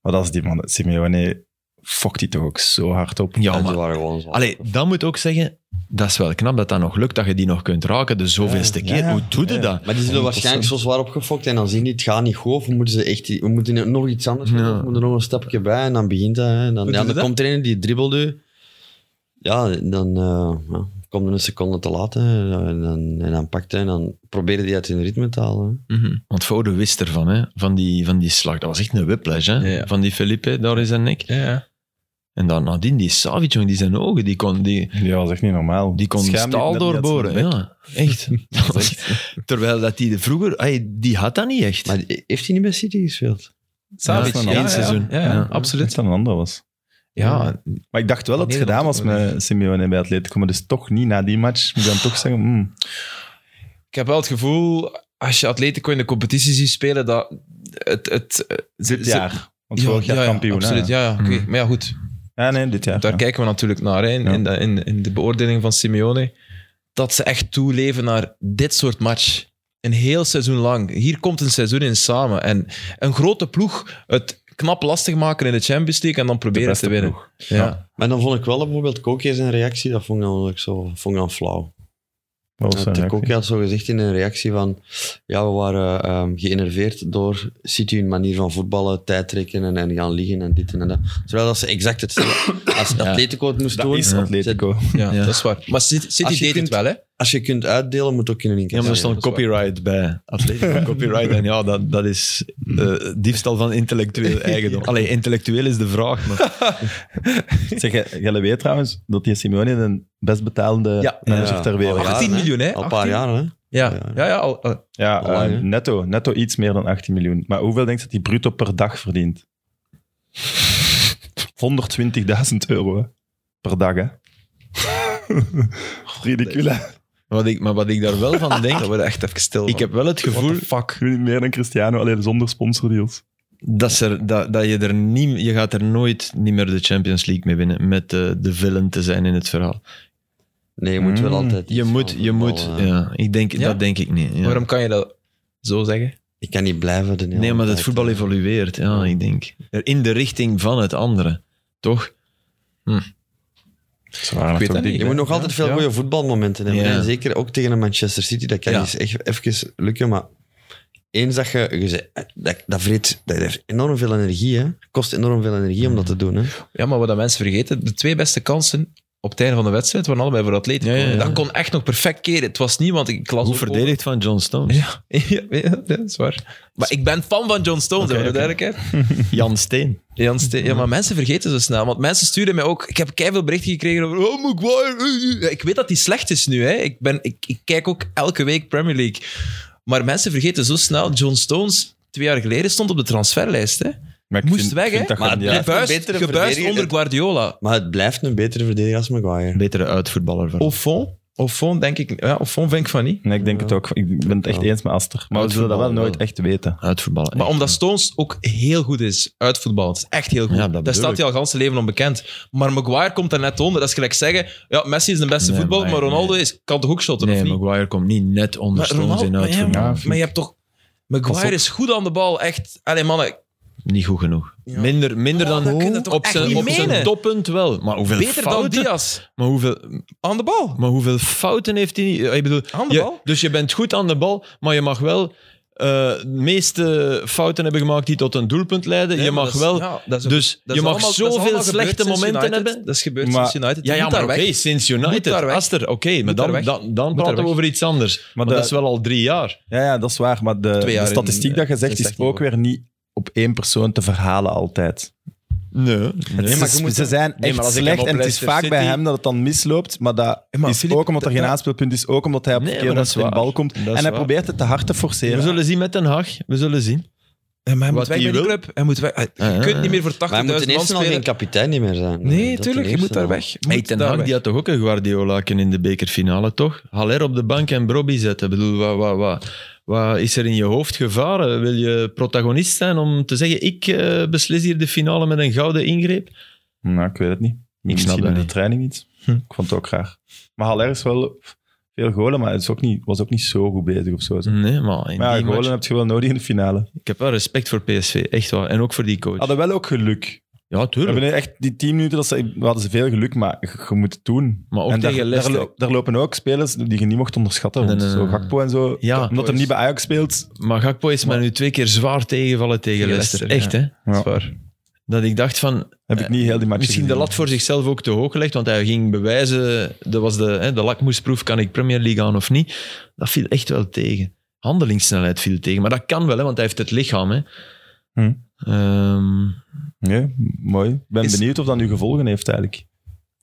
Speaker 4: Maar dat is die man, Simeone, fokt die toch ook zo hard op.
Speaker 3: Ja,
Speaker 2: Ja, die
Speaker 3: maar
Speaker 2: waren gewoon zo.
Speaker 3: allee, dat moet ook zeggen, dat is wel knap dat dat nog lukt, dat je die nog kunt raken de zoveelste
Speaker 4: Ja,
Speaker 3: keer.
Speaker 4: ja,
Speaker 3: Hoe doe je
Speaker 4: ja.
Speaker 3: dat?
Speaker 2: Maar die zullen waarschijnlijk zo zwaar opgefokt en dan zien die het gaat niet goed. Of we moeten ze echt, we moeten nog iets anders doen.
Speaker 3: Ja.
Speaker 2: of We moeten nog een stapje bij en dan begint dat. Hè.
Speaker 1: Hoe
Speaker 2: Dan, ja,
Speaker 1: doe je
Speaker 2: dan
Speaker 1: dat?
Speaker 2: komt er een die dribbelt u. Ja, dan eh, ja, komt er een seconde te laat. Hè. En, dan, en dan pakt hij en dan probeert hij uit zijn ritme te halen. hè.
Speaker 3: Want Foden wist ervan, hè? Van, die, van die slag. Dat was echt een whiplash, hè?
Speaker 1: Ja, ja.
Speaker 3: van die Felipe daar in zijn nek.
Speaker 1: Ja, ja.
Speaker 3: En dan nadien die Savic, jongen, die zijn ogen, die kon, die,
Speaker 4: Ja, dat was echt niet normaal.
Speaker 3: die kon
Speaker 4: Schaam je
Speaker 3: staal
Speaker 4: net niet uit zijn
Speaker 3: doorboren.
Speaker 4: bek.
Speaker 3: Ja, echt. Dat was echt- Terwijl dat die de vroeger, ay, die had dat niet echt.
Speaker 2: Maar die- heeft hij niet bij City gespeeld?
Speaker 1: Savic,
Speaker 4: dat is
Speaker 1: ja,
Speaker 4: een
Speaker 1: ja,
Speaker 4: ander
Speaker 3: seizoen.
Speaker 1: Ja, ja,
Speaker 3: Ja.
Speaker 4: Ik
Speaker 1: absoluut.
Speaker 4: dacht dat een ander was.
Speaker 1: Ja,
Speaker 4: Maar ik dacht wel dat het
Speaker 1: Nee, dat
Speaker 4: gedaan was
Speaker 1: moet ook wel.
Speaker 4: met Simeone bij Atletico, maar dus toch niet na die match. Moet je dan toch zeggen, mm,
Speaker 1: ik heb wel het gevoel, als je Atletico in de competitie ziet spelen, dat het... het eh,
Speaker 4: dit
Speaker 1: ze-
Speaker 4: jaar. Want
Speaker 1: Ja,
Speaker 4: vorig jaar
Speaker 1: ja, ja,
Speaker 4: kampioen. hè.
Speaker 1: Absoluut, ja. ja oké.
Speaker 3: Mm.
Speaker 1: Maar ja, goed.
Speaker 4: Ja, nee, dit jaar.
Speaker 1: Daar
Speaker 4: ja.
Speaker 1: kijken we natuurlijk naar hè, in,
Speaker 4: Ja.
Speaker 1: in, de, in, in de beoordeling van Simeone. Dat ze echt toeleven naar dit soort match. Een heel seizoen lang. Hier komt een seizoen in samen. En een grote ploeg het knap lastig maken in de Champions League en dan
Speaker 4: De
Speaker 1: proberen
Speaker 4: beste
Speaker 1: te winnen.
Speaker 4: ploeg.
Speaker 1: Ja.
Speaker 2: Maar dan vond ik wel bijvoorbeeld Koke zijn reactie, dat vond ik dan, ook zo, vond ik dan flauw.
Speaker 4: Wat was
Speaker 2: Ja, Ter
Speaker 4: zijn reactie?
Speaker 2: Koke had zo gezegd in een reactie van... Ja, we waren ehm, geënerveerd door City hun manier van voetballen, tijd trekken en, en gaan liggen en dit en dat. Terwijl dat ze exact hetzelfde als Atletico het moest
Speaker 4: Dat
Speaker 2: doen.
Speaker 4: is Atletico.
Speaker 1: Ja,
Speaker 3: Ja.
Speaker 1: dat is waar. Maar City, City
Speaker 2: Als je
Speaker 1: deed
Speaker 2: kunt-
Speaker 1: het wel, hè?
Speaker 2: als je kunt uitdelen, moet ook in een
Speaker 3: Ja,
Speaker 2: incasseren.
Speaker 3: maar er stond
Speaker 1: dat is waar.
Speaker 3: copyright bij. Atletico copyright. En ja, dat, dat is
Speaker 4: Hmm.
Speaker 3: eh, diefstal van intellectueel eigendom. Allee, intellectueel is de vraag, maar...
Speaker 4: Zeg, jij- jij weet trouwens dat die Simeone de best betalende
Speaker 1: Ja.
Speaker 4: manager
Speaker 2: Ja.
Speaker 4: ter wereld
Speaker 2: Al
Speaker 1: 18
Speaker 2: hè?
Speaker 1: miljoen, hè?
Speaker 2: Al een
Speaker 1: 18.
Speaker 2: paar jaar, hè?
Speaker 1: Ja, ja, ja al, al-
Speaker 4: Ja,
Speaker 2: Al lang,
Speaker 4: eh,
Speaker 2: hè?
Speaker 4: netto, netto iets meer dan 18 miljoen. Maar hoeveel denk je dat hij bruto per dag verdient? 120.000 euro hè? per dag, hè? Ridicule. hè?
Speaker 3: Wat ik, maar wat ik daar wel van denk...
Speaker 1: dat wordt echt even stil.
Speaker 3: Ik heb wel het gevoel
Speaker 4: Ik weet niet meer dan Cristiano, alleen zonder sponsordeals.
Speaker 3: dat, ze er, dat, dat je er niet... Je gaat er nooit niet meer de Champions League mee winnen met eh, de villain te zijn in het verhaal.
Speaker 2: Nee, je moet wel eh,
Speaker 4: Mm.
Speaker 2: altijd.
Speaker 3: Je
Speaker 2: iets
Speaker 3: moet...
Speaker 2: van
Speaker 3: Je moet
Speaker 2: voetballen, hè.
Speaker 3: ja, ik denk,
Speaker 1: Ja?
Speaker 3: Dat denk ik niet. ja.
Speaker 1: Waarom kan je dat zo zeggen?
Speaker 2: Ik kan niet blijven. De hele
Speaker 3: Nee, maar het
Speaker 2: tijd, eh.
Speaker 3: voetbal
Speaker 2: hè.
Speaker 3: evolueert. Ja, ik denk. In de richting van het andere. Toch?
Speaker 1: Ik weet dat niet.
Speaker 2: Je moet nog
Speaker 1: Ja,
Speaker 2: altijd veel
Speaker 1: ja.
Speaker 2: goede voetbalmomenten hebben.
Speaker 3: Ja.
Speaker 2: En zeker ook tegen een Manchester City. Dat kan
Speaker 3: Ja.
Speaker 2: eens echt even lukken. Maar eens dat je... je zei- dat, dat vreet dat heeft enorm veel energie. Hè. Kost enorm veel energie om dat te doen. Hè.
Speaker 1: Ja, maar wat dat mensen vergeten, de twee beste kansen op het einde van de wedstrijd waren allebei voor Atletico.
Speaker 3: Ja, ja, ja.
Speaker 1: Dat kon echt nog perfect keren. Het was niet, want ik las
Speaker 3: Hoe
Speaker 1: ook
Speaker 3: verdedigd van John Stones?
Speaker 1: Ja, ja, dat is waar. Maar ik ben fan van John Stones,
Speaker 3: Oké,
Speaker 1: hè, voor de
Speaker 3: oké.
Speaker 1: duidelijkheid.
Speaker 3: Jan Steen.
Speaker 1: Jan Steen- ja, maar mensen vergeten zo snel. Want mensen sturen mij ook... Ik heb keiveel berichten gekregen over... Oh, Maguire. eh, eh. Ik weet dat hij slecht is nu. Hè. Ik, ben, ik, ik kijk ook elke week Premier League. Maar mensen vergeten zo snel... John Stones, twee jaar geleden, stond op de transferlijst. Hè. Moest weg, hè?
Speaker 4: Dat
Speaker 2: Maar
Speaker 4: je-
Speaker 2: het
Speaker 4: ja.
Speaker 2: blijft-
Speaker 1: Gebuist,
Speaker 2: een betere
Speaker 1: gebuist
Speaker 2: verdediger.
Speaker 1: onder Guardiola.
Speaker 2: Maar het blijft een betere verdediger als Maguire.
Speaker 3: Betere uitvoetballer van.
Speaker 1: Au fond, au fond denk ik... Ja, au fond vind ik van niet.
Speaker 4: Nee, ik denk
Speaker 2: Ja.
Speaker 4: het ook. Ik ben het echt
Speaker 2: Ja.
Speaker 4: eens met Aster. Maar
Speaker 3: Maar
Speaker 4: we zullen dat wel
Speaker 3: voetbal
Speaker 4: nooit
Speaker 3: wel.
Speaker 4: echt weten.
Speaker 3: uitvoetballer.
Speaker 1: Maar
Speaker 3: echt.
Speaker 1: omdat Stones ook heel goed is uit voetbal. Het is echt heel goed.
Speaker 3: Ja, dat
Speaker 1: Daar
Speaker 3: bedoel
Speaker 1: staat
Speaker 3: ik.
Speaker 1: hij al gans zijn leven onbekend. Maar Maguire komt daar net onder. Dat is gelijk zeggen, ja, Messi is de beste
Speaker 3: Nee,
Speaker 1: voetballer, maar
Speaker 3: maar-
Speaker 1: Ronaldo is, kan toch ook shotten,
Speaker 3: nee,
Speaker 1: of niet?
Speaker 3: Maguire komt niet net onder
Speaker 1: Maar
Speaker 3: Stones
Speaker 1: Ronaldo-
Speaker 3: in
Speaker 1: maar ja,
Speaker 3: uitvoetbal.
Speaker 4: Ja.
Speaker 1: Maar je hebt toch...
Speaker 4: Pas op.
Speaker 1: Maguire is goed aan de bal, echt. Allee, mannen,
Speaker 3: Niet goed genoeg. Minder, minder
Speaker 1: Oh,
Speaker 3: dan
Speaker 1: dat kun je toch
Speaker 3: op,
Speaker 1: echt
Speaker 3: zijn,
Speaker 1: niet
Speaker 3: op zijn
Speaker 1: menen?
Speaker 3: toppunt wel. Maar hoeveel
Speaker 1: beter dan
Speaker 3: fouten?
Speaker 1: Diaz.
Speaker 3: maar, hoeveel,
Speaker 1: Aan de bal.
Speaker 3: maar hoeveel fouten heeft hij? niet? Ik bedoel,
Speaker 1: Aan de
Speaker 3: je-
Speaker 1: bal.
Speaker 3: dus je bent goed aan de bal, maar je mag wel eh, de meeste fouten hebben gemaakt die tot een doelpunt leiden.
Speaker 1: Nee,
Speaker 3: je
Speaker 1: maar
Speaker 3: mag
Speaker 1: dat is-
Speaker 3: wel.
Speaker 1: ja, dat is-
Speaker 3: dus
Speaker 1: dat
Speaker 3: je
Speaker 1: is
Speaker 3: mag
Speaker 1: allemaal- dat is allemaal
Speaker 3: zoveel
Speaker 1: gebeurd
Speaker 3: slechte
Speaker 1: sinds
Speaker 3: momenten
Speaker 1: United.
Speaker 3: hebben.
Speaker 1: Dat is gebeurd
Speaker 4: Maar-
Speaker 1: sinds United.
Speaker 3: Ja,
Speaker 1: Je
Speaker 3: ja
Speaker 1: moet
Speaker 3: maar
Speaker 1: daar
Speaker 3: oké,
Speaker 1: weg.
Speaker 3: sinds
Speaker 1: Moet
Speaker 3: United.
Speaker 1: daar weg.
Speaker 3: Aster, oké,
Speaker 1: daar
Speaker 3: maar dan,
Speaker 1: weg.
Speaker 3: dan, dan
Speaker 1: daar
Speaker 3: praten we
Speaker 1: weg.
Speaker 3: over iets anders. Maar
Speaker 4: de-
Speaker 3: dat is wel al drie jaar.
Speaker 4: Ja, ja, dat is waar. Maar de,
Speaker 1: Twee
Speaker 4: de
Speaker 1: jaar in,
Speaker 4: statistiek dat je
Speaker 1: eh,
Speaker 4: zegt, is
Speaker 1: 16
Speaker 4: ook weer niet op één persoon te verhalen altijd.
Speaker 3: Nee,
Speaker 4: Nee, maar
Speaker 2: je moet-
Speaker 4: ze zijn echt
Speaker 3: Nee, maar als ik hem
Speaker 4: slecht
Speaker 3: op
Speaker 4: en het is
Speaker 3: Leicester
Speaker 4: vaak bij
Speaker 3: City-
Speaker 4: hem dat het dan misloopt. Maar dat
Speaker 1: maar
Speaker 4: is
Speaker 1: Filip,
Speaker 4: ook omdat er
Speaker 1: dat-
Speaker 4: geen aanspeelpunt is. Ook omdat hij op
Speaker 3: Nee,
Speaker 4: het
Speaker 3: maar
Speaker 4: verkeerde
Speaker 3: dat is
Speaker 4: moment in de
Speaker 3: waar.
Speaker 4: bal komt.
Speaker 3: Dat
Speaker 4: En
Speaker 3: is
Speaker 4: hij
Speaker 3: waar.
Speaker 4: probeert het te hard te forceren.
Speaker 3: We zullen zien met Den Haag. We zullen zien.
Speaker 1: Ja, maar hij moet
Speaker 3: Wat
Speaker 1: weg
Speaker 3: die
Speaker 1: bij die
Speaker 3: wil.
Speaker 1: club. Hij moet weg. Je
Speaker 3: Ah,
Speaker 1: kunt niet meer voor 80.000
Speaker 2: Maar hij
Speaker 1: man
Speaker 2: moet ten eerste al
Speaker 1: spelen.
Speaker 2: geen kapitein niet meer zijn. Eh,
Speaker 1: Nee,
Speaker 2: Dat
Speaker 1: tuurlijk.
Speaker 2: ten
Speaker 1: Je moet
Speaker 2: eerste
Speaker 1: daar
Speaker 2: al.
Speaker 1: weg. Je
Speaker 3: Hey,
Speaker 1: moet
Speaker 3: Ten
Speaker 1: daar
Speaker 3: Hag
Speaker 1: weg.
Speaker 3: die had toch ook een Guardiolaken in de bekerfinale, toch? Haller op de bank en Brobby zetten. Ik bedoel, wat, wat, wat, wat is er in je hoofd gevaren? Wil je protagonist zijn om te zeggen, ik eh, beslis hier de finale met een gouden ingreep?
Speaker 4: Nou, ik weet het niet. Misschien
Speaker 3: snap dat
Speaker 4: in de
Speaker 3: niet. Hm.
Speaker 4: training niet. Ik vond het ook graag. Maar Haller is wel veel golen, maar het is ook niet, was ook niet zo goed bezig of zo.
Speaker 3: Nee, maar in
Speaker 4: Maar ja,
Speaker 3: die
Speaker 4: golen
Speaker 3: match-
Speaker 4: heb je wel nodig in de finale.
Speaker 3: ik heb wel respect voor PSV, echt waar. En ook voor die coach.
Speaker 4: Hadden wel ook geluk.
Speaker 3: Ja,
Speaker 4: We
Speaker 3: tuurlijk.
Speaker 4: hebben echt die 10 minuten, dat ze, we hadden ze veel geluk, maar je- je moet het doen.
Speaker 3: Maar ook
Speaker 4: en daar,
Speaker 3: tegen
Speaker 4: daar,
Speaker 3: Leicester.
Speaker 4: lo- daar lopen ook spelers die je niet mocht onderschatten. Want
Speaker 3: Nee, nee,
Speaker 4: zo
Speaker 3: nee.
Speaker 4: Gakpo en zo.
Speaker 3: Ja,
Speaker 4: omdat hij niet bij Ajax speelt.
Speaker 3: Maar Gakpo is mij nu twee keer zwaar tegenvallen tegen
Speaker 1: Tegen
Speaker 3: Leicester. Echt,
Speaker 1: Leicester,
Speaker 3: hè?
Speaker 1: Dat
Speaker 4: Ja.
Speaker 1: is waar.
Speaker 3: Dat ik dacht van,
Speaker 4: Heb ik niet heel die match
Speaker 3: Eh, Misschien de lat voor zichzelf ook te hoog gelegd, want hij ging bewijzen, dat was de, hè, de lakmoesproef, kan ik Premier League aan of niet. Dat viel echt wel tegen. Handelingssnelheid viel tegen, maar dat kan wel, hè, want hij heeft het lichaam. Hè.
Speaker 4: Hm.
Speaker 3: Ehm,
Speaker 4: Nee, mooi. Ik ben
Speaker 1: Is-
Speaker 4: benieuwd of dat nu gevolgen heeft eigenlijk.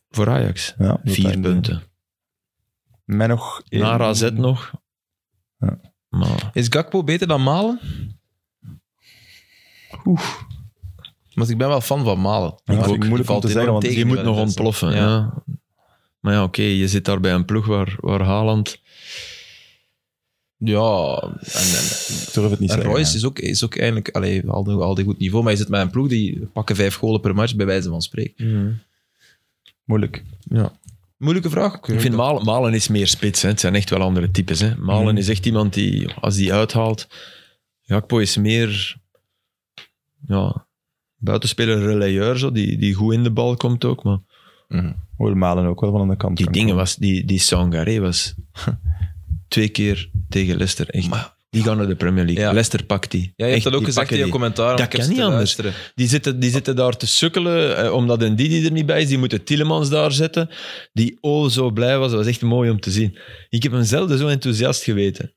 Speaker 3: voor Ajax,
Speaker 4: Ja, dat
Speaker 3: vier
Speaker 4: hij-
Speaker 3: punten.
Speaker 4: Met nog één.
Speaker 3: Naar AZ nog.
Speaker 4: Ja.
Speaker 3: Maar,
Speaker 1: Is Gakpo beter dan Malen? Oeh. Want ik ben wel fan van Malen.
Speaker 4: Ja,
Speaker 1: Maar
Speaker 4: dat vind ik
Speaker 1: ook,
Speaker 4: moeilijk om
Speaker 1: valt
Speaker 4: te zeggen,
Speaker 1: enorm
Speaker 4: want
Speaker 1: tegen
Speaker 3: je moet
Speaker 1: bij
Speaker 3: nog
Speaker 1: Leicester.
Speaker 3: ontploffen. Ja. Maar ja, oké, je zit daar bij een ploeg waar, waar Haaland...
Speaker 1: Ja, en,
Speaker 4: Ik durf
Speaker 1: en,
Speaker 4: het niet
Speaker 1: en
Speaker 4: zeggen.
Speaker 1: Royce is ook, is ook eigenlijk allee, al een al die goed niveau, maar je zit met een ploeg die pakken vijf golen per match, bij wijze van spreken.
Speaker 4: Moeilijk.
Speaker 1: Moeilijke vraag.
Speaker 3: Ik vind Malen, Malen is meer spits. Hè. Het zijn echt wel andere types. Hè. Malen
Speaker 4: Mhm.
Speaker 3: is echt iemand die, als die uithaalt... Gakpo is meer... Ja, buitenspeler, relayeur, zo, die, die goed in de bal komt ook. Maar
Speaker 4: Hoor Malen ook wel van aan de kant.
Speaker 3: die
Speaker 4: kan
Speaker 3: dingen
Speaker 4: komen.
Speaker 3: was... Die, die Sangaré was twee keer tegen Leicester echt Die gaan naar de Premier League.
Speaker 1: Ja.
Speaker 3: Leicester pakt die.
Speaker 1: Ja, je
Speaker 3: Echt,
Speaker 1: hebt dat ook
Speaker 3: die
Speaker 1: gezegd
Speaker 3: pakken
Speaker 1: in je
Speaker 3: die.
Speaker 1: commentaar. want
Speaker 3: Dat
Speaker 1: ik heb
Speaker 3: kan
Speaker 1: ze
Speaker 3: niet
Speaker 1: te
Speaker 3: anders.
Speaker 1: luisteren.
Speaker 3: Die zitten, die zitten daar te sukkelen, eh, omdat een Didi er niet bij is. Die moeten Tillemans daar zetten, die oh zo blij was. Dat was echt mooi om te zien. Ik heb hem zelden zo enthousiast geweten.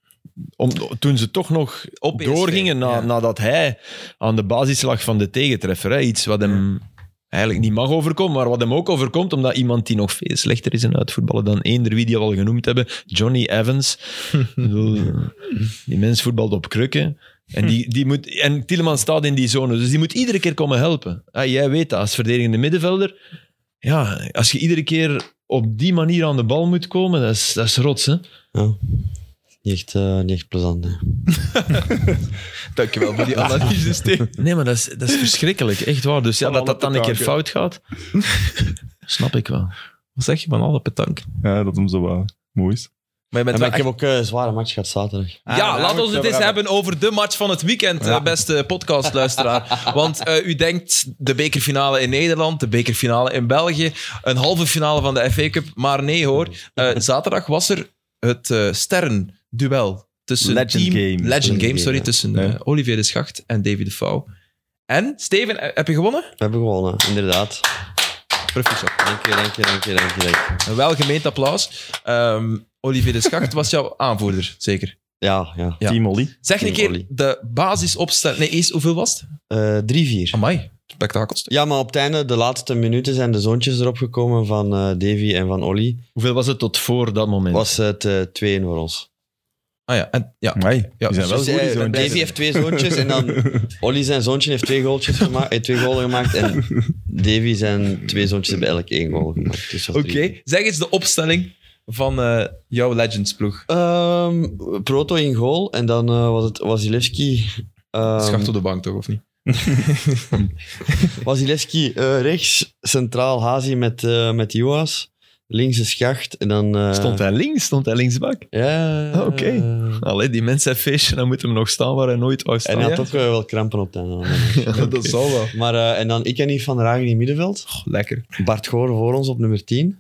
Speaker 3: Om, toen ze toch nog
Speaker 1: Op PSV,
Speaker 3: doorgingen na,
Speaker 1: ja.
Speaker 3: nadat hij aan de basis lag van de tegentreffer. Hè? Iets wat hem eigenlijk niet mag overkomen, maar wat hem ook overkomt, omdat iemand die nog veel slechter is in uitvoetballen dan eender wie die we al genoemd hebben, Johnny Evans. Ik bedoel, die mens voetbalt op krukken. En, die, die moet, en Tielemans staat in die zone, dus die moet iedere keer komen helpen. Ah, jij weet dat, als verdedigende middenvelder, ja, als je iedere keer op die manier aan de bal moet komen, dat is, dat is rots, hè?
Speaker 2: Ja. Niet echt, eh, niet echt plezant. Hè.
Speaker 1: Dankjewel voor die analyse, Steve.
Speaker 3: Nee, maar dat is, dat is verschrikkelijk, echt waar. Dus ja,
Speaker 4: Van
Speaker 3: dat
Speaker 4: alle
Speaker 3: dat dan een keer
Speaker 4: petanken.
Speaker 3: fout gaat, snap ik wel.
Speaker 1: Wat zeg je van alle petank?
Speaker 4: Ja, dat hem zo wat mooi is.
Speaker 1: Maar je bent wel
Speaker 2: Ja, maar ik heb ook eh, een zware match gehad zaterdag.
Speaker 1: Ja, laat ons het eens hebben over de match van het weekend, eh, beste podcastluisteraar. Want eh, u denkt de bekerfinale in Nederland, de bekerfinale in België, een halve finale van de FA Cup. Maar nee hoor, Eh, zaterdag was er het eh, sterrenduel tussen
Speaker 4: Legend
Speaker 1: team,
Speaker 4: Game.
Speaker 1: Legend,
Speaker 2: Legend
Speaker 1: Game,
Speaker 2: Game,
Speaker 1: sorry,
Speaker 2: ja.
Speaker 1: tussen
Speaker 4: Nee.
Speaker 1: eh, Olivier de Schacht en David de Fouw. En, Steven, eh, heb je gewonnen?
Speaker 2: We hebben gewonnen, inderdaad.
Speaker 1: Proficiat.
Speaker 2: Dank je, dank je, dank je, dank je. dank je.
Speaker 1: Een welgemeend applaus. Ehm, Olivier de Schacht was jouw aanvoerder, zeker.
Speaker 2: Ja, ja.
Speaker 1: Ja.
Speaker 4: Team Olly.
Speaker 1: Zeg een
Speaker 2: Team
Speaker 1: keer
Speaker 2: Ollie.
Speaker 1: de basisopstelling. Nee, eerst, hoeveel was het?
Speaker 2: Eh, 3-4.
Speaker 1: Amai, spektakelstuk.
Speaker 2: Ja, maar op het einde, de laatste minuten, zijn de zoontjes erop gekomen van eh, Davy en van Olly.
Speaker 3: Hoeveel was het tot voor dat moment?
Speaker 2: Was het eh 2-1 voor ons.
Speaker 1: Ah ja, en, ja.
Speaker 4: Amai,
Speaker 1: Ja,
Speaker 4: die zijn wel
Speaker 2: Dus,
Speaker 4: goed, die
Speaker 2: eh,
Speaker 4: zoontjes.
Speaker 2: Davy heeft twee zoontjes en dan Olly zijn zoontje heeft twee, goaltjes gemaakt, eh, twee goals gemaakt. En Davy zijn twee zoontjes hebben elk één goal gemaakt. Dus dat was
Speaker 1: Oké,
Speaker 2: drie.
Speaker 1: zeg eens de opstelling van eh, jouw Legends-ploeg.
Speaker 2: Ehm, Proto in goal en dan eh, was het Wasilewski. ehm,
Speaker 1: Schacht op de bank toch, of niet?
Speaker 2: Wasilewski eh, rechts, centraal Hazi met, eh met Joas. Links een schacht en dan... eh,
Speaker 3: Stond hij links? Stond hij linksbak?
Speaker 2: Ja.
Speaker 3: Ah, oké.
Speaker 2: eh,
Speaker 3: Allee, die mensen hebben feestje, dan moet hem nog staan waar hij nooit wou
Speaker 2: En
Speaker 3: staan.
Speaker 2: hij
Speaker 3: Ja.
Speaker 2: had ook eh, wel krampen op het einde.
Speaker 1: Dat zal wel.
Speaker 2: Maar, eh, en dan ik en Yves van der Hagen in het middenveld.
Speaker 1: lekker.
Speaker 2: Bart Goor voor ons op nummer 10.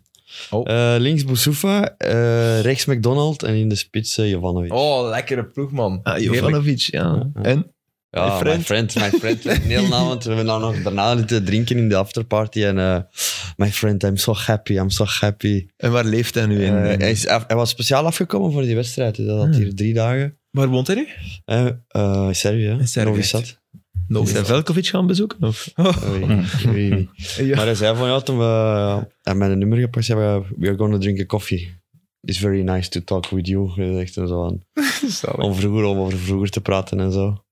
Speaker 1: Oh.
Speaker 2: Eh, links Boussoufa, eh, rechts McDonald en in de spits eh, Jovanovic.
Speaker 1: Oh, lekkere ploeg, man.
Speaker 3: Ah,
Speaker 1: Heerlijk.
Speaker 3: Jovanovic, ja. En?
Speaker 2: ja,
Speaker 3: my friend.
Speaker 2: my friend, my friend. We hebben Heel na, want we hebben dan nog daarna zitten drinken in de afterparty. En eh, my friend, I'm so happy, I'm so happy.
Speaker 3: en waar leeft hij nu
Speaker 2: Eh,
Speaker 3: in?
Speaker 2: hij, is af- hij was speciaal afgekomen voor die wedstrijd. dus Dat had
Speaker 3: Hmm.
Speaker 2: hier drie dagen.
Speaker 1: Waar woont hij nu?
Speaker 2: Eh eh Servië, hè?
Speaker 1: In Servië.
Speaker 2: Novi Sad.
Speaker 3: is hij Velkovic gaan bezoeken? Of?
Speaker 2: Eh, weet ik niet, weet ik niet. Maar hij zei van ja, toen we hem mijn nummer gepakt hebben, we are going to drink a coffee. It's very nice to talk with you. Gezegd en zo aan. Om vroeger, om over vroeger te praten en zo.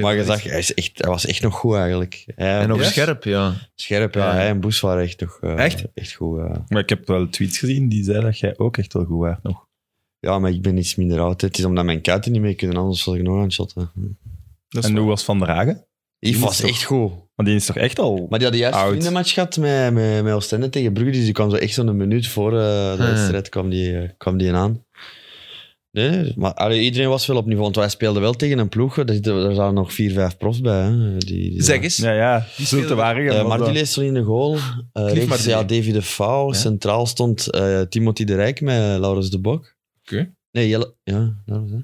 Speaker 2: Maar je zag, hij, is echt, hij was echt nog goed eigenlijk. Hij,
Speaker 3: En nog
Speaker 1: Ja.
Speaker 3: scherp, ja.
Speaker 2: scherp, ja.
Speaker 1: Ja.
Speaker 2: Hij en Boes waren echt nog eh,
Speaker 1: Echt?
Speaker 2: echt goed. eh.
Speaker 4: Maar ik heb wel tweets gezien die zeiden dat jij ook echt wel goed waart nog.
Speaker 2: Ja, maar ik ben iets minder oud. hè. Het is omdat mijn kuiten niet mee kunnen, anders was ik nog aan het shotten.
Speaker 4: En hoe was Van der Hagen?
Speaker 2: Yves
Speaker 4: is
Speaker 2: was
Speaker 4: toch-
Speaker 2: echt goed.
Speaker 4: Want die is toch echt al...
Speaker 2: Maar die had de juiste
Speaker 4: Oud.
Speaker 2: vriendenmatch gehad met, met, met Oostende tegen Brugge. Dus die kwam zo echt zo'n minuut voor eh, de
Speaker 3: Ah.
Speaker 2: wedstrijd kwam die, eh, kwam die aan. Nee, nee, maar allee, iedereen was wel op niveau. Want wij speelden wel tegen een ploeg. Daar, zitten- daar zaten nog vier, vijf profs bij. Hè. Die, die-
Speaker 1: Zeg eens.
Speaker 4: Ja, ja. Zult
Speaker 1: speelde-
Speaker 4: te waren.
Speaker 2: Eh, Martinez stond in de goal. Eh rechts,
Speaker 1: Martinez.
Speaker 2: ja, Davy de Fouw.
Speaker 1: Ja.
Speaker 2: Centraal stond eh, Timothy de Rijk met eh, Laurens de Bok.
Speaker 1: Oké.
Speaker 2: Nee, Jelle, ja, Laurens, hè.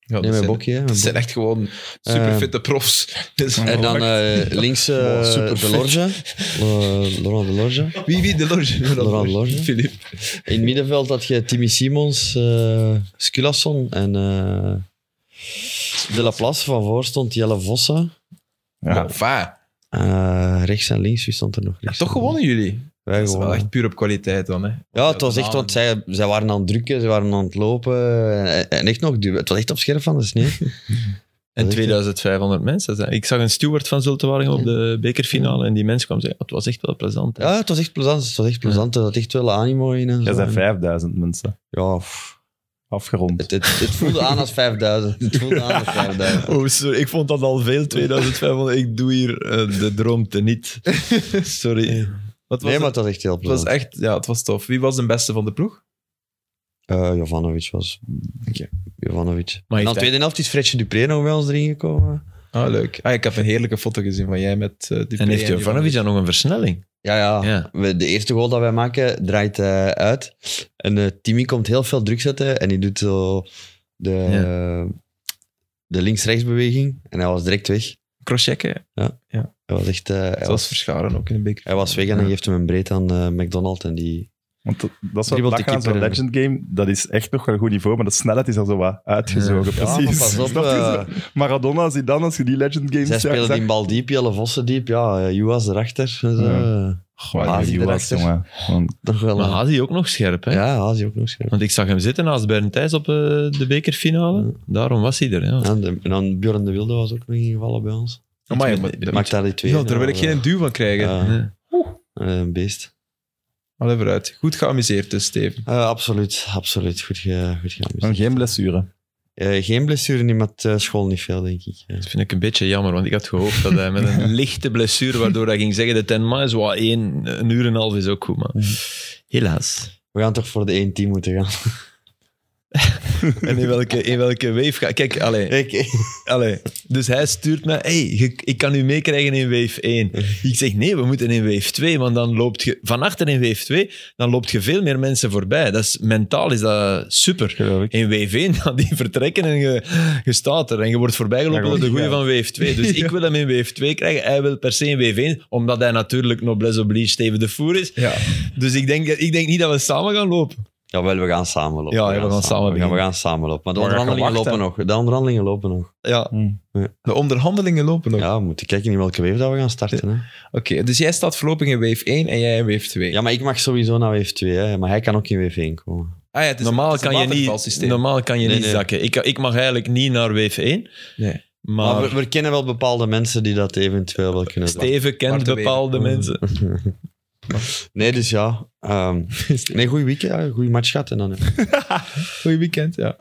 Speaker 1: Ja,
Speaker 2: nee,
Speaker 1: dat
Speaker 2: met
Speaker 1: zijn,
Speaker 2: Bokje. hè, met
Speaker 1: dat zijn
Speaker 2: Bok.
Speaker 1: echt gewoon
Speaker 3: Eh,
Speaker 1: superfitte profs. Dus-
Speaker 2: En dan eh, links eh,
Speaker 4: Wow, super
Speaker 2: de
Speaker 4: fit.
Speaker 2: Lorge. Eh, Laurent de Lorge.
Speaker 1: wie, wie? De Lorge?
Speaker 2: Laurent Lorge.
Speaker 1: Philippe.
Speaker 2: In het middenveld had je Timmy Simons, eh Sculasson en eh De La Place. Van voor stond Jelle Vossen.
Speaker 1: Ja.
Speaker 4: Ja,
Speaker 2: Eh, rechts en links, wie stond er nog
Speaker 1: Ja,
Speaker 2: rechts?
Speaker 1: toch gewonnen jullie. Dat
Speaker 2: Wij
Speaker 1: is wel
Speaker 2: gewonnen.
Speaker 1: echt puur op kwaliteit dan. Hè.
Speaker 2: Ja, het was echt, want zij, zij waren aan het drukken, ze waren aan het lopen. eh, En, en echt nog, duwen. het was echt op scherp van de sneeuw.
Speaker 3: En
Speaker 2: echt,
Speaker 3: 2500 mensen. dat is- Ik zag een steward van Zultewaringen op de bekerfinale en die mens kwam zeggen, het was echt wel plezant. hè."
Speaker 2: Ja, het was echt plezant, het was echt plezant. Er zat echt wel animo in en
Speaker 4: jij
Speaker 2: zo.
Speaker 4: zijn 5000 mensen.
Speaker 2: Ja, pff.
Speaker 4: Afgerond.
Speaker 2: het, het, het voelde aan als 5000. Het voelde aan als 5000.
Speaker 3: Oh, sorry, ik vond dat al veel, 2500. ik doe hier eh, de droom te niet. Sorry.
Speaker 1: Wat was
Speaker 2: Nee, maar
Speaker 1: het?
Speaker 2: het was echt heel
Speaker 1: Het was
Speaker 2: plezant.
Speaker 1: echt, ja, het was tof. Wie was de beste van de ploeg?
Speaker 2: Eh, Jovanovic was. Jovanovic.
Speaker 3: Maar
Speaker 2: Maar
Speaker 3: heeft
Speaker 2: de tweede helft is Fredje Dupré nog bij ons erin gekomen.
Speaker 1: Ah, leuk. Ah, ik heb een heerlijke foto gezien van jij met eh Dupré
Speaker 3: En heeft Jovanovic dan nog een versnelling?
Speaker 2: Ja, ja.
Speaker 3: Ja.
Speaker 2: We- De eerste goal dat wij maken draait hij uit. eh, En eh Timmy komt heel veel druk zetten en die doet zo de,
Speaker 3: Ja.
Speaker 2: eh, de links-rechtsbeweging en hij was direct weg.
Speaker 1: Crosschecken.
Speaker 2: Hij was echt... eh, hij,
Speaker 3: Zoals
Speaker 2: was,
Speaker 3: Verscharen ook in de beker.
Speaker 2: hij was weg en hij
Speaker 3: Ja.
Speaker 2: geeft hem een breed aan eh, McDonald en die...
Speaker 4: Want dat, dat is
Speaker 2: Dribbelt
Speaker 4: wat
Speaker 2: de
Speaker 4: lachen aan zo'n
Speaker 2: keeper,
Speaker 4: Legend Game. Dat is echt nog wel een goed niveau, maar de snelheid is er zo wat uitgezogen.
Speaker 2: Ja, maar
Speaker 4: precies.
Speaker 2: pas op.
Speaker 4: Snap je?
Speaker 2: eh,
Speaker 4: Maradona, Zidane, als je die Legend Games
Speaker 2: zij
Speaker 4: zag-
Speaker 2: spelen
Speaker 4: zag-
Speaker 2: die bal diep, Jelle Vossen diep. Ja, eh, Juas erachter. Dus,
Speaker 4: Ja.
Speaker 2: eh,
Speaker 4: Goh,
Speaker 2: Hazi
Speaker 4: die was,
Speaker 2: erachter.
Speaker 4: jongen. Want
Speaker 2: toch wel...
Speaker 3: Maar
Speaker 2: een-
Speaker 3: Hazi ook nog scherp, hè?
Speaker 2: ja, Hazi ook nog scherp.
Speaker 3: Want ik zag hem zitten naast Bernd Thijs op eh, de bekerfinale. Daarom was hij er, ja.
Speaker 2: Oh, Ja, de- en dan Bjorn de Wilde was ook nog ingevallen bij ons.
Speaker 1: Amai,
Speaker 3: Ik
Speaker 1: maar-
Speaker 3: weet-
Speaker 2: Maakt daar die twee.
Speaker 1: Ja, daar wil ik geen duw van krijgen.
Speaker 2: Ja.
Speaker 3: Nee.
Speaker 2: Eh, Een beest.
Speaker 1: Allee, vooruit. Goed geamuseerd dus, Steven.
Speaker 2: Eh, absoluut, absoluut. Goed, ge, goed geamuseerd.
Speaker 4: en geen blessure.
Speaker 2: Eh, geen blessure, niet met eh, school niet veel, denk ik. Eh,
Speaker 3: Dat vind ik een beetje jammer, want ik had gehoopt dat hij met een lichte blessure, waardoor hij ging zeggen de 10 miles, wat één, een uur en een half is ook goed, maar helaas.
Speaker 2: we gaan toch voor de 1 team moeten gaan.
Speaker 3: En in welke, in welke wave ga Kijk, allee,
Speaker 2: Ik,
Speaker 3: allee. Dus hij stuurt mij, hey, je- ik kan u meekrijgen in wave 1. Ik zeg, nee, we moeten in wave 2, want dan loopt je... Van achter in wave 2, dan loopt je veel meer mensen voorbij. Dat is, mentaal is dat super.
Speaker 4: Geloof ik.
Speaker 3: In wave 1 gaan die vertrekken en je, je staat er. En je wordt voorbijgelopen
Speaker 4: Ja,
Speaker 3: door de
Speaker 4: gewoon
Speaker 3: goeie
Speaker 4: niet
Speaker 3: van wave 2. Dus ik wil hem in wave 2 krijgen. Hij wil per se in wave 1, omdat hij natuurlijk noblesse oblige Steven de Voer is.
Speaker 1: Ja.
Speaker 3: Dus ik denk, ik denk niet dat we samen gaan lopen.
Speaker 2: Jawel, we gaan samen lopen.
Speaker 3: Ja, ja, we gaan samen
Speaker 2: we gaan, we
Speaker 3: beginnen.
Speaker 2: gaan samen lopen. Maar de
Speaker 4: Maar we gaan
Speaker 2: onderhandelingen lopen
Speaker 4: wachten.
Speaker 2: nog. De onderhandelingen lopen nog.
Speaker 3: Ja.
Speaker 1: De onderhandelingen lopen nog.
Speaker 2: Ja, we moeten kijken in welke wave dat we gaan starten. Hè.
Speaker 1: Oké, dus jij staat voorlopig in wave 1 en jij in wave 2.
Speaker 2: Ja, maar ik mag sowieso naar wave 2, hè, maar hij kan ook in wave 1 komen.
Speaker 1: Ah, ja, het is
Speaker 3: normaal,
Speaker 1: het is een
Speaker 3: kan je niet,
Speaker 1: watervalsysteem.
Speaker 3: normaal kan je
Speaker 2: Nee,
Speaker 3: niet
Speaker 2: nee.
Speaker 3: zakken. Ik, ik mag eigenlijk niet naar wave 1.
Speaker 1: Nee.
Speaker 2: Maar,
Speaker 3: Maar,
Speaker 2: we, we kennen wel bepaalde mensen die dat eventueel wel kunnen doen.
Speaker 3: Steven kent
Speaker 1: Zwarte
Speaker 3: bepaalde
Speaker 1: wegen.
Speaker 3: mensen.
Speaker 2: Nee, dus ja. ehm, nee, goeie weekend, ja, goeie match gehad. En dan, nee,
Speaker 1: Goeie weekend, ja.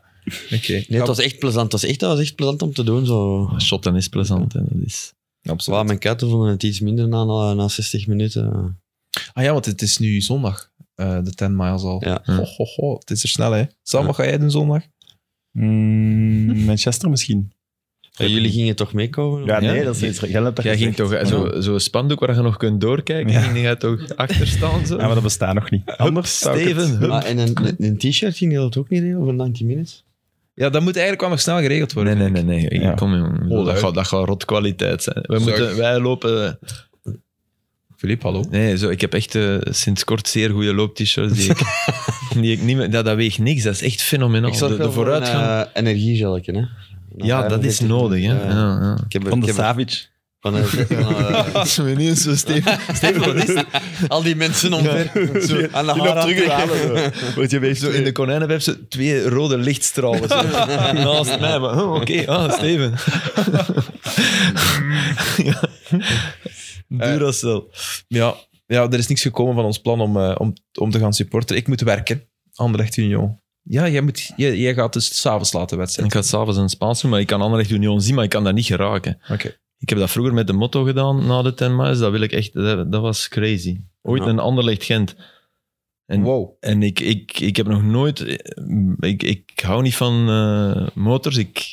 Speaker 1: Oké.
Speaker 2: het was echt plezant. Het was echt, dat was echt plezant om te doen. Zo.
Speaker 3: Shotten is plezant. Hè. Dat is...
Speaker 2: Waar mijn katten vonden het iets minder na, na, na 60 minuten.
Speaker 1: Ah ja, want het is nu zondag, eh, de 10 miles al.
Speaker 2: Ja.
Speaker 1: Ho, ho, ho. Het is er snel, hè. Sam, wat ga jij doen zondag?
Speaker 4: Mm, Manchester misschien.
Speaker 2: En jullie gingen toch meekomen?
Speaker 4: Ja,
Speaker 3: Ja.
Speaker 4: nee, dat is iets. Jij hebt dat
Speaker 3: Jij ging
Speaker 4: gezegd.
Speaker 3: toch zo'n zo spandoek waar je nog kunt doorkijken,
Speaker 4: Ja.
Speaker 3: ging jij toch achterstaan? Zo?
Speaker 4: Ja, maar dat bestaat nog niet. Anders zou ik het-
Speaker 3: Steven, hup.
Speaker 2: Ah, en een, een- een t-shirt ging je dat ook niet delen voor 90 minutes?
Speaker 1: Ja, dat moet eigenlijk wel nog snel geregeld
Speaker 3: Nee,
Speaker 1: worden.
Speaker 3: nee, nee. nee.
Speaker 4: Ja.
Speaker 3: Kom, jongen.
Speaker 1: Oh,
Speaker 3: dat,
Speaker 1: leuk.
Speaker 3: gaat, dat gaat rotkwaliteit zijn. Wij,
Speaker 1: Zeg.
Speaker 3: moeten, wij lopen...
Speaker 1: Filip, hallo.
Speaker 3: Nee, zo, ik heb echt eh, sinds kort zeer goede loop-t-shirts die ik, die ik niet meer... Dat, dat weegt niks, dat is echt fenomenaal. De, de vooruitgang...
Speaker 2: Een eh, energiegelken, hè? Na
Speaker 3: ja, dat is
Speaker 2: 45
Speaker 3: nodig. Hè.
Speaker 2: minuten,
Speaker 3: Ja. Ja,
Speaker 2: Ik heb er-
Speaker 4: Van
Speaker 2: ik
Speaker 4: de
Speaker 2: heb er-
Speaker 4: Savic.
Speaker 2: van de- van, eh,
Speaker 3: Als we niet
Speaker 1: Ah.
Speaker 3: zo stevig...
Speaker 2: Steven, wat is dit? Al die mensen omver. zo, aan de
Speaker 4: Die loopt
Speaker 2: haren
Speaker 4: terug
Speaker 2: aan het halen.
Speaker 4: Word je
Speaker 3: Zo in de konijnen hebben ze twee rode lichtstralen zo, naast mij. maar, oh, Oké, ah, Steven. ja. Duracell.
Speaker 1: Eh. Ja, ja, er is niks gekomen van ons plan om, eh, om, om te gaan supporten. Ik moet werken, Anderlecht Union. Ja, jij, moet, jij, jij gaat dus s'avonds laten wedstrijd.
Speaker 3: Ik ga s'avonds een Spaans doen, maar ik kan Anderlecht Union zien, maar ik kan dat niet geraken.
Speaker 1: Oké.
Speaker 3: Ik heb dat vroeger met de motto gedaan na de 10 miles. Dat, wil ik echt, dat, dat was crazy. Ooit
Speaker 2: Ja.
Speaker 3: een Anderlecht Gent. En,
Speaker 1: Wow.
Speaker 3: en ik, ik, ik heb nog nooit... Ik, ik hou niet van eh, motors. Ik,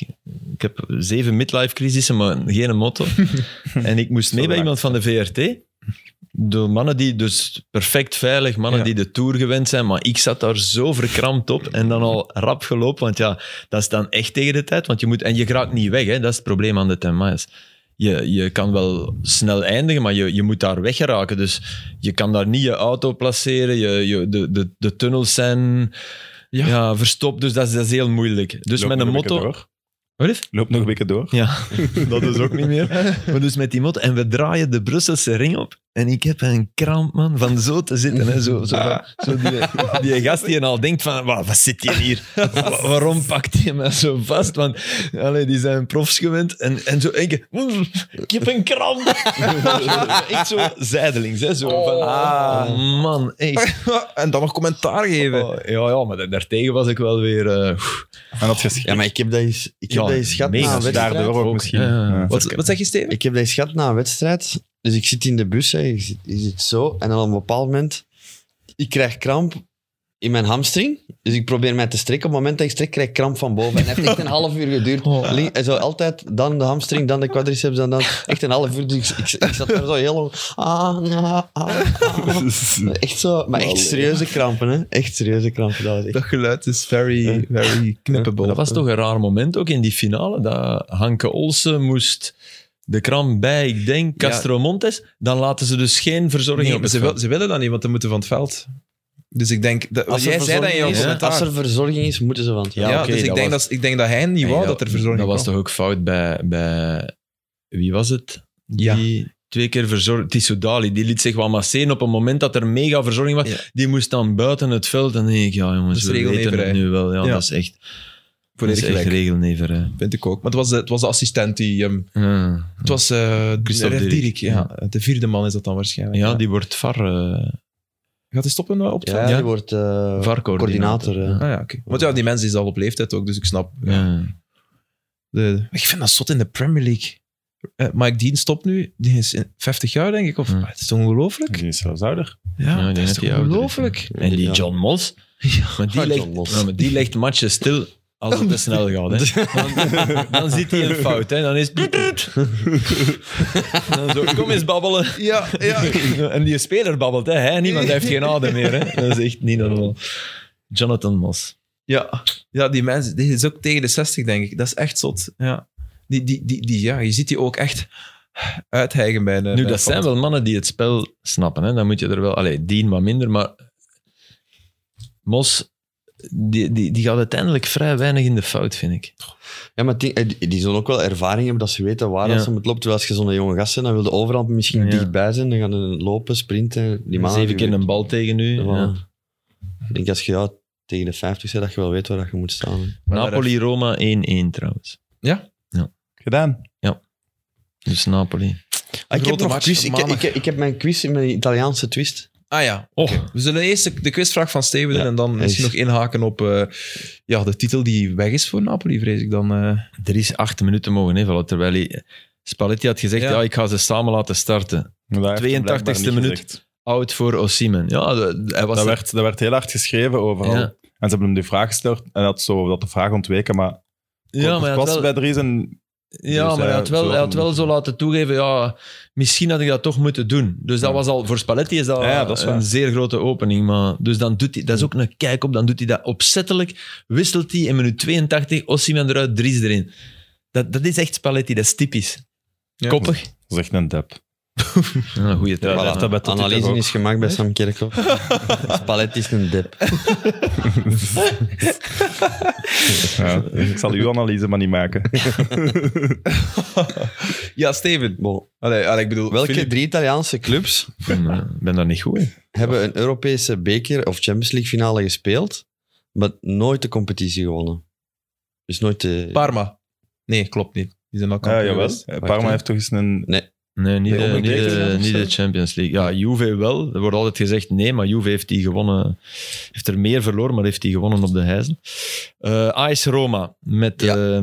Speaker 3: ik heb zeven midlife-crisissen, maar geen motto. en ik moest mee bij iemand van de VRT. De mannen die dus perfect veilig, mannen
Speaker 1: Ja.
Speaker 3: die de Tour gewend zijn, maar ik zat daar zo verkrampt op en dan al rap gelopen, want ja, dat is dan echt tegen de tijd, want je moet, en je raakt niet weg, hè, dat is het probleem aan de 10 miles. Je, je kan wel snel eindigen, maar je, je moet daar weggeraken, dus je kan daar niet je auto placeren, je, je, de, de, de tunnels zijn ja.
Speaker 1: Ja.
Speaker 3: verstopt, dus dat is, dat is heel moeilijk. Dus
Speaker 4: Loop
Speaker 3: met een
Speaker 4: nog
Speaker 3: motto...
Speaker 4: weken door.
Speaker 3: Wat is? Ah,
Speaker 4: Loop nog een beetje door.
Speaker 3: Ja, dat is ook niet meer. Maar dus met die mot en we draaien de Brusselse ring op. En ik heb een kramp, man, van zo te zitten. Hè. Zo, zo, zo die, die gast die al denkt van, "Wa, wat zit je hier? Wa- waarom pakt hij mij zo vast? Want allee, die zijn profs gewend. En, en zo één keer, "Mm, ik heb een kramp. echt zo zijdelings, hè. Zo van, ah, man, echt.
Speaker 1: en dan nog commentaar geven.
Speaker 3: Oh, ja, ja, maar da- daartegen was ik wel weer... eh,
Speaker 4: En dat geschreven.
Speaker 2: Ja, maar ik heb dat eens, ik heb
Speaker 3: Ja,
Speaker 2: dat eens gehad
Speaker 3: mega.
Speaker 2: na een
Speaker 3: Als je
Speaker 2: wedstrijd.
Speaker 4: Daardoor ook misschien.
Speaker 3: Ja, ja, ja.
Speaker 4: Ja.
Speaker 1: wat, wat zeg je, Steven?
Speaker 2: Ik heb dat eens gehad na een wedstrijd. Dus ik zit in de bus, hè. Je, zit, je zit zo. En dan op een bepaald moment, ik krijg kramp. in mijn hamstring. Dus ik probeer mij te strekken. Op het moment dat ik strek, krijg ik kramp van boven. En het heeft echt een half uur geduurd. Link- en zo altijd dan de hamstring, dan de quadriceps, dan dan. Echt een half uur. Dus ik, ik, ik zat daar zo heel lang. Ah, na, ah, ah. Echt zo. Maar echt serieuze krampen, hè. Echt serieuze krampen. Dat was echt...
Speaker 5: Dat geluid is very, very knippable.
Speaker 3: Dat was toch een raar moment ook in die finale. Dat Hanke Olsen moest de kram bij, ik denk,
Speaker 1: Ja.
Speaker 3: Castro Montes. Dan laten ze dus geen verzorging
Speaker 1: Nee,
Speaker 3: op
Speaker 1: maar
Speaker 3: het
Speaker 1: ze, wil-
Speaker 3: veld.
Speaker 1: ze willen dat niet, want dan moeten van het veld. Dus ik denk... Dat, jij zei dat in jouw
Speaker 2: verzorging is,
Speaker 1: commentaar.
Speaker 2: als er verzorging is, moeten ze van het
Speaker 1: ja,
Speaker 2: veld.
Speaker 3: oké,
Speaker 1: dus ik,
Speaker 3: dat
Speaker 1: denk
Speaker 3: was-
Speaker 1: dat, ik denk dat hij niet wou
Speaker 3: Nee,
Speaker 1: dat er verzorging
Speaker 3: Dat was
Speaker 1: kwam.
Speaker 3: toch ook fout bij, bij... Wie was het?
Speaker 1: Ja.
Speaker 3: Die twee keer verzorgd... Tissou Dali, die liet zich wel masseren op een moment dat er mega verzorging was.
Speaker 1: Ja.
Speaker 3: Die moest dan buiten het veld. En dan denk ik, ja
Speaker 1: Dat
Speaker 3: jongens,
Speaker 1: is
Speaker 3: we weten
Speaker 1: regelneverij.
Speaker 3: het nu wel. Ja,
Speaker 1: Ja.
Speaker 3: dat is echt, dat
Speaker 1: Volledig
Speaker 3: is echt
Speaker 1: gelijk,
Speaker 3: regelneverij.
Speaker 1: vind ik ook. Maar het was de, het was de assistent die... hem
Speaker 3: Ja.
Speaker 1: het was eh
Speaker 3: Christophe
Speaker 1: Dirk,
Speaker 3: Dirk,
Speaker 1: ja. De vierde man is dat dan waarschijnlijk.
Speaker 3: ja, die wordt VAR, eh,
Speaker 1: Gaat hij stoppen eh, op het
Speaker 2: Ja,
Speaker 1: veld?
Speaker 2: die wordt eh,
Speaker 3: VAR-coördinator.
Speaker 2: coördinator. hè.
Speaker 1: Ah, ja, oké. Want ja, die mensen is al op leeftijd ook, dus ik snap.
Speaker 3: Ja.
Speaker 1: De, ik vind dat zot in de Premier League. Eh, Mike Dean stopt nu. Die is in- 50 jaar, denk ik. Of, Ah,
Speaker 3: Hmm.
Speaker 1: Het is toch ongelooflijk?
Speaker 4: Die is zelfs ouder.
Speaker 1: Ja,
Speaker 3: ik denk
Speaker 1: dat is
Speaker 3: dat
Speaker 1: toch
Speaker 3: die ouder is,
Speaker 1: ongelooflijk?
Speaker 3: En die John Moss. Maar die,
Speaker 2: Ah,
Speaker 3: legt,
Speaker 2: John Moss.
Speaker 3: Ja, maar die legt matchen stil als het te snel gaat. Hè. Dan, dan ziet hij een fout. Hè. Dan is het... Dan zo, kom eens babbelen.
Speaker 5: Ja, ja.
Speaker 3: En die speler babbelt. Hè. Hij niet, want hij heeft geen adem meer. Hè. Dat is echt niet normaal. Jonathan Moss.
Speaker 1: Ja. ja, die mensen. Dit is ook tegen de 60, denk ik. Dat is echt zot. Ja. Die, die, die, die, ja, je ziet die ook echt uithijgen bij eh, de.
Speaker 3: Nu, dat zijn wel mannen die het spel snappen. Hè. Dan moet je er wel... Allee, Dean wat minder, maar... Moss, die, die, die gaat uiteindelijk vrij weinig in de fout, vind ik.
Speaker 2: Ja, maar die, eh, die, die zullen ook wel ervaring hebben dat ze weten waar
Speaker 3: Ja.
Speaker 2: dat ze moet lopen. Terwijl als je zo'n jonge gast bent, dan wil je overal misschien
Speaker 3: Ja.
Speaker 2: dichtbij zijn. Dan gaan ze lopen, sprinten. Die mannen
Speaker 3: Zeven
Speaker 2: die
Speaker 3: keer een bal tegen u.
Speaker 2: weten wel-
Speaker 3: Ja.
Speaker 2: Ik denk als je ja, tegen de 50 bent, dat je wel weet waar dat je moet staan. hè.
Speaker 3: Napoli-Roma 1-1 trouwens.
Speaker 4: Gedaan.
Speaker 3: Dus Napoli.
Speaker 2: Ah, ik, heb
Speaker 1: Grote
Speaker 2: nog
Speaker 1: match,
Speaker 2: quiz. Ik, ik,
Speaker 1: maandag.
Speaker 2: ik, heb mijn quiz in mijn Italiaanse twist.
Speaker 1: Ah ja.
Speaker 3: Oh.
Speaker 1: oké. We zullen eerst de- de quizvraag van Steven doen en dan misschien
Speaker 2: is-
Speaker 1: nog inhaken op eh, ja, de titel die weg is voor Napoli, vrees ik dan. eh.
Speaker 3: Er is acht minuten mogen invallen, terwijl hij... Spalletti had gezegd, ja.
Speaker 1: Ja.
Speaker 3: ik ga ze samen laten starten.
Speaker 4: Maar dat heeft hij
Speaker 3: 82e
Speaker 4: blijkbaar niet
Speaker 3: minuut.
Speaker 4: gezegd.
Speaker 3: Oud voor Osimhen. Ja, de- hij was
Speaker 4: Dat
Speaker 3: er-
Speaker 4: werd, dat werd heel hard geschreven overal.
Speaker 3: Ja.
Speaker 4: En ze hebben hem die vraag gesteld en hij had zo dat de vraag ontweken, maar
Speaker 3: ja, maar hij had
Speaker 4: was
Speaker 3: wel,
Speaker 4: bij Dries en
Speaker 3: ja,
Speaker 4: dus
Speaker 3: maar hij
Speaker 4: hij
Speaker 1: eh,
Speaker 3: had wel,
Speaker 4: zo-
Speaker 3: hij had wel zo laten toegeven, ja, misschien had ik dat toch moeten doen. Dus dat
Speaker 4: Ja.
Speaker 3: was al, voor Spalletti is dat,
Speaker 4: Ja, ja, dat is waar.
Speaker 3: een zeer grote opening. Maar, dus dan doet hij, dat
Speaker 1: Hm.
Speaker 3: is ook een kijk op, dan doet hij dat opzettelijk, wisselt hij in minuut 82, Osimhen eruit, Dries erin. Dat, dat is echt Spalletti, dat is typisch.
Speaker 1: Ja.
Speaker 3: Koppig.
Speaker 4: zegt een dep.
Speaker 3: Ja, een goede
Speaker 4: Ja,
Speaker 3: trap.
Speaker 4: dat
Speaker 3: hè.
Speaker 4: heeft dat bij Totti toch
Speaker 2: Analyse
Speaker 4: ook.
Speaker 2: is gemaakt bij Sam Kerkhoff. Spalletti is een dip.
Speaker 4: Ja. Ik zal uw analyse maar niet maken.
Speaker 1: Ja, Steven.
Speaker 2: Bon.
Speaker 1: Allee, allee, ik bedoel,
Speaker 2: Welke
Speaker 1: Filip-
Speaker 2: drie Italiaanse clubs
Speaker 3: Ik ben, eh, ben daar niet goed in.
Speaker 2: hebben een Europese beker of Champions League finale gespeeld, maar nooit de competitie gewonnen? Dus nooit de...
Speaker 1: Parma. Nee, klopt niet. Die zijn al
Speaker 4: Ja,
Speaker 1: kampioen
Speaker 4: jawel.
Speaker 1: geweest.
Speaker 4: Eh,
Speaker 2: Wacht,
Speaker 4: Parma
Speaker 2: hè.
Speaker 4: heeft toch eens een...
Speaker 3: Nee, niet
Speaker 4: De
Speaker 3: de, niet,
Speaker 4: onderbeker
Speaker 3: de,
Speaker 4: dan of
Speaker 3: niet
Speaker 4: zo?
Speaker 3: de Champions League. Ja, Juve wel. Er wordt altijd gezegd, nee, maar Juve heeft die gewonnen. Heeft er meer verloren, maar heeft die gewonnen op de heizen. Eh AS Roma met
Speaker 2: Ja.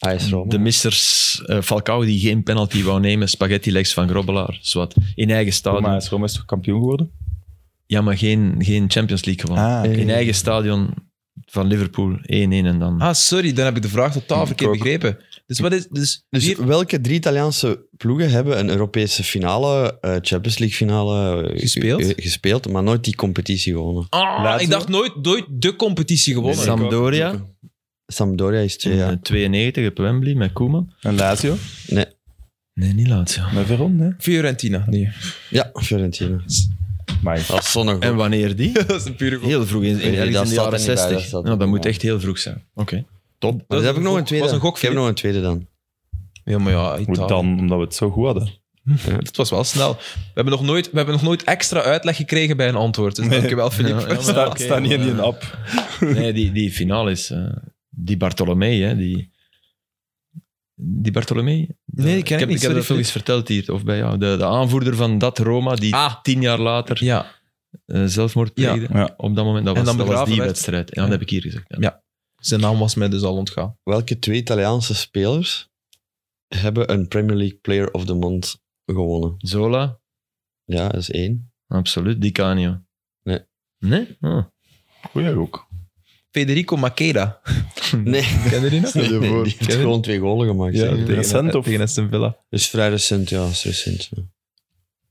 Speaker 3: eh,
Speaker 2: AS Roma.
Speaker 3: de missers eh, Falcao die geen penalty wou nemen. Spaghetti legs van Grobbelaar, zwart. In eigen stadion.
Speaker 4: Maar is Rome is toch kampioen geworden?
Speaker 3: Ja, maar geen, geen Champions League gewonnen.
Speaker 4: Ah, oké.
Speaker 3: In eigen stadion van Liverpool 1-1 en dan...
Speaker 1: Ah, sorry, dan heb ik de vraag totaal
Speaker 4: Ik
Speaker 1: verkeerd
Speaker 4: ook.
Speaker 1: begrepen. Dus wat is... Dus,
Speaker 2: Dus
Speaker 1: wie-
Speaker 2: welke drie Italiaanse ploegen hebben een Europese finale, eh, Champions League finale eh,
Speaker 1: Gespeeld?
Speaker 2: eh, gespeeld, maar nooit die competitie gewonnen?
Speaker 1: Ah,
Speaker 4: Lazio?
Speaker 1: ik dacht nooit, nooit de competitie gewonnen.
Speaker 4: Nee,
Speaker 3: Sampdoria,
Speaker 2: Sampdoria is twee
Speaker 3: eh,
Speaker 2: jaar.
Speaker 3: 92 op Wembley met Koeman.
Speaker 4: En Lazio?
Speaker 3: Nee, niet Lazio.
Speaker 4: Met Veron, hè?
Speaker 1: Fiorentina, nee.
Speaker 2: Ja, Fiorentina.
Speaker 4: Maar
Speaker 2: Dat is zonnig.
Speaker 3: En wanneer die?
Speaker 1: Dat is een pure goal.
Speaker 3: Heel vroeg, in, in,
Speaker 2: Nee,
Speaker 3: ergens
Speaker 2: dat
Speaker 3: in de
Speaker 2: staat
Speaker 3: jaren
Speaker 2: er niet bij,
Speaker 3: 60.
Speaker 2: dat staat er
Speaker 3: nou, dat
Speaker 2: niet
Speaker 3: moet
Speaker 2: bij.
Speaker 3: echt heel vroeg zijn. Oké.
Speaker 2: Top. Maar
Speaker 1: is
Speaker 2: dan Dus heb
Speaker 1: een
Speaker 2: ik nog
Speaker 1: gok-
Speaker 2: een tweede.
Speaker 1: was een gok
Speaker 2: ik
Speaker 1: voor
Speaker 2: heb
Speaker 1: je.
Speaker 2: nog een tweede dan.
Speaker 1: Ja, maar ja,
Speaker 4: hoe
Speaker 1: Italië.
Speaker 4: dan? Omdat we het zo goed hadden.
Speaker 1: Dat was wel snel. We hebben, nog nooit, we hebben nog nooit extra uitleg gekregen bij een antwoord. Dus dankjewel, Filip.
Speaker 3: Ja, ja, maar-
Speaker 4: Sta,
Speaker 3: oké,
Speaker 4: sta niet in
Speaker 3: maar,
Speaker 4: die
Speaker 3: eh,
Speaker 4: app.
Speaker 3: Nee, die, die finale is... eh, die Bartolomei, hè. Die, die Bartolomei?
Speaker 1: Nee, ik ken
Speaker 3: heb,
Speaker 1: ik niet.
Speaker 3: Ik heb
Speaker 1: Sorry,
Speaker 3: dat veel eens verteld hier, of bij jou. De, de aanvoerder van dat Roma, die
Speaker 1: Ah.
Speaker 3: tien jaar later
Speaker 1: Ja,
Speaker 3: eh, zelfmoord
Speaker 1: Ja.
Speaker 3: pleegde.
Speaker 4: Ja.
Speaker 3: Op dat moment, dat
Speaker 1: En
Speaker 3: was,
Speaker 1: dan
Speaker 3: dat was
Speaker 1: begraven
Speaker 3: die
Speaker 1: werd.
Speaker 3: wedstrijd. En dan
Speaker 1: Ja.
Speaker 3: heb ik hier gezegd. Ja.
Speaker 1: Ja. zijn naam was mij dus al ontgaan.
Speaker 2: Welke twee Italiaanse spelers hebben een Premier League Player of the Month gewonnen?
Speaker 3: Zola,
Speaker 2: Ja, dat is één.
Speaker 3: absoluut. Di Canio.
Speaker 2: Nee.
Speaker 3: Nee? Oh.
Speaker 4: Goeie ook.
Speaker 1: Federico Makeda.
Speaker 2: Nee,
Speaker 1: Ken je die nog?
Speaker 4: Stel je
Speaker 2: nee,
Speaker 4: voor.
Speaker 2: die heeft gewoon twee golen gemaakt.
Speaker 1: Ja,
Speaker 2: zeg.
Speaker 1: tegen,
Speaker 4: Recent of-
Speaker 1: tegen Aston Villa.
Speaker 2: Dus vrij recent, ja. is recent. ja.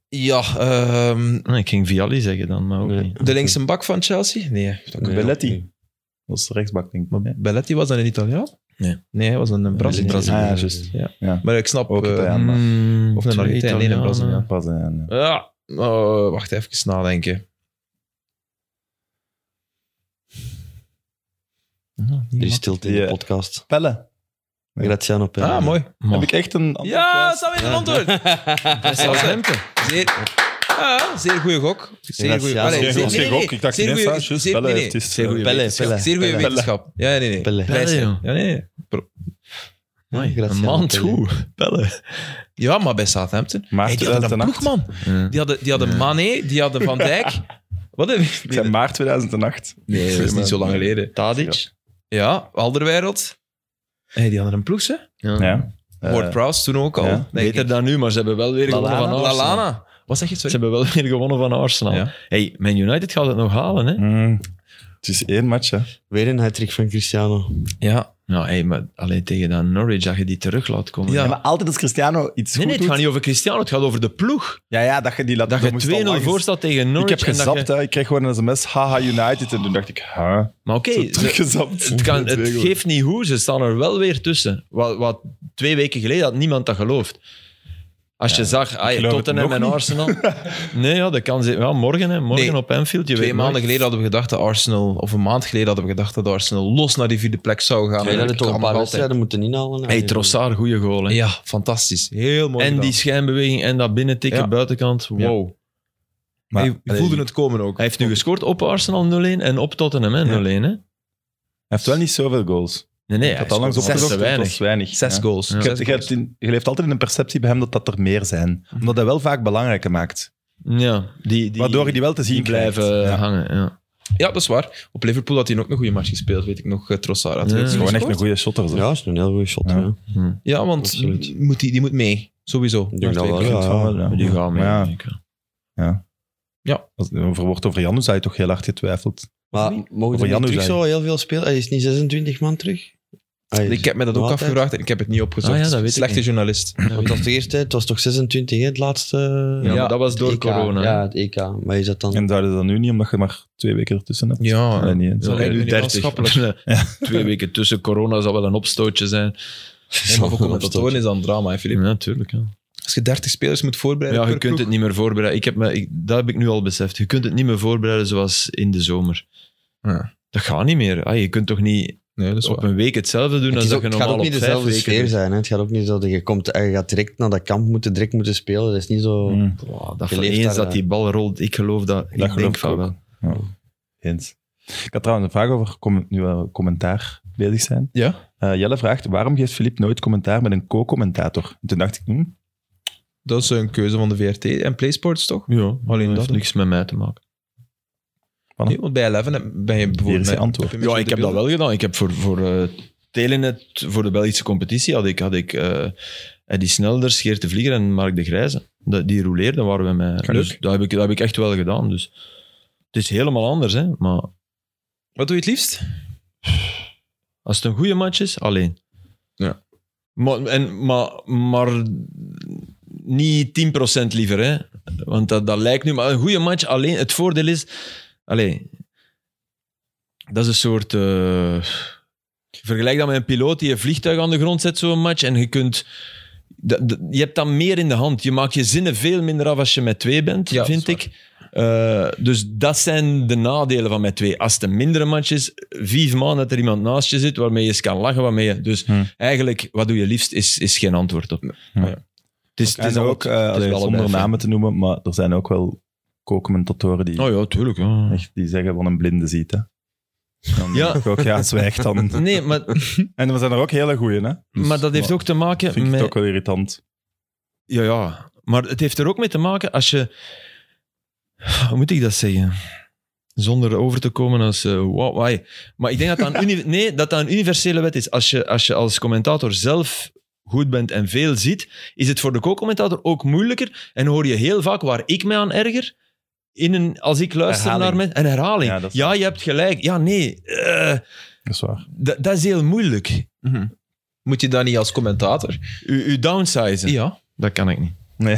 Speaker 1: Ja, ehm,
Speaker 3: Ah, ik ging Vialli zeggen dan, maar ook
Speaker 2: Nee.
Speaker 3: niet.
Speaker 1: de linkse bak van Chelsea? Nee.
Speaker 2: Nee,
Speaker 4: Belletti.
Speaker 2: ook niet.
Speaker 4: Dat is de rechtsbak, denk ik. Maar,
Speaker 1: Belletti was dan een Italiaan?
Speaker 3: Nee.
Speaker 1: Nee, hij was een, een Braziliaan.
Speaker 2: Nee,
Speaker 4: Braziliaan.
Speaker 2: nee,
Speaker 4: Ah, ja,
Speaker 2: nee,
Speaker 4: juist.
Speaker 2: nee.
Speaker 1: Maar ik snap...
Speaker 4: Ook
Speaker 1: eh,
Speaker 4: Italiaan.
Speaker 3: Mm,
Speaker 1: Of een
Speaker 3: twee
Speaker 1: Argentijn, nee, een Braziliaan.
Speaker 3: Italianen.
Speaker 4: Pas een-
Speaker 1: ja, eh, wacht even nadenken.
Speaker 2: Die is stilte in
Speaker 4: Ja.
Speaker 2: de podcast.
Speaker 4: Pelle. Ja.
Speaker 2: Graziano Pelle.
Speaker 1: Ah, mooi.
Speaker 3: Maar-
Speaker 4: Heb ik echt een... antwoord
Speaker 1: Ja,
Speaker 4: juist?
Speaker 1: Sammy een antwoord. Dat is Southampton. Zeer, ah, zeer goede gok. Zeer goede
Speaker 2: Gracias.
Speaker 1: Allee,
Speaker 2: Zeer
Speaker 1: zeer- nee, nee,
Speaker 4: goede gok.
Speaker 1: nee.
Speaker 4: Ik dacht
Speaker 1: Zeer
Speaker 4: ineens,
Speaker 1: goede-
Speaker 4: ah, juist,
Speaker 1: zeer-
Speaker 4: Belle
Speaker 1: nee, nee.
Speaker 4: heeft het.
Speaker 1: Zeer goede
Speaker 2: Belle,
Speaker 1: wetenschap.
Speaker 2: Belle.
Speaker 1: Zeer goede
Speaker 4: Belle.
Speaker 1: wetenschap. Ja, nee, nee.
Speaker 2: Pelle.
Speaker 1: Prijs.
Speaker 3: Pelle, joh.
Speaker 1: Ja, nee, nee.
Speaker 3: Amai, een
Speaker 2: Graziano
Speaker 3: man
Speaker 2: Pelle.
Speaker 3: toe. Pelle.
Speaker 1: Ja, maar bij Southampton.
Speaker 4: Maar
Speaker 1: Hey, die hadden een
Speaker 4: 2008.
Speaker 1: ploeg, man. Die hadden, die hadden Mané, die hadden Van Dijk. Wat heb je?
Speaker 4: Ik zei maart 2008.
Speaker 1: Nee, dat is niet zo lang geleden.
Speaker 3: Tadic.
Speaker 1: Ja, Alderwereld. Hey, die hadden een ploeg, hè?
Speaker 4: Ja. Eh,
Speaker 1: Ward Prowse toen ook al.
Speaker 4: ja.
Speaker 1: denk ik.
Speaker 3: Beter dan nu, maar ze hebben wel weer gewonnen van Arsenal.
Speaker 1: Lalana. Wat zeg je?
Speaker 3: Ze
Speaker 1: Sorry.
Speaker 3: hebben wel weer gewonnen van Arsenal.
Speaker 1: Ja.
Speaker 3: Hey, Man United gaat het nog halen, hè?
Speaker 4: mm, het is één match, hè.
Speaker 2: Weer een hat van Cristiano.
Speaker 1: Ja.
Speaker 3: Nou, hey, maar alleen tegen dat Norwich, dat je die terug laat komen.
Speaker 1: Ja,
Speaker 3: Ja,
Speaker 1: maar
Speaker 4: altijd als Cristiano iets
Speaker 3: nee, nee, het gaat niet over Cristiano, het gaat over de ploeg.
Speaker 4: Ja, ja, dat je die laat...
Speaker 3: Dat
Speaker 4: moest
Speaker 3: je
Speaker 4: al
Speaker 3: 2-0
Speaker 4: lang-
Speaker 3: voor staat tegen
Speaker 4: Ik
Speaker 3: Norwich.
Speaker 4: heb
Speaker 3: en dat
Speaker 4: gezapt,
Speaker 3: je-
Speaker 4: hè. Ik kreeg gewoon een sms. Haha, United. En toen dacht ik, huh?
Speaker 3: Maar oké,
Speaker 4: Zo
Speaker 3: ze-
Speaker 4: teruggezapt.
Speaker 3: het, kan, het
Speaker 4: Twee goals.
Speaker 3: geeft niet hoe, ze staan er wel weer tussen. Wat, wat twee weken geleden had niemand dat geloofd. Als je zag, ah,
Speaker 4: geloof het
Speaker 3: Tottenham
Speaker 4: nog
Speaker 3: en
Speaker 4: niet.
Speaker 3: Arsenal. Nee, ja, dat kan zijn. Ja, morgen, hè, morgen
Speaker 1: Nee.
Speaker 3: op Anfield. Je
Speaker 1: Twee
Speaker 3: weet
Speaker 1: maanden
Speaker 3: nooit.
Speaker 1: geleden hadden we gedacht dat Arsenal, of een maand geleden hadden we gedacht dat Arsenal los naar die vierde plek zou gaan.
Speaker 2: Wij hadden
Speaker 1: Dat
Speaker 2: toch een
Speaker 1: kan
Speaker 2: paar
Speaker 1: nog altijd.
Speaker 2: wedstrijden moeten inhalen.
Speaker 3: Hey, Trossard, goede goal. Hè.
Speaker 1: Ja, fantastisch. Heel mooi.
Speaker 3: en
Speaker 1: gedaan.
Speaker 3: die schijnbeweging en dat binnentikken
Speaker 1: Ja.
Speaker 3: buitenkant. Wow.
Speaker 1: Maar,
Speaker 4: Maar-
Speaker 1: je voelde het komen ook.
Speaker 3: Hij heeft nu gescoord op Arsenal 0-1 en op Tottenham hè, 0-1. Hè? Nee,
Speaker 4: Hij heeft wel niet zoveel goals.
Speaker 3: nee, hij
Speaker 4: ik had al langs
Speaker 3: scoort
Speaker 4: opgezocht.
Speaker 3: te
Speaker 4: dat was
Speaker 3: weinig.
Speaker 4: weinig.
Speaker 1: Zes
Speaker 4: Ja.
Speaker 1: goals.
Speaker 3: Ja.
Speaker 4: Je,
Speaker 1: Zes Mhm.
Speaker 4: hebt- je,
Speaker 1: goals.
Speaker 4: hebt in- je leeft altijd in een perceptie bij hem dat dat er meer zijn. Omdat hij wel vaak belangrijker maakt.
Speaker 3: Ja, die, die,
Speaker 4: waardoor je die wel te zien
Speaker 3: die blijven
Speaker 4: krijgt. Ja.
Speaker 3: hangen. Ja.
Speaker 1: Ja, dat is waar. Op Liverpool had hij ook een goede match gespeeld, weet ik nog. eh, Trossard had
Speaker 3: Ja.
Speaker 1: hij ook
Speaker 4: Gewoon echt een
Speaker 1: gescoord.
Speaker 4: goede shotter. zo.
Speaker 2: Ja, dat is een heel goede shot.
Speaker 4: Ja.
Speaker 2: Ja.
Speaker 3: Hm.
Speaker 1: Ja, want
Speaker 2: Absoluut.
Speaker 1: moet die, die moet mee. Sowieso.
Speaker 2: Ik denk dat wel,
Speaker 4: Ik vind
Speaker 2: ja.
Speaker 4: het wel, ja.
Speaker 3: Die gaan mee.
Speaker 4: Ja.
Speaker 3: denk ik, ja.
Speaker 4: Als over wordt over Janus had je toch heel hard getwijfeld.
Speaker 2: Maar mogen
Speaker 4: Over
Speaker 2: we
Speaker 4: Janu
Speaker 2: terug
Speaker 4: zijn.
Speaker 2: zo heel veel spelen? Hij is niet 26 man terug? Hij is-
Speaker 1: Ik heb me dat ook
Speaker 2: Ah, Altijd.
Speaker 1: afgevraagd en ik heb het niet opgezocht.
Speaker 3: Ah, ja, dat weet ik
Speaker 1: Slechte
Speaker 3: niet.
Speaker 1: journalist.
Speaker 2: Want dat was de eerste, het was toch 26, hè, het laatste...
Speaker 3: Ja, maar dat was door
Speaker 2: EK.
Speaker 3: corona.
Speaker 2: Ja, het EK. Maar is dat dan...
Speaker 4: En zouden ze dat nu niet, omdat je maar twee weken ertussen hebt?
Speaker 1: Ja,
Speaker 4: Nee, niet.
Speaker 1: Zo
Speaker 3: Ja,
Speaker 1: lijkt me
Speaker 3: nu
Speaker 1: niet
Speaker 3: 30.
Speaker 1: maatschappelijk.
Speaker 3: Twee weken tussen corona zal wel een opstootje zijn.
Speaker 1: Nee, maar voor commentatoren is dat een drama, hè,
Speaker 3: Ja,
Speaker 1: Filip.
Speaker 3: natuurlijk. Ja.
Speaker 1: Als je 30 spelers moet voorbereiden
Speaker 3: ja, je
Speaker 1: Eh, per
Speaker 3: kunt
Speaker 1: ploeg,
Speaker 3: het niet meer voorbereiden. Ik heb me, ik- dat heb ik nu al beseft. Je kunt het niet meer voorbereiden zoals in de zomer.
Speaker 1: Ja.
Speaker 3: Dat gaat niet meer. Ah, je kunt toch niet
Speaker 1: Nee, dat is
Speaker 3: op
Speaker 1: waar.
Speaker 3: een week hetzelfde doen
Speaker 2: Het,
Speaker 3: als
Speaker 2: is
Speaker 3: dat
Speaker 2: ook,
Speaker 3: je
Speaker 2: het gaat
Speaker 3: normaal
Speaker 2: ook
Speaker 3: op
Speaker 2: niet
Speaker 3: vijf
Speaker 2: dezelfde
Speaker 3: weken
Speaker 2: sfeer
Speaker 3: doet.
Speaker 2: zijn. Hè. Het gaat ook niet zo dat je komt en je gaat direct naar dat kamp moeten, direct moeten spelen. Dat is niet zo...
Speaker 4: Mm.
Speaker 3: Wow, dat
Speaker 2: Je
Speaker 3: voor
Speaker 2: leeft
Speaker 3: eens
Speaker 2: daar,
Speaker 3: dat
Speaker 2: ja.
Speaker 3: die bal rolt, ik geloof dat. ik
Speaker 4: geloof
Speaker 3: denk
Speaker 4: ik
Speaker 3: van
Speaker 4: ook.
Speaker 3: wel.
Speaker 4: Eens. Ik had trouwens een vraag over, com- nu we commentaar bezig zijn.
Speaker 1: Ja.
Speaker 4: Eh, Jelle vraagt, waarom geeft Filip nooit commentaar met een co-commentator? En toen dacht ik, hm,
Speaker 1: Dat is een keuze van de VRT en PlaySports, toch?
Speaker 3: Ja,
Speaker 1: Alleen
Speaker 3: alleen dat
Speaker 1: dat
Speaker 3: heeft niks met mij te maken.
Speaker 1: Nee, want bij Eleven heb- ben je
Speaker 4: hier
Speaker 1: bijvoorbeeld...
Speaker 4: is je
Speaker 1: met-
Speaker 4: antwoord.
Speaker 1: heb je
Speaker 3: Ja, ik heb dat
Speaker 1: beelden?
Speaker 3: wel gedaan. Ik heb voor, voor eh, Telenet, voor de Belgische competitie, had ik, had ik eh, Eddie Snelders, Geert de Vlieger en Mark de Grijze. Dat- die rouleerden waren we mij.
Speaker 4: Kan
Speaker 3: Dus
Speaker 4: ook.
Speaker 3: dat heb, ik, dat heb ik echt wel gedaan. Dus het is helemaal anders, hè. Maar
Speaker 1: Wat doe je het liefst?
Speaker 3: als het een goede match is, alleen.
Speaker 1: Ja.
Speaker 3: Maar, en, maar, maar niet 10% liever, hè. Want dat, dat lijkt nu... Maar een goede match, alleen... Het voordeel is... Allee, dat is een soort... eh, vergelijk dat met een piloot die een vliegtuig aan de grond zet, zo'n match. En je kunt... dat- dat- je hebt dan meer in de hand. Je maakt je zinnen veel minder af als je met twee bent,
Speaker 1: Ja,
Speaker 3: vind
Speaker 1: dat is
Speaker 3: ik. Eh, dus dat zijn de nadelen van met twee. Als het een mindere match is, vier maanden dat er iemand naast je zit waarmee je eens kan lachen. Waarmee je, dus
Speaker 4: Hmm.
Speaker 3: eigenlijk, wat doe je liefst, is, is geen antwoord op.
Speaker 4: Hmm.
Speaker 3: Het is, het is
Speaker 4: en
Speaker 3: al-
Speaker 4: ook, eh,
Speaker 3: het is
Speaker 4: allee,
Speaker 3: wel
Speaker 4: zonder
Speaker 3: allebei
Speaker 4: namen te noemen, maar er zijn ook wel co-commentatoren die,
Speaker 3: Oh ja, tuurlijk. Ja.
Speaker 4: echt, die zeggen van een blinde ziet. Hè. Dan
Speaker 3: Ja.
Speaker 4: denk ik ook, ja, zwijg dan.
Speaker 3: Nee, maar,
Speaker 4: En er zijn er ook hele goeie, hè. Dus,
Speaker 3: maar dat heeft ook te maken
Speaker 4: Vind ik
Speaker 3: met...
Speaker 4: het ook wel irritant.
Speaker 3: Ja, ja. Maar het heeft er ook mee te maken als je... Hoe moet ik dat zeggen? Zonder over te komen als... eh, wow, wai. Maar ik denk dat dat een, uni- nee, dat dat een universele wet is. Als je, als je als commentator zelf goed bent en veel ziet, is het voor de co-commentator ook moeilijker. En hoor je heel vaak waar ik mij aan erger. in een, als ik luister
Speaker 4: Herhaling.
Speaker 3: naar mensen... Een herhaling.
Speaker 4: Ja,
Speaker 3: Ja,
Speaker 4: dat is-
Speaker 3: je hebt gelijk. Ja, nee. eh,
Speaker 4: Dat is waar.
Speaker 3: dat- dat is heel moeilijk.
Speaker 1: Mhm. Moet je dat niet als commentator?
Speaker 3: U, u downsizen.
Speaker 1: Ja.
Speaker 3: Dat kan ik niet.
Speaker 4: Nee.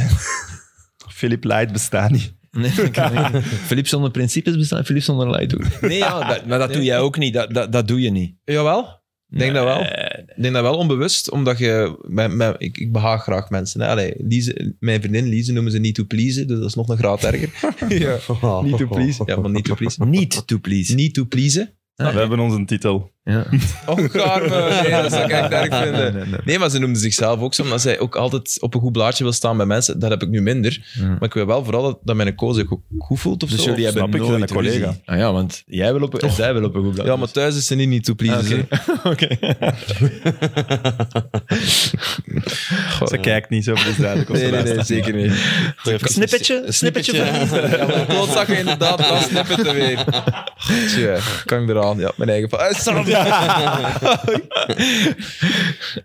Speaker 4: Philip Light bestaat niet.
Speaker 3: Nee, dat kan ik niet. Philippe zonder principes bestaan, Philippe zonder leidoer. Nee, ja, dat, maar dat doe jij ook niet. Dat, dat, dat doe je niet.
Speaker 1: Jawel. Ik denk dat wel.
Speaker 3: Eh,
Speaker 1: Ik denk dat wel onbewust, omdat je... Mijn, mijn- ik, ik behaag graag mensen. Hè. Allee, Lize, mijn vriendin Lize noemen ze niet to please, dus dat is nog een graad erger. ja. Mm. Niet to please. Ja, maar niet to please.
Speaker 3: Niet to please.
Speaker 1: Niet to please.
Speaker 4: We hebben onze titel.
Speaker 3: Ja.
Speaker 1: Och, karma. Nee, dat zou ik echt erg vinden. Nee, maar ze noemde zichzelf ook zo, omdat zij ook altijd op een goed blaadje wil staan bij mensen. Dat heb ik nu minder.
Speaker 3: Ja.
Speaker 1: Maar ik wil wel vooral dat, dat mijn koos zich ook goed voelt of
Speaker 3: Mhm. Dus
Speaker 1: zo.
Speaker 3: jullie
Speaker 4: Snap
Speaker 3: hebben
Speaker 4: ik,
Speaker 3: nooit
Speaker 4: dat is een collega.
Speaker 3: ruzie. Ah ja, want jij wil op een, zij wil op een goed blad.
Speaker 1: Ja, maar thuis is ze niet niet to please.
Speaker 3: Ah, oké.
Speaker 1: hè.
Speaker 3: Oké.
Speaker 4: Ze kijkt niet zo bezuinig op
Speaker 1: Nee, nee, nee, zeker niet.
Speaker 3: Snippetje? Snippetje van
Speaker 1: Ja, maar klootzakken inderdaad, dan snippet er weer. Tja, kan ik eraan. Ja, mijn eigen... pa- Eh, sorry.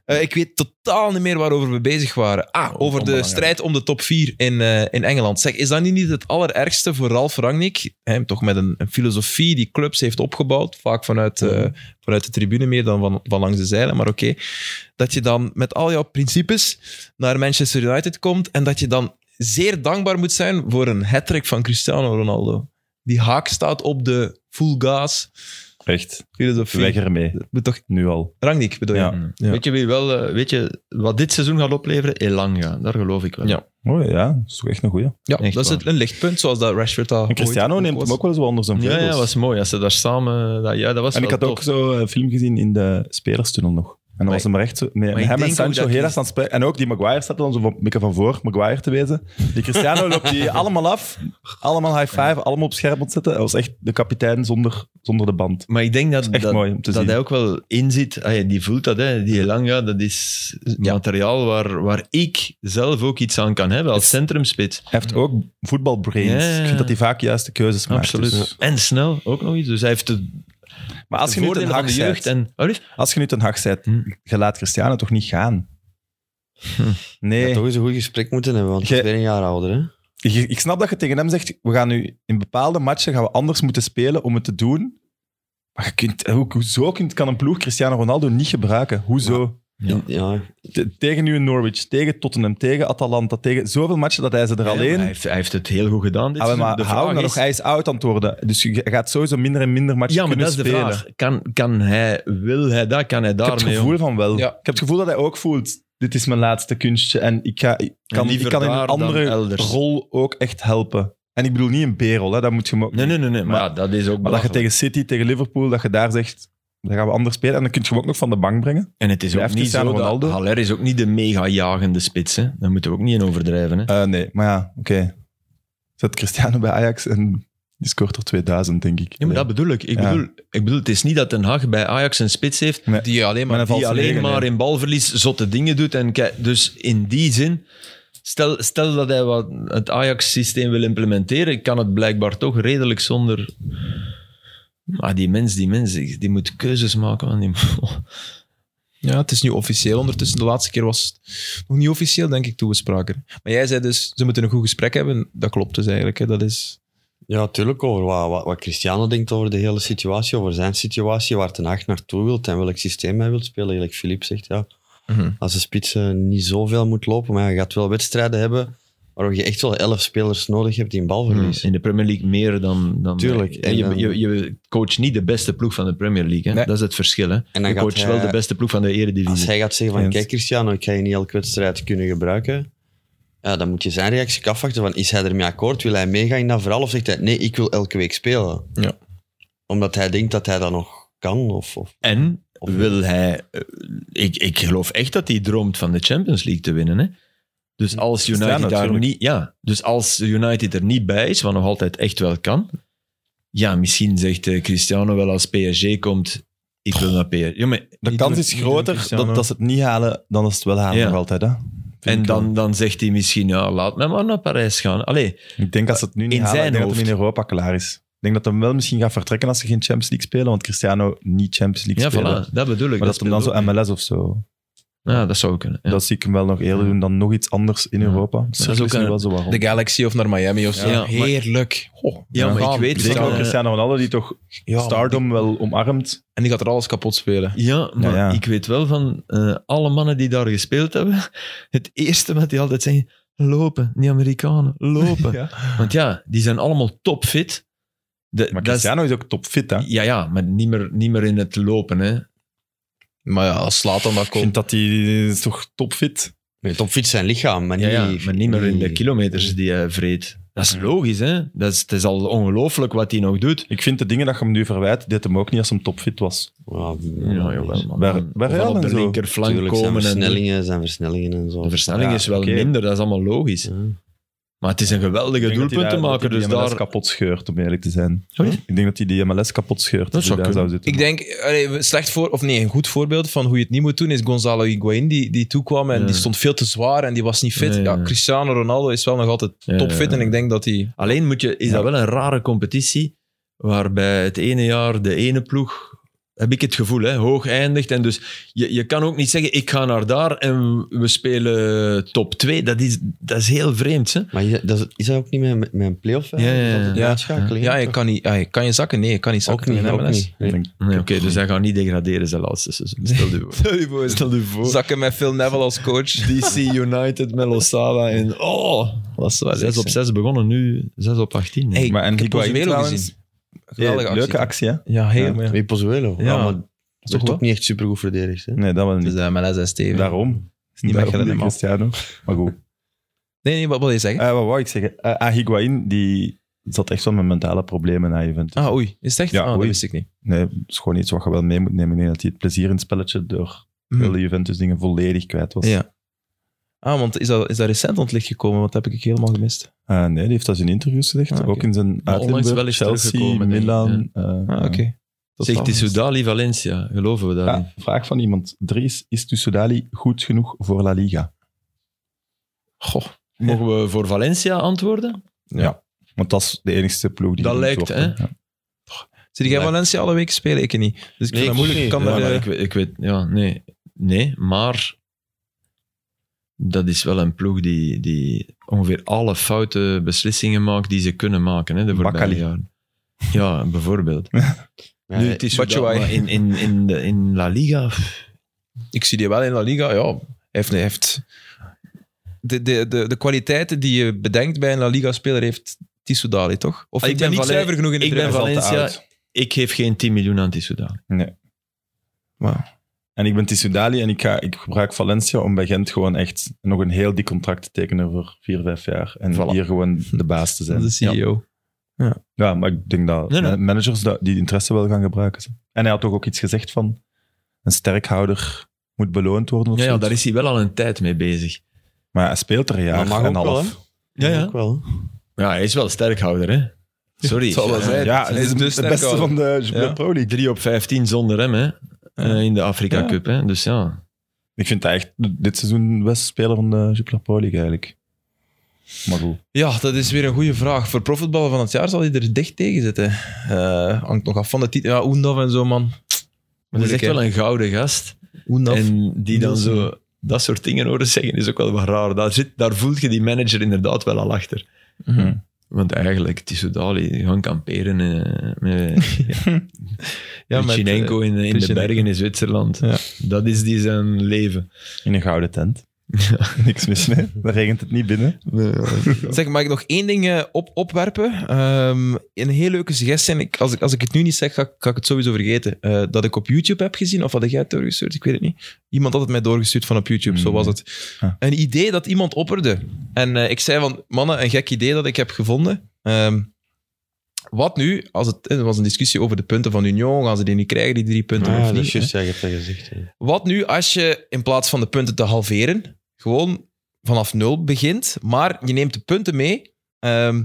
Speaker 1: Eh, ik weet totaal niet meer waarover we bezig waren. Ah, over de
Speaker 4: Onbelangrijk.
Speaker 1: strijd om de top 4 in, eh, in Engeland. Zeg, is dat nu niet het allerergste voor Ralf Rangnick? Hè, toch met een, een filosofie die clubs heeft opgebouwd, vaak vanuit, eh, vanuit de tribune meer dan van, van langs de zeilen, maar oké. dat je dan met al jouw principes naar Manchester United komt en dat je dan zeer dankbaar moet zijn voor een hat van Cristiano Ronaldo. Die haak staat op de full gas
Speaker 4: Echt,
Speaker 1: filosofie.
Speaker 4: weg ermee.
Speaker 1: Moet toch
Speaker 4: Nu al.
Speaker 1: Rangnick bedoel je?
Speaker 4: Ja.
Speaker 1: Ja.
Speaker 3: Weet je wie wel, eh, weet je wat dit seizoen gaat opleveren? Elanga, daar geloof ik wel.
Speaker 1: Ja.
Speaker 4: Oh ja, dat is toch echt een goeie.
Speaker 1: Ja,
Speaker 3: Echt
Speaker 1: dat is
Speaker 3: waar.
Speaker 1: het- een lichtpunt, zoals dat Rashford al
Speaker 4: En Cristiano neemt hem ook wel eens wel onder zijn
Speaker 3: Ja,
Speaker 4: vleugels.
Speaker 3: ja, dat was mooi. Als ze daar samen... Dat, ja, dat was
Speaker 4: en ik
Speaker 3: wel
Speaker 4: had ook
Speaker 3: tof.
Speaker 4: zo een film gezien in de spelerstunnel nog. En dan was hem recht zo, met,
Speaker 3: maar ik
Speaker 4: met hem
Speaker 3: denk
Speaker 4: en
Speaker 3: ook
Speaker 4: Sancho
Speaker 3: dat
Speaker 4: heel
Speaker 3: Chris-
Speaker 4: erg aan het spelen. En ook die Maguire staat dan zo van- een beetje van voor Maguire te wezen. Die Cristiano loopt die allemaal af. Allemaal high five, allemaal op scherp ontzetten. Dat was echt de kapitein zonder, zonder de band.
Speaker 3: Maar ik denk dat,
Speaker 4: is echt
Speaker 3: dat,
Speaker 4: mooi om te
Speaker 3: dat
Speaker 4: zien.
Speaker 3: hij ook wel inziet, ah ja, die voelt dat, hè. die Elanga, dat is materiaal waar, waar ik zelf ook iets aan kan hebben als centrumspits.
Speaker 4: Hij heeft ook voetbalbrains.
Speaker 3: Ja, ja, ja.
Speaker 4: Ik vind dat hij vaak juiste keuzes maakt.
Speaker 3: Absoluut.
Speaker 4: dus-
Speaker 3: En snel, ook nog iets. Dus hij heeft de,
Speaker 4: Maar als
Speaker 3: de
Speaker 4: je, nu ten
Speaker 3: voordelen van
Speaker 4: Hag
Speaker 3: de jeugd.
Speaker 4: zijt,
Speaker 3: En, oh, lief?
Speaker 4: als je nu ten Hag bent,
Speaker 3: Hm.
Speaker 4: je laat Cristiano toch niet gaan?
Speaker 3: Hm.
Speaker 4: Nee.
Speaker 2: toch eens een goed gesprek moeten hebben, want
Speaker 4: Ge-
Speaker 2: ik ben een jaar ouder. Hè?
Speaker 4: Ik, ik snap dat je tegen hem zegt, we gaan nu in bepaalde matchen gaan we anders moeten spelen om het te doen. Maar je kunt, hoe, hoezo kunt, kan een ploeg Cristiano Ronaldo niet gebruiken? Hoezo?
Speaker 3: Ja.
Speaker 2: In- ja,
Speaker 4: Te- tegen nu Norwich, tegen Tottenham, tegen Atalanta, tegen zoveel matchen dat hij ze er
Speaker 3: Ja, maar
Speaker 4: alleen...
Speaker 3: Hij heeft, hij heeft het heel goed gedaan. Dit
Speaker 4: Ah,
Speaker 3: seizoen.
Speaker 4: maar
Speaker 3: De
Speaker 4: hou hem
Speaker 3: vraag
Speaker 4: dan
Speaker 3: is-
Speaker 4: nog, hij is oud aan het worden. Dus je gaat sowieso minder en minder matchen
Speaker 3: Ja, maar
Speaker 4: kunnen
Speaker 3: dat is de
Speaker 4: spelen.
Speaker 3: vraag. Kan, kan hij, wil hij dat? Kan hij
Speaker 4: Ik heb het
Speaker 3: daarmee
Speaker 4: gevoel van wel.
Speaker 1: Ja.
Speaker 4: Ik heb het gevoel dat hij ook voelt, dit is mijn laatste kunstje en ik, ga, ik kan, ik
Speaker 3: liever
Speaker 4: kan in een
Speaker 3: daar dan
Speaker 4: andere
Speaker 3: elders.
Speaker 4: rol ook echt helpen. En ik bedoel niet een B-rol, hè, dat moet je me-
Speaker 3: Nee, nee, nee. nee maar,
Speaker 4: Maar-
Speaker 3: ja, dat is ook
Speaker 4: Maar dat je
Speaker 3: belachelijk.
Speaker 4: tegen City, tegen Liverpool, dat je daar zegt, dan gaan we anders spelen. En dan kun je hem ook nog van de bank brengen.
Speaker 3: En het is ook
Speaker 4: Blijft
Speaker 3: niet zo
Speaker 4: Cristiano
Speaker 3: dat...
Speaker 4: Ronaldo?
Speaker 3: Haller is ook niet de mega-jagende spits. Hè. Daar moeten we ook niet in overdrijven. Hè.
Speaker 4: Eh, nee, maar ja, oké. Zet Cristiano bij Ajax en die scoort er 2000, denk ik.
Speaker 3: Ja, maar dat bedoel ik. Ik,
Speaker 4: Ja.
Speaker 3: bedoel, ik bedoel, het is niet dat Den Haag bij Ajax een spits heeft
Speaker 1: Die alleen maar...
Speaker 4: Met een
Speaker 3: die
Speaker 4: valse
Speaker 3: alleen
Speaker 4: negen,
Speaker 3: maar
Speaker 4: nee.
Speaker 3: in balverlies zotte dingen doet. En kijk, dus in die zin, stel, stel dat hij wat het Ajax-systeem wil implementeren, kan het blijkbaar toch redelijk zonder... Maar die mens, die mens, die die moet keuzes maken. Man. Die,
Speaker 1: Ja, het is nu officieel ondertussen. De laatste keer was het nog niet officieel, denk ik, toen we spraken. Maar jij zei dus, ze moeten een goed gesprek hebben. Dat klopt dus eigenlijk. Hè. Dat is...
Speaker 2: Ja, tuurlijk over wat, wat, wat Cristiano denkt over de hele situatie, over zijn situatie, waar Ten Hag naartoe wilt en welk systeem hij wil spelen. Gelijk Philippe zegt, ja,
Speaker 1: Mhm.
Speaker 2: als de spits eh, niet zoveel moet lopen, maar je gaat wel wedstrijden hebben waar je echt wel elf spelers nodig hebt die een bal
Speaker 1: Mm.
Speaker 2: verliezen.
Speaker 3: Hmm. in de Premier League meer dan... dan
Speaker 2: Tuurlijk.
Speaker 3: En je, je, je coacht niet de beste ploeg van de Premier League. Hè?
Speaker 1: Nee.
Speaker 3: Dat is het verschil. Hè?
Speaker 2: En dan
Speaker 3: Je
Speaker 2: gaat
Speaker 3: coacht
Speaker 2: hij- eh,
Speaker 3: wel de beste ploeg van de
Speaker 2: Als
Speaker 3: eredivisie.
Speaker 2: hij gaat zeggen van,
Speaker 4: Eens.
Speaker 2: kijk Cristiano, ik ga je niet elke wedstrijd kunnen gebruiken, ja, dan moet je zijn reactie ook afwachten van, is hij ermee akkoord? Wil hij meegaan in dat verhaal? Of zegt hij, nee, ik wil elke week spelen.
Speaker 1: Ja.
Speaker 2: Omdat hij denkt dat hij dat nog kan. Of, of.
Speaker 3: En wil hij... eh, Ik, ik geloof echt dat hij droomt van de Champions League te winnen. Hè? Dus als
Speaker 4: Cristiano
Speaker 3: United daar
Speaker 4: natuurlijk.
Speaker 3: niet... Ja, dus als United er niet bij is, wat nog altijd echt wel kan... Ja, misschien zegt eh, Cristiano wel als PSG komt... Ik wil naar PSG. Ja, maar,
Speaker 4: De
Speaker 1: Niet
Speaker 4: kans
Speaker 1: doen-
Speaker 4: is
Speaker 1: niet doen
Speaker 4: groter
Speaker 1: Cristiano.
Speaker 4: dat, dat ze het niet halen dan dat ze het wel halen
Speaker 3: Ja.
Speaker 4: nog altijd. Hè? Vind
Speaker 3: en
Speaker 4: ik wel.
Speaker 3: dan, dan zegt hij misschien... Ja, laat mij maar naar Parijs gaan. Allee,
Speaker 4: Ik denk als ze het nu niet
Speaker 3: In
Speaker 4: halen, ik
Speaker 3: zijn
Speaker 4: denk dat hem
Speaker 3: hoofd.
Speaker 4: in Europa klaar is. Ik denk dat hem wel misschien gaat vertrekken als ze geen Champions League spelen, want Cristiano niet Champions League
Speaker 3: ja,
Speaker 4: spelen.
Speaker 3: voilà, dat bedoel ik.
Speaker 4: Maar dat, hem dan
Speaker 3: speelt
Speaker 4: zo
Speaker 3: ook mee.
Speaker 4: MLS of zo
Speaker 3: Ja, dat zou kunnen. Ja.
Speaker 4: Dat zie ik hem wel nog eerder doen dan nog iets anders in Europa. Dat is
Speaker 3: ook
Speaker 4: ook
Speaker 3: een-
Speaker 4: wel zo waarom.
Speaker 1: De Galaxy of naar Miami of zo.
Speaker 3: Ja, maar-
Speaker 1: Heerlijk. Oh,
Speaker 3: Ja, maar ik
Speaker 1: gaan.
Speaker 3: weet
Speaker 4: Zeker
Speaker 1: Ja,
Speaker 4: ook
Speaker 3: dat-
Speaker 4: Cristiano Ronaldo, die toch
Speaker 1: ja,
Speaker 4: stardom wel omarmt.
Speaker 1: En die gaat er alles kapot spelen.
Speaker 3: Ja, maar
Speaker 4: ja.
Speaker 3: ik weet wel van eh, alle mannen die daar gespeeld hebben, het eerste wat die altijd zeggen, lopen, die Amerikanen, lopen. Want ja, die zijn allemaal topfit. De,
Speaker 4: Maar
Speaker 3: dat is-
Speaker 4: Cristiano is ook topfit, hè. Ik
Speaker 3: ja, ja, maar niet meer, niet meer in het lopen. Hè.
Speaker 1: Maar ja, als slaat dan dat
Speaker 4: vind
Speaker 1: komt.
Speaker 4: dat hij is toch topfit.
Speaker 2: Nee, topfit zijn lichaam, maar niet,
Speaker 3: Ja, ja, maar niet meer in de
Speaker 2: niet-
Speaker 3: kilometers die hij vreet. Dat is logisch, hè. Dat is, het is al ongelooflijk wat hij nog doet.
Speaker 4: Ik vind de dingen dat je hem nu verwijt, deed hem ook niet als hem topfit was.
Speaker 2: Ja,
Speaker 3: Ja, jawel, man.
Speaker 4: Waar-
Speaker 3: Dan
Speaker 4: waar
Speaker 3: van
Speaker 4: Real
Speaker 3: op de
Speaker 4: en zo.
Speaker 3: linkerflank
Speaker 2: Tuurlijk, zijn
Speaker 3: komen. En de
Speaker 2: versnellingen, zijn versnellingen en zo.
Speaker 3: versnelling
Speaker 4: Ja,
Speaker 3: is wel
Speaker 4: oké.
Speaker 3: minder, dat is allemaal logisch.
Speaker 2: Ja.
Speaker 3: Maar het is een geweldige
Speaker 4: Ik denk dat
Speaker 3: doelpunt
Speaker 4: hij
Speaker 3: te
Speaker 4: daar-
Speaker 3: maken,
Speaker 4: dat
Speaker 3: dus
Speaker 4: hij die MLS
Speaker 3: daar...
Speaker 4: kapot scheurt, om eerlijk te zijn.
Speaker 3: Sorry?
Speaker 4: Ik denk dat hij die MLS kapot scheurt. als
Speaker 3: zou
Speaker 4: hij daar
Speaker 3: kunnen.
Speaker 4: zitten.
Speaker 1: Ik denk, allee, een slecht voor, of nee, een goed voorbeeld van hoe je het niet moet doen is Gonzalo Higuain, die, die toekwam en
Speaker 3: Ja.
Speaker 1: die stond veel te zwaar en die was niet fit.
Speaker 3: Ja, ja.
Speaker 1: Ja, Cristiano Ronaldo is wel nog altijd
Speaker 3: Ja,
Speaker 1: topfit
Speaker 3: ja.
Speaker 1: en ik denk dat hij...
Speaker 3: Alleen moet je, is dat wel een rare competitie, waarbij het ene jaar de ene ploeg, heb ik het gevoel, hè, hoog eindigt. En dus je, je kan ook niet zeggen, ik ga naar daar en we spelen top 2. Dat is, dat is heel vreemd, hè?
Speaker 2: Maar is dat, is dat ook niet met, met een play-off? hè?
Speaker 3: Ja, ja, ja.
Speaker 2: Dat het een
Speaker 1: Ja.
Speaker 2: uitschakeling
Speaker 1: Ja,
Speaker 2: is,
Speaker 1: je
Speaker 2: toch?
Speaker 1: kan, niet, ah, je kan je zakken? Nee, je kan niet
Speaker 2: ook
Speaker 1: zakken
Speaker 2: niet.
Speaker 1: in
Speaker 2: Ook
Speaker 1: MLS.
Speaker 2: niet.
Speaker 4: Ik denk-
Speaker 3: Nee, Oké, dus hij gaat niet degraderen zijn laatste seizoen. Stel je voor. Stel je voor.
Speaker 1: Zakken met Phil Neville als coach.
Speaker 3: DC United met Losada en oh,
Speaker 1: was wel
Speaker 3: 6 op 6 begonnen, nu 6 op 18.
Speaker 1: Hey,
Speaker 4: maar en
Speaker 1: ik heb
Speaker 4: Higuaín
Speaker 1: Pozuelo
Speaker 4: trouwens,
Speaker 1: gezien.
Speaker 4: eh,
Speaker 1: Geweldige actie.
Speaker 4: Leuke actie, hè?
Speaker 1: Ja, heel mooi.
Speaker 2: Wie Pozuelo. Ja,
Speaker 1: Ja.
Speaker 2: maar dat is
Speaker 1: Toch
Speaker 2: toch
Speaker 1: wel?
Speaker 2: ook niet echt supergoed verdedigd. Hè?
Speaker 4: Nee, dat wel
Speaker 1: Dus
Speaker 4: niet.
Speaker 1: de MLS is stevig.
Speaker 4: Daarom. Is
Speaker 1: niet
Speaker 4: Daarom
Speaker 1: Mechelen
Speaker 4: die
Speaker 1: helemaal.
Speaker 4: Cristiano. Maar goed.
Speaker 1: Nee, nee, wat wil je zeggen?
Speaker 4: Eh, wat wou ik zeggen? Eh, ah, Higuaín, die zat echt wel met mentale problemen na Juventus.
Speaker 1: Ah, oei. Is het echt?
Speaker 4: Ja,
Speaker 1: ah, dat
Speaker 4: oei.
Speaker 1: wist ik niet.
Speaker 4: Nee, dat is gewoon iets wat je wel mee moet nemen. Ik denk dat hij het plezier in het spelletje door
Speaker 1: Mhm.
Speaker 4: heel de Juventus-dingen volledig kwijt was.
Speaker 1: Ja. Ah, want is dat, is dat recent aan het licht gekomen? Wat heb ik helemaal gemist?
Speaker 4: Eh, nee, die heeft dat in interviews gezegd.
Speaker 1: Ah, oké.
Speaker 4: Ook in zijn
Speaker 3: Maar onlangs
Speaker 4: uitlimburg,
Speaker 3: wel is
Speaker 4: Chelsea,
Speaker 3: teruggekomen, denk ik,
Speaker 4: Milan. eh,
Speaker 1: Ah, oké.
Speaker 4: ja. Dat
Speaker 3: Zegt
Speaker 4: is allemaal-
Speaker 3: Tissoudali Valencia, geloven we daarin?
Speaker 4: Ja, vraag van iemand. Dries, is Tusudali goed genoeg voor La Liga?
Speaker 1: Goh.
Speaker 3: Mogen we voor Valencia antwoorden?
Speaker 4: Want dat is de enigste ploeg die...
Speaker 3: Dat
Speaker 4: genoemd
Speaker 3: lijkt,
Speaker 4: wordt, hè. Ja.
Speaker 1: Zit jij Valencia alle weken spelen? Ik niet. Dus ik
Speaker 2: Nee,
Speaker 1: vind
Speaker 2: ik
Speaker 1: dat moeilijk.
Speaker 2: ook
Speaker 1: Ik kan
Speaker 3: Ja,
Speaker 1: daar,
Speaker 3: maar
Speaker 1: eh,
Speaker 3: ik, weet- ik weet, ja, nee. Nee, maar dat is wel een ploeg die, die ongeveer alle foute beslissingen maakt die ze kunnen maken hè, de voorbije
Speaker 4: Bakkali.
Speaker 3: jaren. Ja, bijvoorbeeld.
Speaker 2: Ja,
Speaker 3: nu, het is zo dat-
Speaker 1: Batshuayi.
Speaker 3: maar in, in, in, de, in La Liga. pff,
Speaker 1: ik zie die wel in La Liga. Ja, hij heeft, hij heeft de, de, de, de kwaliteiten die je bedenkt bij een La Liga-speler heeft Tissoudali, toch? Of
Speaker 3: Ah, ik
Speaker 1: ik ben
Speaker 3: ben
Speaker 1: niet
Speaker 3: Valen-
Speaker 1: zuiver genoeg in de
Speaker 3: ik ben
Speaker 1: dribbel?
Speaker 4: Hij is al te
Speaker 3: Valencia.
Speaker 4: oud.
Speaker 3: Ik geef geen 10 miljoen aan Tissoudali.
Speaker 4: En ik ben Tissoudali en ik, ga, ik gebruik Valencia om bij Gent gewoon echt nog een heel dik contract te tekenen voor vier, vijf jaar. En
Speaker 3: Voilà.
Speaker 4: hier gewoon de baas te zijn.
Speaker 1: de E CEO.
Speaker 4: Ja, maar ik denk dat
Speaker 3: E Nee, nee.
Speaker 4: ma- managers dat- die interesse wel gaan gebruiken. zo. En hij had toch ook iets gezegd van een sterkhouder moet beloond worden of
Speaker 3: Ja, ja,
Speaker 4: zoiets.
Speaker 3: daar is hij wel al een tijd mee bezig.
Speaker 4: Maar hij speelt er een
Speaker 2: Maar
Speaker 4: jaar
Speaker 2: mag
Speaker 4: en
Speaker 2: ook wel,
Speaker 4: half.
Speaker 2: hè? Ja, ja. Ook wel.
Speaker 3: Ja, hij is wel sterkhouder, hè? Sorry.
Speaker 1: Het zal wel zijn.
Speaker 4: ja, hij is
Speaker 1: de
Speaker 4: de,
Speaker 1: sterkhouder.
Speaker 4: beste van de,
Speaker 1: Ja.
Speaker 4: de Pro League.
Speaker 3: 3 op 15 zonder hem, hè? Eh, in de Afrika
Speaker 4: Ja.
Speaker 3: Cup, hè? Dus ja.
Speaker 4: Ik vind hij echt dit seizoen de beste speler van de Jupiler Pro League eigenlijk. Maar goed.
Speaker 1: Ja, dat is weer een goede vraag. Voor profvoetballer van het jaar zal hij er dicht tegen zitten. Eh, hangt nog af van de titel. Ja, Oendaf en zo, man.
Speaker 3: Maar dat is
Speaker 1: Moeilijk,
Speaker 3: echt
Speaker 1: hè?
Speaker 3: wel een gouden gast.
Speaker 1: Oendaf.
Speaker 3: En die dan
Speaker 1: Nielsen.
Speaker 3: zo dat soort dingen horen zeggen, is ook wel wat raar. Daar, zit, daar voelt je die manager inderdaad wel al achter.
Speaker 1: Mhm.
Speaker 3: Want eigenlijk, Tissoudali, gaan kamperen eh, met
Speaker 1: Ja, met,
Speaker 3: Pichinenko in, in de
Speaker 1: Pichinenko.
Speaker 3: bergen in Zwitserland.
Speaker 1: Ja.
Speaker 3: Dat is die zijn leven.
Speaker 4: In een gouden tent. Niks mis mee. Dan regent het niet binnen.
Speaker 2: Eh,
Speaker 1: Zeg, mag ik nog één ding eh, op, opwerpen? Ehm, een heel leuke suggestie. En ik, als, ik, als ik het nu niet zeg, ga, ik- ga ik het sowieso vergeten. Eh, dat ik op YouTube heb gezien, of had jij het doorgestuurd? Ik weet het niet. Iemand had het mij doorgestuurd van op YouTube, zo
Speaker 4: Nee.
Speaker 1: was het.
Speaker 4: Ah.
Speaker 1: Een idee dat iemand opperde. En eh, ik zei van, mannen, een gek idee dat ik heb gevonden. Ehm, wat nu, als het, eh, er was een discussie over de punten van Union, gaan ze die niet krijgen, die drie punten
Speaker 2: Ah,
Speaker 1: of
Speaker 2: dat
Speaker 1: niet?
Speaker 2: is juist, ja, je hebt dat gezegd. hè.
Speaker 1: Wat nu als je in plaats van de punten te halveren, gewoon vanaf nul begint, maar je neemt de punten mee ehm, van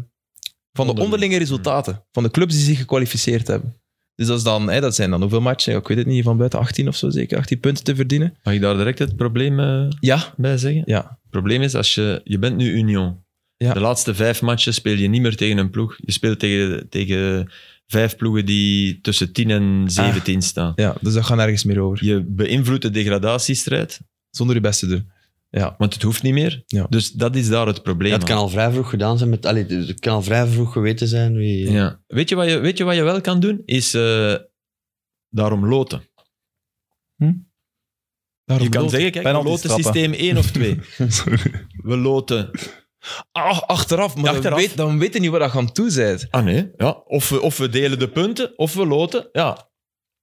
Speaker 1: de
Speaker 3: Onderling.
Speaker 1: onderlinge resultaten van de clubs die zich gekwalificeerd hebben. Dus dat, is dan, hè, dat zijn dan hoeveel matchen? Ja, Ik weet het niet, van buiten 18 of zo zeker, 18 punten te verdienen.
Speaker 3: Mag ik daar direct het probleem eh,
Speaker 1: Ja,
Speaker 3: bij zeggen?
Speaker 1: ja.
Speaker 3: Het probleem is, als je, je bent nu Union.
Speaker 1: Ja.
Speaker 3: De laatste vijf matchen speel je niet meer tegen een ploeg. Je speelt tegen, tegen vijf ploegen die tussen 10 en 17 staan.
Speaker 1: ja, dus dat gaat nergens meer over.
Speaker 3: Je beïnvloedt de degradatiestrijd.
Speaker 1: Zonder je best te doen.
Speaker 3: Ja, want het hoeft niet meer.
Speaker 1: Ja.
Speaker 3: Dus dat is daar het probleem.
Speaker 2: Ja, het kan
Speaker 3: aan.
Speaker 2: al vrij vroeg gedaan zijn. Met, allee, het kan al vrij vroeg geweten zijn wie...
Speaker 3: Ja. Weet, je wat je, weet je wat je wel kan doen? Is eh, daarom loten.
Speaker 1: Daarom
Speaker 3: je kan
Speaker 1: loten.
Speaker 3: zeggen, kijk, we
Speaker 4: Penalty
Speaker 3: loten
Speaker 4: trappen.
Speaker 3: systeem 1 of 2. we loten...
Speaker 1: Ah, achteraf, maar
Speaker 3: Achteraf.
Speaker 1: Dan, weet, dan weet je niet wat je aan toe bent.
Speaker 3: Ah nee, ja. Of we, of we delen de punten, of we loten. Ja.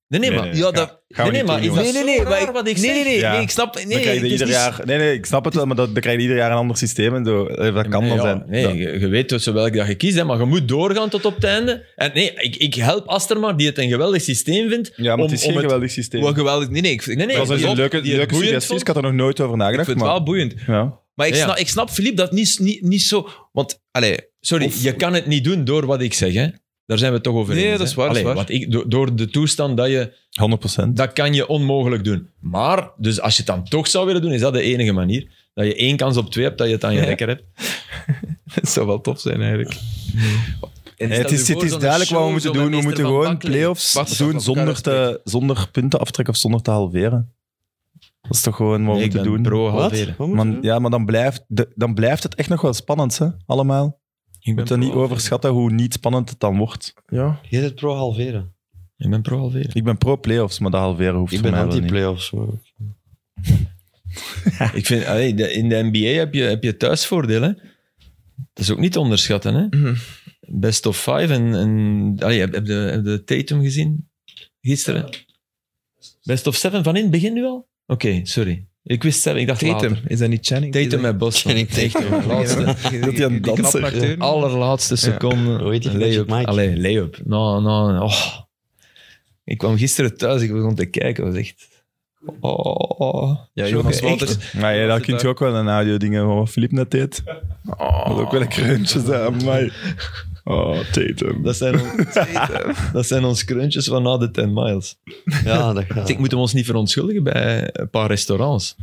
Speaker 3: Nee, nee,
Speaker 4: Nee,
Speaker 3: maar...
Speaker 4: nee,
Speaker 3: Ja,
Speaker 1: ja,
Speaker 4: ga-
Speaker 1: dat-
Speaker 4: gaan we
Speaker 3: nee,
Speaker 4: niet
Speaker 3: maar
Speaker 4: doen,
Speaker 3: is
Speaker 4: jongens.
Speaker 1: Nee,
Speaker 3: dat-
Speaker 1: nee, nee.
Speaker 3: zo
Speaker 1: maar
Speaker 3: raar
Speaker 1: ik-
Speaker 3: wat ik
Speaker 1: nee, nee, nee,
Speaker 4: zeg?
Speaker 1: nee, ik snap... Nee,
Speaker 4: dan krijg je
Speaker 1: het is
Speaker 4: ieder
Speaker 1: niet-
Speaker 4: jaar... Nee, nee, ik snap het wel, maar dat, dan krijg je ieder jaar een ander systeem en zo. Eh, Dat kan
Speaker 3: Nee,
Speaker 4: dan
Speaker 3: ja,
Speaker 4: zijn.
Speaker 3: Nee,
Speaker 4: Ja.
Speaker 3: je, je weet tussen welke dag je kiest, hè, maar je moet doorgaan tot op het einde. En nee, ik, ik help Asterma, die het een geweldig systeem vindt.
Speaker 4: Ja, maar
Speaker 3: om-
Speaker 4: het is
Speaker 3: om
Speaker 4: geen geweldig systeem.
Speaker 1: Wel geweldig. Nee, nee, ik, ik,
Speaker 3: Nee, nee,
Speaker 4: dat
Speaker 1: pas
Speaker 4: was
Speaker 1: op,
Speaker 4: een leuke,
Speaker 3: die het
Speaker 4: leuke
Speaker 3: boeiend
Speaker 4: suggestie.
Speaker 3: vond.
Speaker 4: Ik had er nog nooit over
Speaker 1: ik
Speaker 4: nagedacht.
Speaker 1: vind het
Speaker 4: maar,
Speaker 1: wel boeiend.
Speaker 4: Ja.
Speaker 1: Maar ik,
Speaker 3: Ja.
Speaker 1: snap, ik snap, Filip, dat niet, niet, niet zo... Want, allee...
Speaker 3: Sorry,
Speaker 1: Of-
Speaker 3: je kan het niet doen door wat ik zeg, hè. Daar zijn we het toch over
Speaker 1: Nee,
Speaker 3: eens,
Speaker 1: dat
Speaker 3: hè.
Speaker 1: is waar, dat is
Speaker 3: Allee,
Speaker 1: waar.
Speaker 3: want ik, do- door de toestand dat je...
Speaker 4: 100%.
Speaker 3: Dat kan je onmogelijk doen. Maar, dus als je het dan toch zou willen doen, is dat de enige manier. Dat je één kans op twee hebt, dat je het aan je
Speaker 1: Ja.
Speaker 3: rekker hebt.
Speaker 1: Het zou wel tof zijn, eigenlijk.
Speaker 4: Nee, het is, het is duidelijk wat we moeten doen. We moeten gewoon play-offs
Speaker 1: Wacht, dat
Speaker 4: doen
Speaker 1: is op elkaar
Speaker 4: zonder, te, zonder punten aftrekken of zonder te halveren. Dat is toch gewoon wat we
Speaker 3: Nee, ik
Speaker 4: moeten
Speaker 3: ben
Speaker 4: doen.
Speaker 3: pro
Speaker 2: Wat?
Speaker 3: halveren.
Speaker 2: Wat moeten we
Speaker 4: Man-
Speaker 2: doen?
Speaker 4: ja, maar dan blijft, de- dan blijft het echt nog wel spannend, hè, allemaal.
Speaker 3: Ik
Speaker 4: Je moet dan niet overschatten hoe niet spannend het dan wordt.
Speaker 2: Jij zit pro halveren.
Speaker 3: Ik ben pro halveren.
Speaker 4: Ik ben pro-playoffs, maar dat halveren hoeft
Speaker 2: Ik
Speaker 4: voor
Speaker 2: ben
Speaker 4: mij wel niet.
Speaker 2: anti-playoffs. maar-
Speaker 3: Ik vind, allee, de- in de NBA heb je, heb je thuisvoordelen. Dat is ook niet te onderschatten. Hè?
Speaker 1: Mhm.
Speaker 3: Best of five. En, en, allee, heb, heb de, heb de Tatum gezien gisteren? Best of seven van in het begin nu al? Oké, sorry. Ik wist seven, ik dacht
Speaker 1: Tatum,
Speaker 3: later.
Speaker 1: is dat niet Channing?
Speaker 3: Tatum met Boston.
Speaker 2: Channing Tatum.
Speaker 3: Laatste,
Speaker 1: Dat
Speaker 4: hij een danser is.
Speaker 3: allerlaatste seconde.
Speaker 2: Hoe heet die van
Speaker 3: Layup.
Speaker 2: Magic Mike?
Speaker 3: Allee, layup. No, no, no. Oh. Ik kwam gisteren thuis, ik begon te kijken. was echt... Oh.
Speaker 1: Ja, Jonas
Speaker 3: Echt?
Speaker 1: Walters.
Speaker 4: Maar ja, daar kun je ook wel een audio dingen van wat Filip net deed. Dat ook wel een kreuntje zijn, maar... Oh, Tatum.
Speaker 3: Dat zijn, on- dat zijn ons crunches van na de 10 miles.
Speaker 2: Ja, dat
Speaker 3: Dus
Speaker 2: gaat.
Speaker 3: Ik moet hem ons niet verontschuldigen bij een paar restaurants.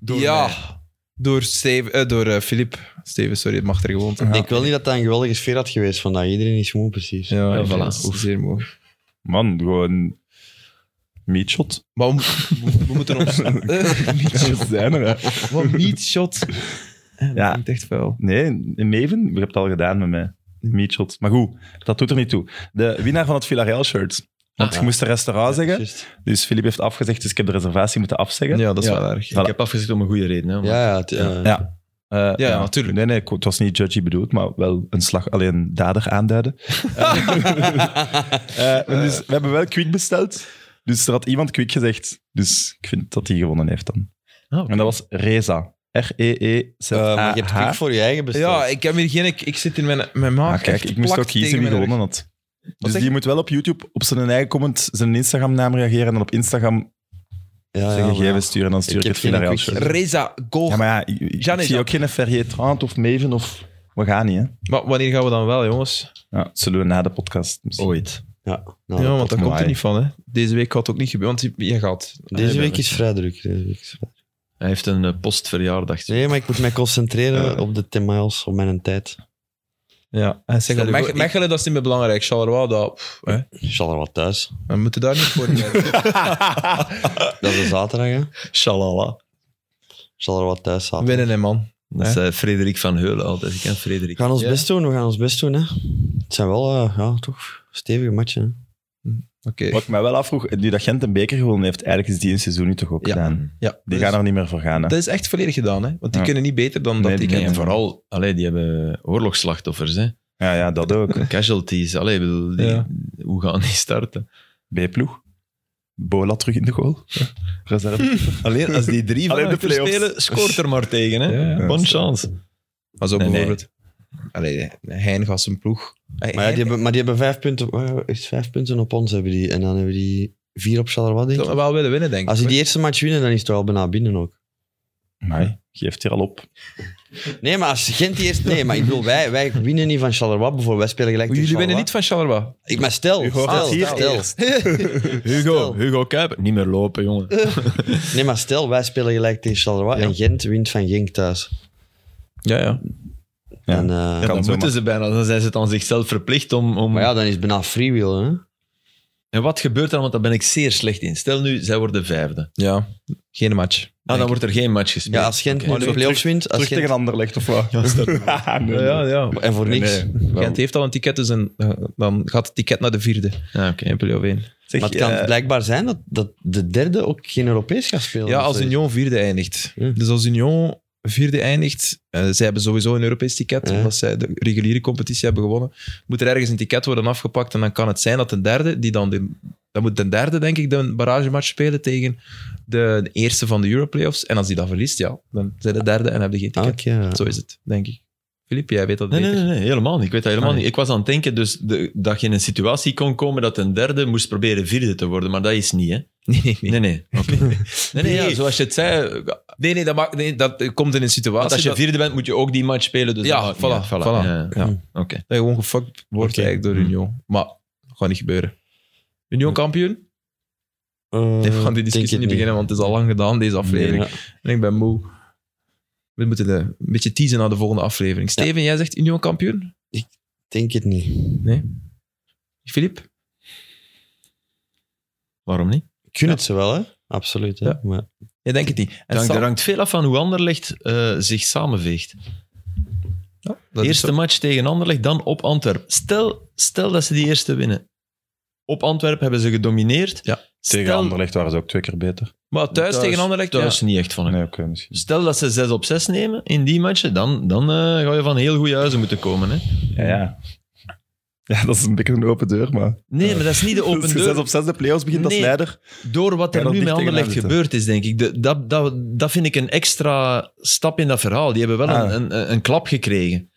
Speaker 1: ja, door, Steve, eh, door eh, Filip. Steven, sorry, het mag er gewoon toe.
Speaker 2: Ik wil niet dat dat een geweldige sfeer had geweest vandaag. Iedereen is moe, precies.
Speaker 1: Ja,
Speaker 3: voilà.
Speaker 1: Oef, zeer mooi.
Speaker 4: Man, gewoon... Meatshot.
Speaker 1: Maar we, we- we moeten ons...
Speaker 4: Meatshot zijn er, hè.
Speaker 1: Wat niet shot.
Speaker 4: Ja.
Speaker 1: Ja. echt vuil.
Speaker 4: Nee, Maven, je hebt het al gedaan met mij. Meatshot. Maar goed, dat doet er niet toe. De winnaar van het Villarreal-shirt. Want
Speaker 2: Ah.
Speaker 4: ik moest de restaurant zeggen.
Speaker 2: Juist.
Speaker 4: Dus Filip heeft afgezegd, dus ik heb de reservatie moeten afzeggen.
Speaker 1: Ja, dat is
Speaker 3: Ja.
Speaker 1: wel erg.
Speaker 4: Voilà.
Speaker 3: Ik heb afgezet om een goede reden. Hè, maar-
Speaker 2: Ja, ja. het- eh,
Speaker 4: Ja. Eh,
Speaker 1: Ja, natuurlijk.
Speaker 4: Nee, nee, ik- het was niet judgy bedoeld, maar wel een slag, alleen dader aanduiden. Eh, en dus, we hebben wel Quick besteld. Dus er had iemand Quick gezegd. Dus ik vind dat hij gewonnen heeft dan.
Speaker 3: Ah, oké.
Speaker 4: En dat was Reza. E
Speaker 2: eh, Oh. maar je hebt
Speaker 4: R-E-E-Z-A-H.
Speaker 2: quick voor je eigen besteld.
Speaker 1: Ja, ik heb hier geen... Ik, ik zit in mijn, mijn maag.
Speaker 4: Ah, kijk,
Speaker 1: echt
Speaker 4: ik moest ook
Speaker 1: plakt
Speaker 4: kiezen
Speaker 1: tegen
Speaker 4: wie
Speaker 1: mijn rug.
Speaker 4: gewonnen had. Dus
Speaker 1: zeg
Speaker 4: die moet wel op YouTube op zijn eigen comment, zijn Instagram-naam reageren en dan op Instagram
Speaker 2: Ah, ja,
Speaker 4: zijn
Speaker 2: ja,
Speaker 4: gegevens
Speaker 2: maar-
Speaker 4: sturen en dan stuur
Speaker 2: Ik
Speaker 4: ik,
Speaker 2: heb
Speaker 4: het
Speaker 2: geen
Speaker 4: via de
Speaker 2: quick.
Speaker 4: shirt.
Speaker 1: Reza, go.
Speaker 4: Ja, maar ja, ik, ik
Speaker 1: Jeanne is
Speaker 4: zie
Speaker 1: dat.
Speaker 4: ook geen Ferrier Trant of Maven of... We gaan niet, hè.
Speaker 1: Maar wanneer gaan we dan wel, jongens?
Speaker 4: Ja, dat zullen we na de podcast misschien.
Speaker 3: Ooit.
Speaker 2: Ja,
Speaker 1: Ja,
Speaker 2: nou,
Speaker 1: want daar
Speaker 4: maar
Speaker 1: komt er
Speaker 4: hij-
Speaker 1: niet van, hè. Deze week gaat het ook niet gebeuren, want je- je gaat...
Speaker 2: Deze week is vrij druk. Deze week is vrij druk.
Speaker 3: Hij heeft een eh, postverjaardag.
Speaker 2: Nee, maar ik moet mij concentreren op de 10 miles, op mijn tijd.
Speaker 1: Ja, en zeg
Speaker 3: Stel je
Speaker 1: Mech-
Speaker 3: voor, ik-
Speaker 1: Mechelen, dat is niet meer belangrijk. Charleroi, dat... pff, hè.
Speaker 2: Ik zal er wat thuis.
Speaker 1: We moeten daar niet voor zijn.
Speaker 2: Dat is een zaterdag, hè. Ik
Speaker 3: Shalala.
Speaker 2: zal er wat thuis zaterdag.
Speaker 1: Winnen, hè, man.
Speaker 3: Dat
Speaker 1: Hè?
Speaker 3: zei Frederik van Heulen altijd. Ik ken Frederik.
Speaker 2: We gaan ons
Speaker 1: Ja.
Speaker 2: best doen, we gaan ons best doen. Hè. Het zijn wel, eh, ja, toch stevige matchen. hè.
Speaker 1: Oké.
Speaker 4: Wat ik mij wel afvroeg, nu dat Gent een beker gewonnen heeft, eigenlijk is die een seizoen nu toch ook
Speaker 1: Ja.
Speaker 4: gedaan.
Speaker 1: Ja,
Speaker 4: Die
Speaker 1: dus-
Speaker 4: gaan er niet meer voor gaan, hè.
Speaker 1: Dat is echt volledig gedaan, hè. Want die
Speaker 4: Ja.
Speaker 1: kunnen niet beter dan
Speaker 4: Nee,
Speaker 1: dat
Speaker 4: die
Speaker 1: ik
Speaker 3: Nee,
Speaker 1: ken.
Speaker 3: en vooral, allee, die hebben oorlogsslachtoffers. Hè.
Speaker 4: Ja, ja, dat ook.
Speaker 3: Casualties. Allee, ik bedoel, die-
Speaker 1: Ja.
Speaker 3: Hoe gaan die starten?
Speaker 4: B-ploeg. Bola terug in de goal. Reserve.
Speaker 3: Alleen als die drie
Speaker 4: van
Speaker 3: van
Speaker 4: achter spelen,
Speaker 3: spelen, scoort er maar tegen. Hè.
Speaker 1: Ja, ja.
Speaker 3: Bon chance.
Speaker 1: Maar zo
Speaker 3: Nee, nee.
Speaker 1: bijvoorbeeld... Allee, Hein gaat zijn ploeg. Hey,
Speaker 2: Maar, ja, die
Speaker 1: Hein-
Speaker 2: hebben, maar die hebben vijf punten, eh, echt vijf punten op ons. Hebben die, en dan hebben die vier op Charleroi, denk
Speaker 1: Dat we
Speaker 2: ik.
Speaker 1: wel willen winnen, denk ik.
Speaker 2: Als die die eerste match winnen, dan is het wel bijna binnen ook.
Speaker 4: Nee, geeft hier al op.
Speaker 2: Nee, maar als Gent die eerste... Nee, maar ik bedoel, wij, wij winnen niet van Charleroi bijvoorbeeld. Wij spelen
Speaker 4: Oh,
Speaker 2: gelijk tegen
Speaker 1: Jullie winnen niet
Speaker 2: Charleroi.
Speaker 1: van Charleroi.
Speaker 2: Ik, maar stel,
Speaker 4: U hoort
Speaker 2: stel,
Speaker 4: het hier
Speaker 2: stel.
Speaker 4: eerst.
Speaker 3: Hugo, Hugo Kuiper. Niet meer lopen, jongen.
Speaker 2: Nee, maar stel, wij spelen gelijk tegen Charleroi en Gent wint van Genk thuis.
Speaker 1: Ja, ja.
Speaker 4: Ja.
Speaker 2: En, eh,
Speaker 4: Ja,
Speaker 3: dan
Speaker 4: zomaar.
Speaker 3: moeten ze bijna. Dan zijn ze het aan zichzelf verplicht om... om
Speaker 2: Maar ja, dan is het bijna freewheel, hè.
Speaker 3: En wat gebeurt er dan? Want daar ben ik zeer slecht in. Stel nu, zij worden vijfde.
Speaker 1: Ja, geen match.
Speaker 3: Ah, dan wordt er geen match gespeeld.
Speaker 2: Ja, als Gent
Speaker 3: Oké.
Speaker 2: nu de
Speaker 4: Maar
Speaker 2: play-offs wint... Als
Speaker 4: Oh, Terug
Speaker 2: Gent-
Speaker 4: tegen ander legt of wat? Ah, nee, nee.
Speaker 1: ja.
Speaker 2: En voor niks.
Speaker 1: Gent heeft al een ticket, dus een, eh, dan gaat het ticket naar de vierde
Speaker 3: Ah, oké.
Speaker 1: in play-off 1.
Speaker 4: Zeg,
Speaker 2: Maar het kan
Speaker 4: eh,
Speaker 2: blijkbaar zijn dat, dat de derde ook geen Europees gaat spelen.
Speaker 1: Ja,
Speaker 2: of
Speaker 1: als
Speaker 2: zoiets.
Speaker 1: Union vierde eindigt.
Speaker 2: Ja.
Speaker 1: Dus als Union vierde eindigt, eh, zij hebben sowieso een Europees ticket,
Speaker 2: Ja.
Speaker 1: omdat zij de reguliere competitie hebben gewonnen, moet er ergens een ticket worden afgepakt en dan kan het zijn dat de derde, die dan, de, dan moet de derde denk ik de barragematch spelen tegen de, de eerste van de Europlayoffs. En als die dan verliest, ja, dan zijn de derde en hebben die geen
Speaker 2: Ah,
Speaker 1: ticket.
Speaker 2: oké, ja.
Speaker 1: Zo is het, denk ik. Filip, jij weet dat
Speaker 3: Nee, nee,
Speaker 1: beter.
Speaker 3: nee, nee, helemaal niet. Ik weet dat helemaal
Speaker 1: Ah,
Speaker 3: niet. Ik was aan het denken dus de- dat je in een situatie kon komen dat een derde moest proberen vierde te worden, maar dat is niet, hè?
Speaker 1: Nee, nee, nee.
Speaker 3: Nee, nee. Oké. Nee, nee, ja, zoals je het zei,
Speaker 1: Nee, nee, dat, maakt, nee, dat eh, komt in een situatie
Speaker 3: want als je
Speaker 1: dat,
Speaker 3: vierde bent, moet je ook die match spelen. Dus
Speaker 1: Ja,
Speaker 3: dat-
Speaker 1: voilà,
Speaker 3: voilà.
Speaker 1: voilà.
Speaker 3: Ja, ja.
Speaker 1: Ja.
Speaker 3: Oké.
Speaker 1: dat je gewoon gefucked wordt
Speaker 2: Oké.
Speaker 1: eigenlijk door
Speaker 3: Hmm.
Speaker 1: Union. Maar dat gaat niet gebeuren. Union kampioen?
Speaker 2: Eh,
Speaker 1: Nee, we gaan die
Speaker 2: denk het
Speaker 1: discussie niet beginnen, want het is al lang gedaan, deze aflevering.
Speaker 2: Ja.
Speaker 1: En ik ben moe. We moeten eh, een beetje teasen naar de volgende aflevering. Steven, jij zegt Union kampioen?
Speaker 2: Denk het niet.
Speaker 1: Filip?
Speaker 3: Waarom niet?
Speaker 2: Ik gun het ze wel, hè? Absoluut. Hè?
Speaker 1: Ja.
Speaker 2: Maar
Speaker 1: Jij denkt het niet.
Speaker 3: Het hangt,
Speaker 1: Sam-
Speaker 3: er hangt veel af van hoe Anderlecht eh, zich samenveegt.
Speaker 1: Ja, dat is
Speaker 3: Eerste
Speaker 1: zo.
Speaker 3: match tegen Anderlecht, dan op Antwerpen. Stel, stel dat ze die eerste winnen. Op Antwerpen hebben ze gedomineerd.
Speaker 1: Ja,
Speaker 4: tegen
Speaker 3: Stel-
Speaker 4: Anderlecht waren ze ook twee keer beter.
Speaker 1: Maar thuis, tegen Anderlecht, ja.
Speaker 3: Thuis niet echt van.
Speaker 4: Nee, oké, misschien.
Speaker 3: Stel dat ze 6 op 6 nemen in die matchen, dan, dan eh, ga je van heel goede huizen moeten komen. Hè?
Speaker 4: Ja, ja. Ja, dat is een beetje een open deur, maar...
Speaker 3: Nee, maar dat is niet de
Speaker 4: Als
Speaker 3: open
Speaker 4: je zes
Speaker 3: deur.
Speaker 4: op zes de play-offs begint
Speaker 3: Nee.
Speaker 4: als leider...
Speaker 3: Door wat
Speaker 4: Ja,
Speaker 3: er
Speaker 4: dat
Speaker 3: nu met
Speaker 4: dicht tegenaan
Speaker 3: Anderlecht
Speaker 4: zitten.
Speaker 3: gebeurd is, denk ik. De- dat, dat, dat vind ik een extra stap in dat verhaal. Die hebben wel
Speaker 4: Ah.
Speaker 3: een, een, een klap gekregen.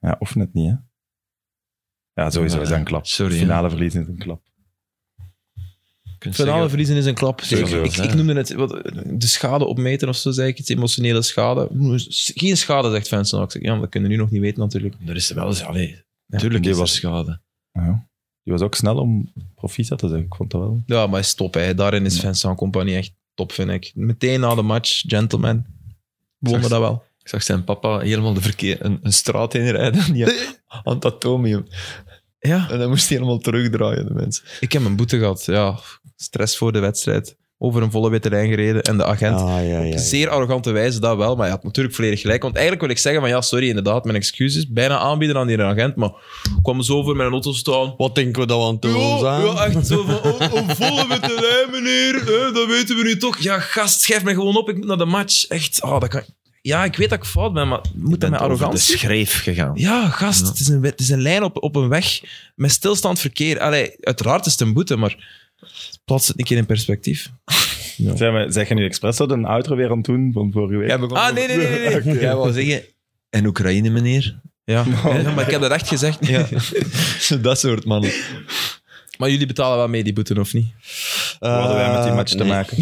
Speaker 4: Ja, of net niet, hè. Ja, sowieso is dat een klap.
Speaker 3: Sorry, hè.
Speaker 4: Finale verliezen is een klap.
Speaker 3: Je kunt
Speaker 1: Finale
Speaker 3: zeggen-
Speaker 1: verliezen is een klap. Ik,
Speaker 3: Sowieso,
Speaker 1: ik,
Speaker 3: ja.
Speaker 1: ik noemde het wat, de schade opmeten of zo, zei ik. Het emotionele schade. Geen schade, zegt Vincent. ook. Ik zeg, Ja, maar dat kunnen we nu nog niet weten, natuurlijk.
Speaker 3: Er is wel eens... Allee,
Speaker 1: Ja,
Speaker 3: tuurlijk
Speaker 4: die
Speaker 3: is er
Speaker 4: was-
Speaker 3: schade.
Speaker 4: Ja. Die was ook snel om Profisa te zeggen. Ik vond dat wel.
Speaker 1: Ja, maar is top. Hè. Daarin is
Speaker 4: Ja.
Speaker 1: Vincent Compagnie echt top, vind ik. Meteen na de match, gentleman. We wonnen
Speaker 4: Zag-
Speaker 1: dat wel.
Speaker 3: Ik zag zijn papa helemaal de verkeer, een, een straat inrijden. Die had- aan het atomium.
Speaker 1: Ja.
Speaker 3: En dan moest hij helemaal terugdraaien, de mensen.
Speaker 1: Ik heb een boete gehad, ja. Stress voor de wedstrijd. Over een volle witte lijn gereden en de agent.
Speaker 2: ah, ja, ja, ja.
Speaker 1: Zeer arrogante wijze, dat wel. Maar je had natuurlijk volledig gelijk. Want eigenlijk wil ik zeggen van ja, sorry, inderdaad, mijn excuses. Bijna aanbieden aan die agent, maar ik kwam zo voor mijn auto staan.
Speaker 2: Wat denken we dat we aan het doen
Speaker 1: Ja,
Speaker 2: zijn?
Speaker 1: ja, echt zo van, oh, oh, volle witte lijn, meneer. hè, dat weten we nu toch. Ja, gast, schrijf mij gewoon op. Ik moet naar de match. Echt, ah, dat kan... Ja, ik weet dat ik fout ben, maar moet dat met arrogantie?
Speaker 3: schreef gegaan.
Speaker 1: Ja, gast,
Speaker 3: Ja.
Speaker 1: Het, is een, we- het is een lijn op, op een weg met stilstaand verkeer. Allee, uiteraard is het een boete, maar plaats het een keer in perspectief.
Speaker 4: Zeg, maar, zeg je nu expres dat een outro weer aan het doen van vorige week? Eh,
Speaker 1: Ah, nee, nee, nee. nee, nee.
Speaker 3: Jij wou zeggen... En Oekraïne, meneer?
Speaker 1: Ja. Ja, maar ik heb dat echt gezegd.
Speaker 3: dat soort mannen.
Speaker 1: Maar jullie betalen wel mee die boete, of niet?
Speaker 2: Eh,
Speaker 4: Wat hadden wij met die match te
Speaker 2: nee.
Speaker 4: maken?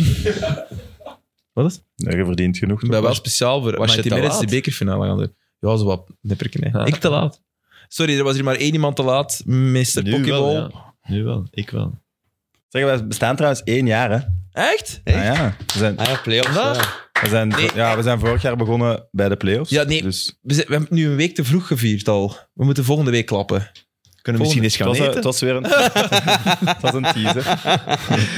Speaker 1: Wat is
Speaker 4: Nee, je verdient genoeg.
Speaker 1: Ik
Speaker 4: toch?
Speaker 1: ben wel speciaal voor
Speaker 3: was je
Speaker 1: 90
Speaker 3: te
Speaker 1: minutes
Speaker 3: laat?
Speaker 1: die bekerfinale gaan doen. Ja, zo wat nipperken. hè.
Speaker 3: Ja.
Speaker 1: Ik te laat. Sorry, er was hier maar één iemand te laat. Mr. Pokéball.
Speaker 3: Nu wel, ik wel.
Speaker 4: Zeg, wij bestaan trouwens één jaar, hè?
Speaker 1: Echt?
Speaker 4: Ah, ja. We zijn,
Speaker 2: Ah ja, play-offs.
Speaker 1: Wat?
Speaker 2: ja.
Speaker 4: we, zijn,
Speaker 1: Nee.
Speaker 4: ja, we zijn vorig jaar begonnen bij de play-offs.
Speaker 1: Ja, nee.
Speaker 4: Dus
Speaker 1: We, zijn- we hebben het nu een week te vroeg gevierd al. We moeten volgende week klappen.
Speaker 3: Kunnen
Speaker 1: Volgende.
Speaker 3: we misschien eens
Speaker 4: het,
Speaker 3: gaan
Speaker 4: was, eh,
Speaker 3: eten?
Speaker 4: het was weer een, het was een teaser.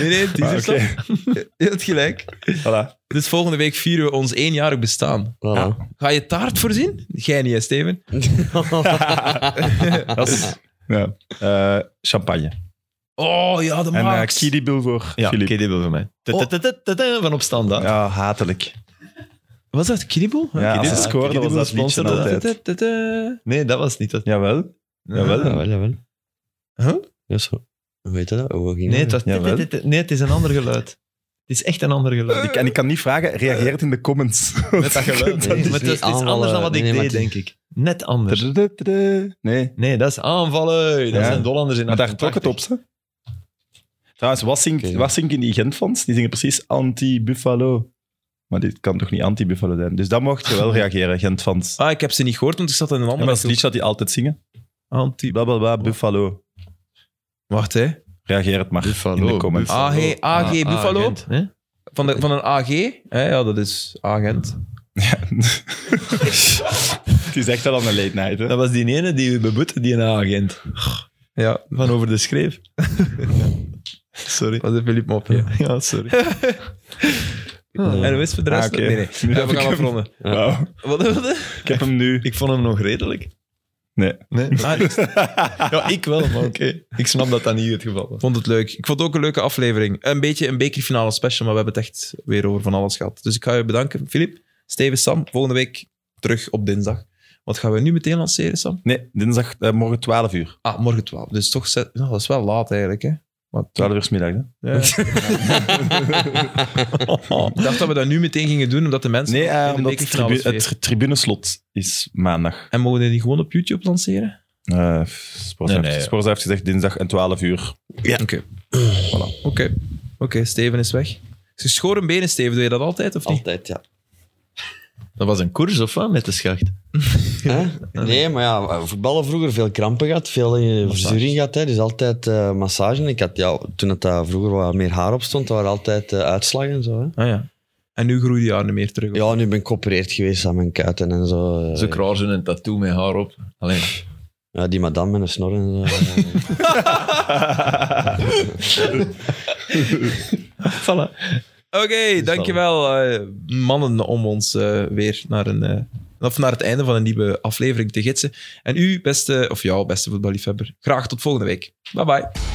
Speaker 1: Nee, nee, het is
Speaker 4: Maar
Speaker 1: er
Speaker 4: Ah, oké,
Speaker 1: zo. Je hebt gelijk.
Speaker 4: voilà.
Speaker 1: Dus volgende week vieren we ons éénjarig bestaan.
Speaker 2: Voilà.
Speaker 1: Ga je taart voorzien? Jij niet, hè, Steven?
Speaker 4: Dat is, ja. Eh, champagne.
Speaker 1: Oh ja, de
Speaker 4: En uh,
Speaker 1: Max.
Speaker 4: kidibil voor
Speaker 3: ja, oké,
Speaker 4: Filip.
Speaker 3: dit wil voor mij. Tututututu, Van op standaard.
Speaker 4: Ja, hatelijk.
Speaker 1: Was dat Kiddieboel?
Speaker 4: Ja, als
Speaker 3: Kiddibil.
Speaker 4: ze scoorden
Speaker 3: Kiddibil
Speaker 4: was dat liedje
Speaker 3: sponsorde dat.
Speaker 4: altijd.
Speaker 3: Nee, dat was niet dat.
Speaker 4: Jawel. Jawel.
Speaker 2: Jawel, jawel.
Speaker 1: Huh?
Speaker 2: Ja, zo. Hoe heet dat? Hoe ging
Speaker 3: Nee, het was-
Speaker 4: Jawel.
Speaker 3: nee, het is een ander geluid. Het is echt een ander geluid.
Speaker 4: Ik, en ik kan niet vragen, reageer het in de comments.
Speaker 3: Met dat
Speaker 2: Nee,
Speaker 3: geluid.
Speaker 2: het is
Speaker 3: maar
Speaker 2: niet
Speaker 3: het is, het is anders dan
Speaker 2: aanvallen.
Speaker 3: wat ik
Speaker 2: Nee, nee,
Speaker 3: deed,
Speaker 2: maar het
Speaker 3: denk ik. Net anders.
Speaker 4: Nee,
Speaker 3: Nee, dat is aanvallen. Dat
Speaker 4: Ja.
Speaker 3: zijn Hollanders in
Speaker 4: maar daar trok het op,
Speaker 3: 88.
Speaker 4: ze. Trouwens, wat zingt,
Speaker 2: Oké.
Speaker 4: wat zingt die Gent-fans? Die zingen precies anti-Buffalo. Maar dit kan toch niet anti-Buffalo zijn? Dus dat mocht je wel reageren, Gent-fans.
Speaker 1: Ah, ik heb ze niet gehoord, want ik zat in een
Speaker 4: Ja, maar
Speaker 1: andere
Speaker 4: dat is het liedje dat die altijd zingen.
Speaker 1: Anti-
Speaker 4: Blablabla, Buffalo.
Speaker 1: Wacht, hè.
Speaker 4: Reageer het maar in de
Speaker 3: Buffalo.
Speaker 4: comments.
Speaker 1: Ah, hey, AG Buffalo.
Speaker 3: Gent, hè?
Speaker 1: Van, de, van een AG. Hè? Ja, dat is agent.
Speaker 4: het is echt wel aan een late night, hè?
Speaker 3: Dat was die ene die we beboeten, die een agent.
Speaker 5: Ja,
Speaker 3: van over de schreef. sorry.
Speaker 5: was een Philippe mopje.
Speaker 3: Ja, sorry.
Speaker 1: En we wisten voor de rest...
Speaker 4: Ah, oké.
Speaker 1: Nee, nee.
Speaker 4: Nu
Speaker 1: Ja,
Speaker 4: heb
Speaker 1: we
Speaker 4: ik
Speaker 1: gaan
Speaker 4: hem.
Speaker 1: afronden.
Speaker 4: Wauw.
Speaker 3: Wat wilde?
Speaker 4: Ik heb hem nu.
Speaker 3: Ik vond hem nog redelijk.
Speaker 4: Nee.
Speaker 3: Nee? Ah, niks. ja, ik wel, maar oké. Ik snap dat dat niet het geval was.
Speaker 1: Ik vond het leuk. Ik vond het ook een leuke aflevering. Een beetje een bekerfinale special, maar we hebben het echt weer over van alles gehad. Dus ik ga je bedanken, Filip, Steven, Sam. Volgende week terug op dinsdag. Wat gaan we nu meteen lanceren, Sam?
Speaker 4: Nee, dinsdag, eh, morgen 12 uur.
Speaker 1: Ah, morgen 12. Dus toch zet... nou, dat is wel laat eigenlijk, hè? Maar
Speaker 4: 12 uur 's middag, hè?
Speaker 1: Ik dacht dat we dat nu meteen gingen doen, omdat de mensen...
Speaker 4: Nee, eh,
Speaker 1: in de
Speaker 4: omdat het,
Speaker 1: bekerfinales
Speaker 4: tribu-
Speaker 1: weer-
Speaker 4: het tribuneslot is maandag.
Speaker 1: En mogen we die gewoon op YouTube lanceren?
Speaker 4: Eh Sporza
Speaker 3: Nee,
Speaker 4: heeft,
Speaker 3: nee, ja.
Speaker 4: Sporza heeft gezegd dinsdag en 12 uur.
Speaker 1: Oké. Voilà. Oké, Oké, Steven is weg. Geschoren benen, Steven, doe je dat altijd of niet?
Speaker 2: Altijd, ja.
Speaker 3: Dat was een koers of wat met de schacht?
Speaker 2: Hè? Nee, maar ja, voetballen vroeger veel krampen gehad, veel eh, verzuring gehad. Hè, dus altijd eh, massage. En Ik had, ja, toen het daar vroeger wat meer haar op stond, dat waren altijd eh, uitslagen en zo. Hè.
Speaker 1: Ah ja. En nu groeit die haar niet meer terug. of-
Speaker 2: Ja, nu ben ik geopereerd geweest aan mijn kuiten en zo. eh.
Speaker 3: Zo kraar ze een tattoo met haar op. Alleen.
Speaker 2: Ja, die madame met een snor en zo.
Speaker 1: Oké, dankjewel eh, mannen om ons eh, weer naar, een, eh, of naar het einde van een nieuwe aflevering te gidsen. En u, beste, of jouw beste voetballiefhebber, graag tot volgende week. Bye bye.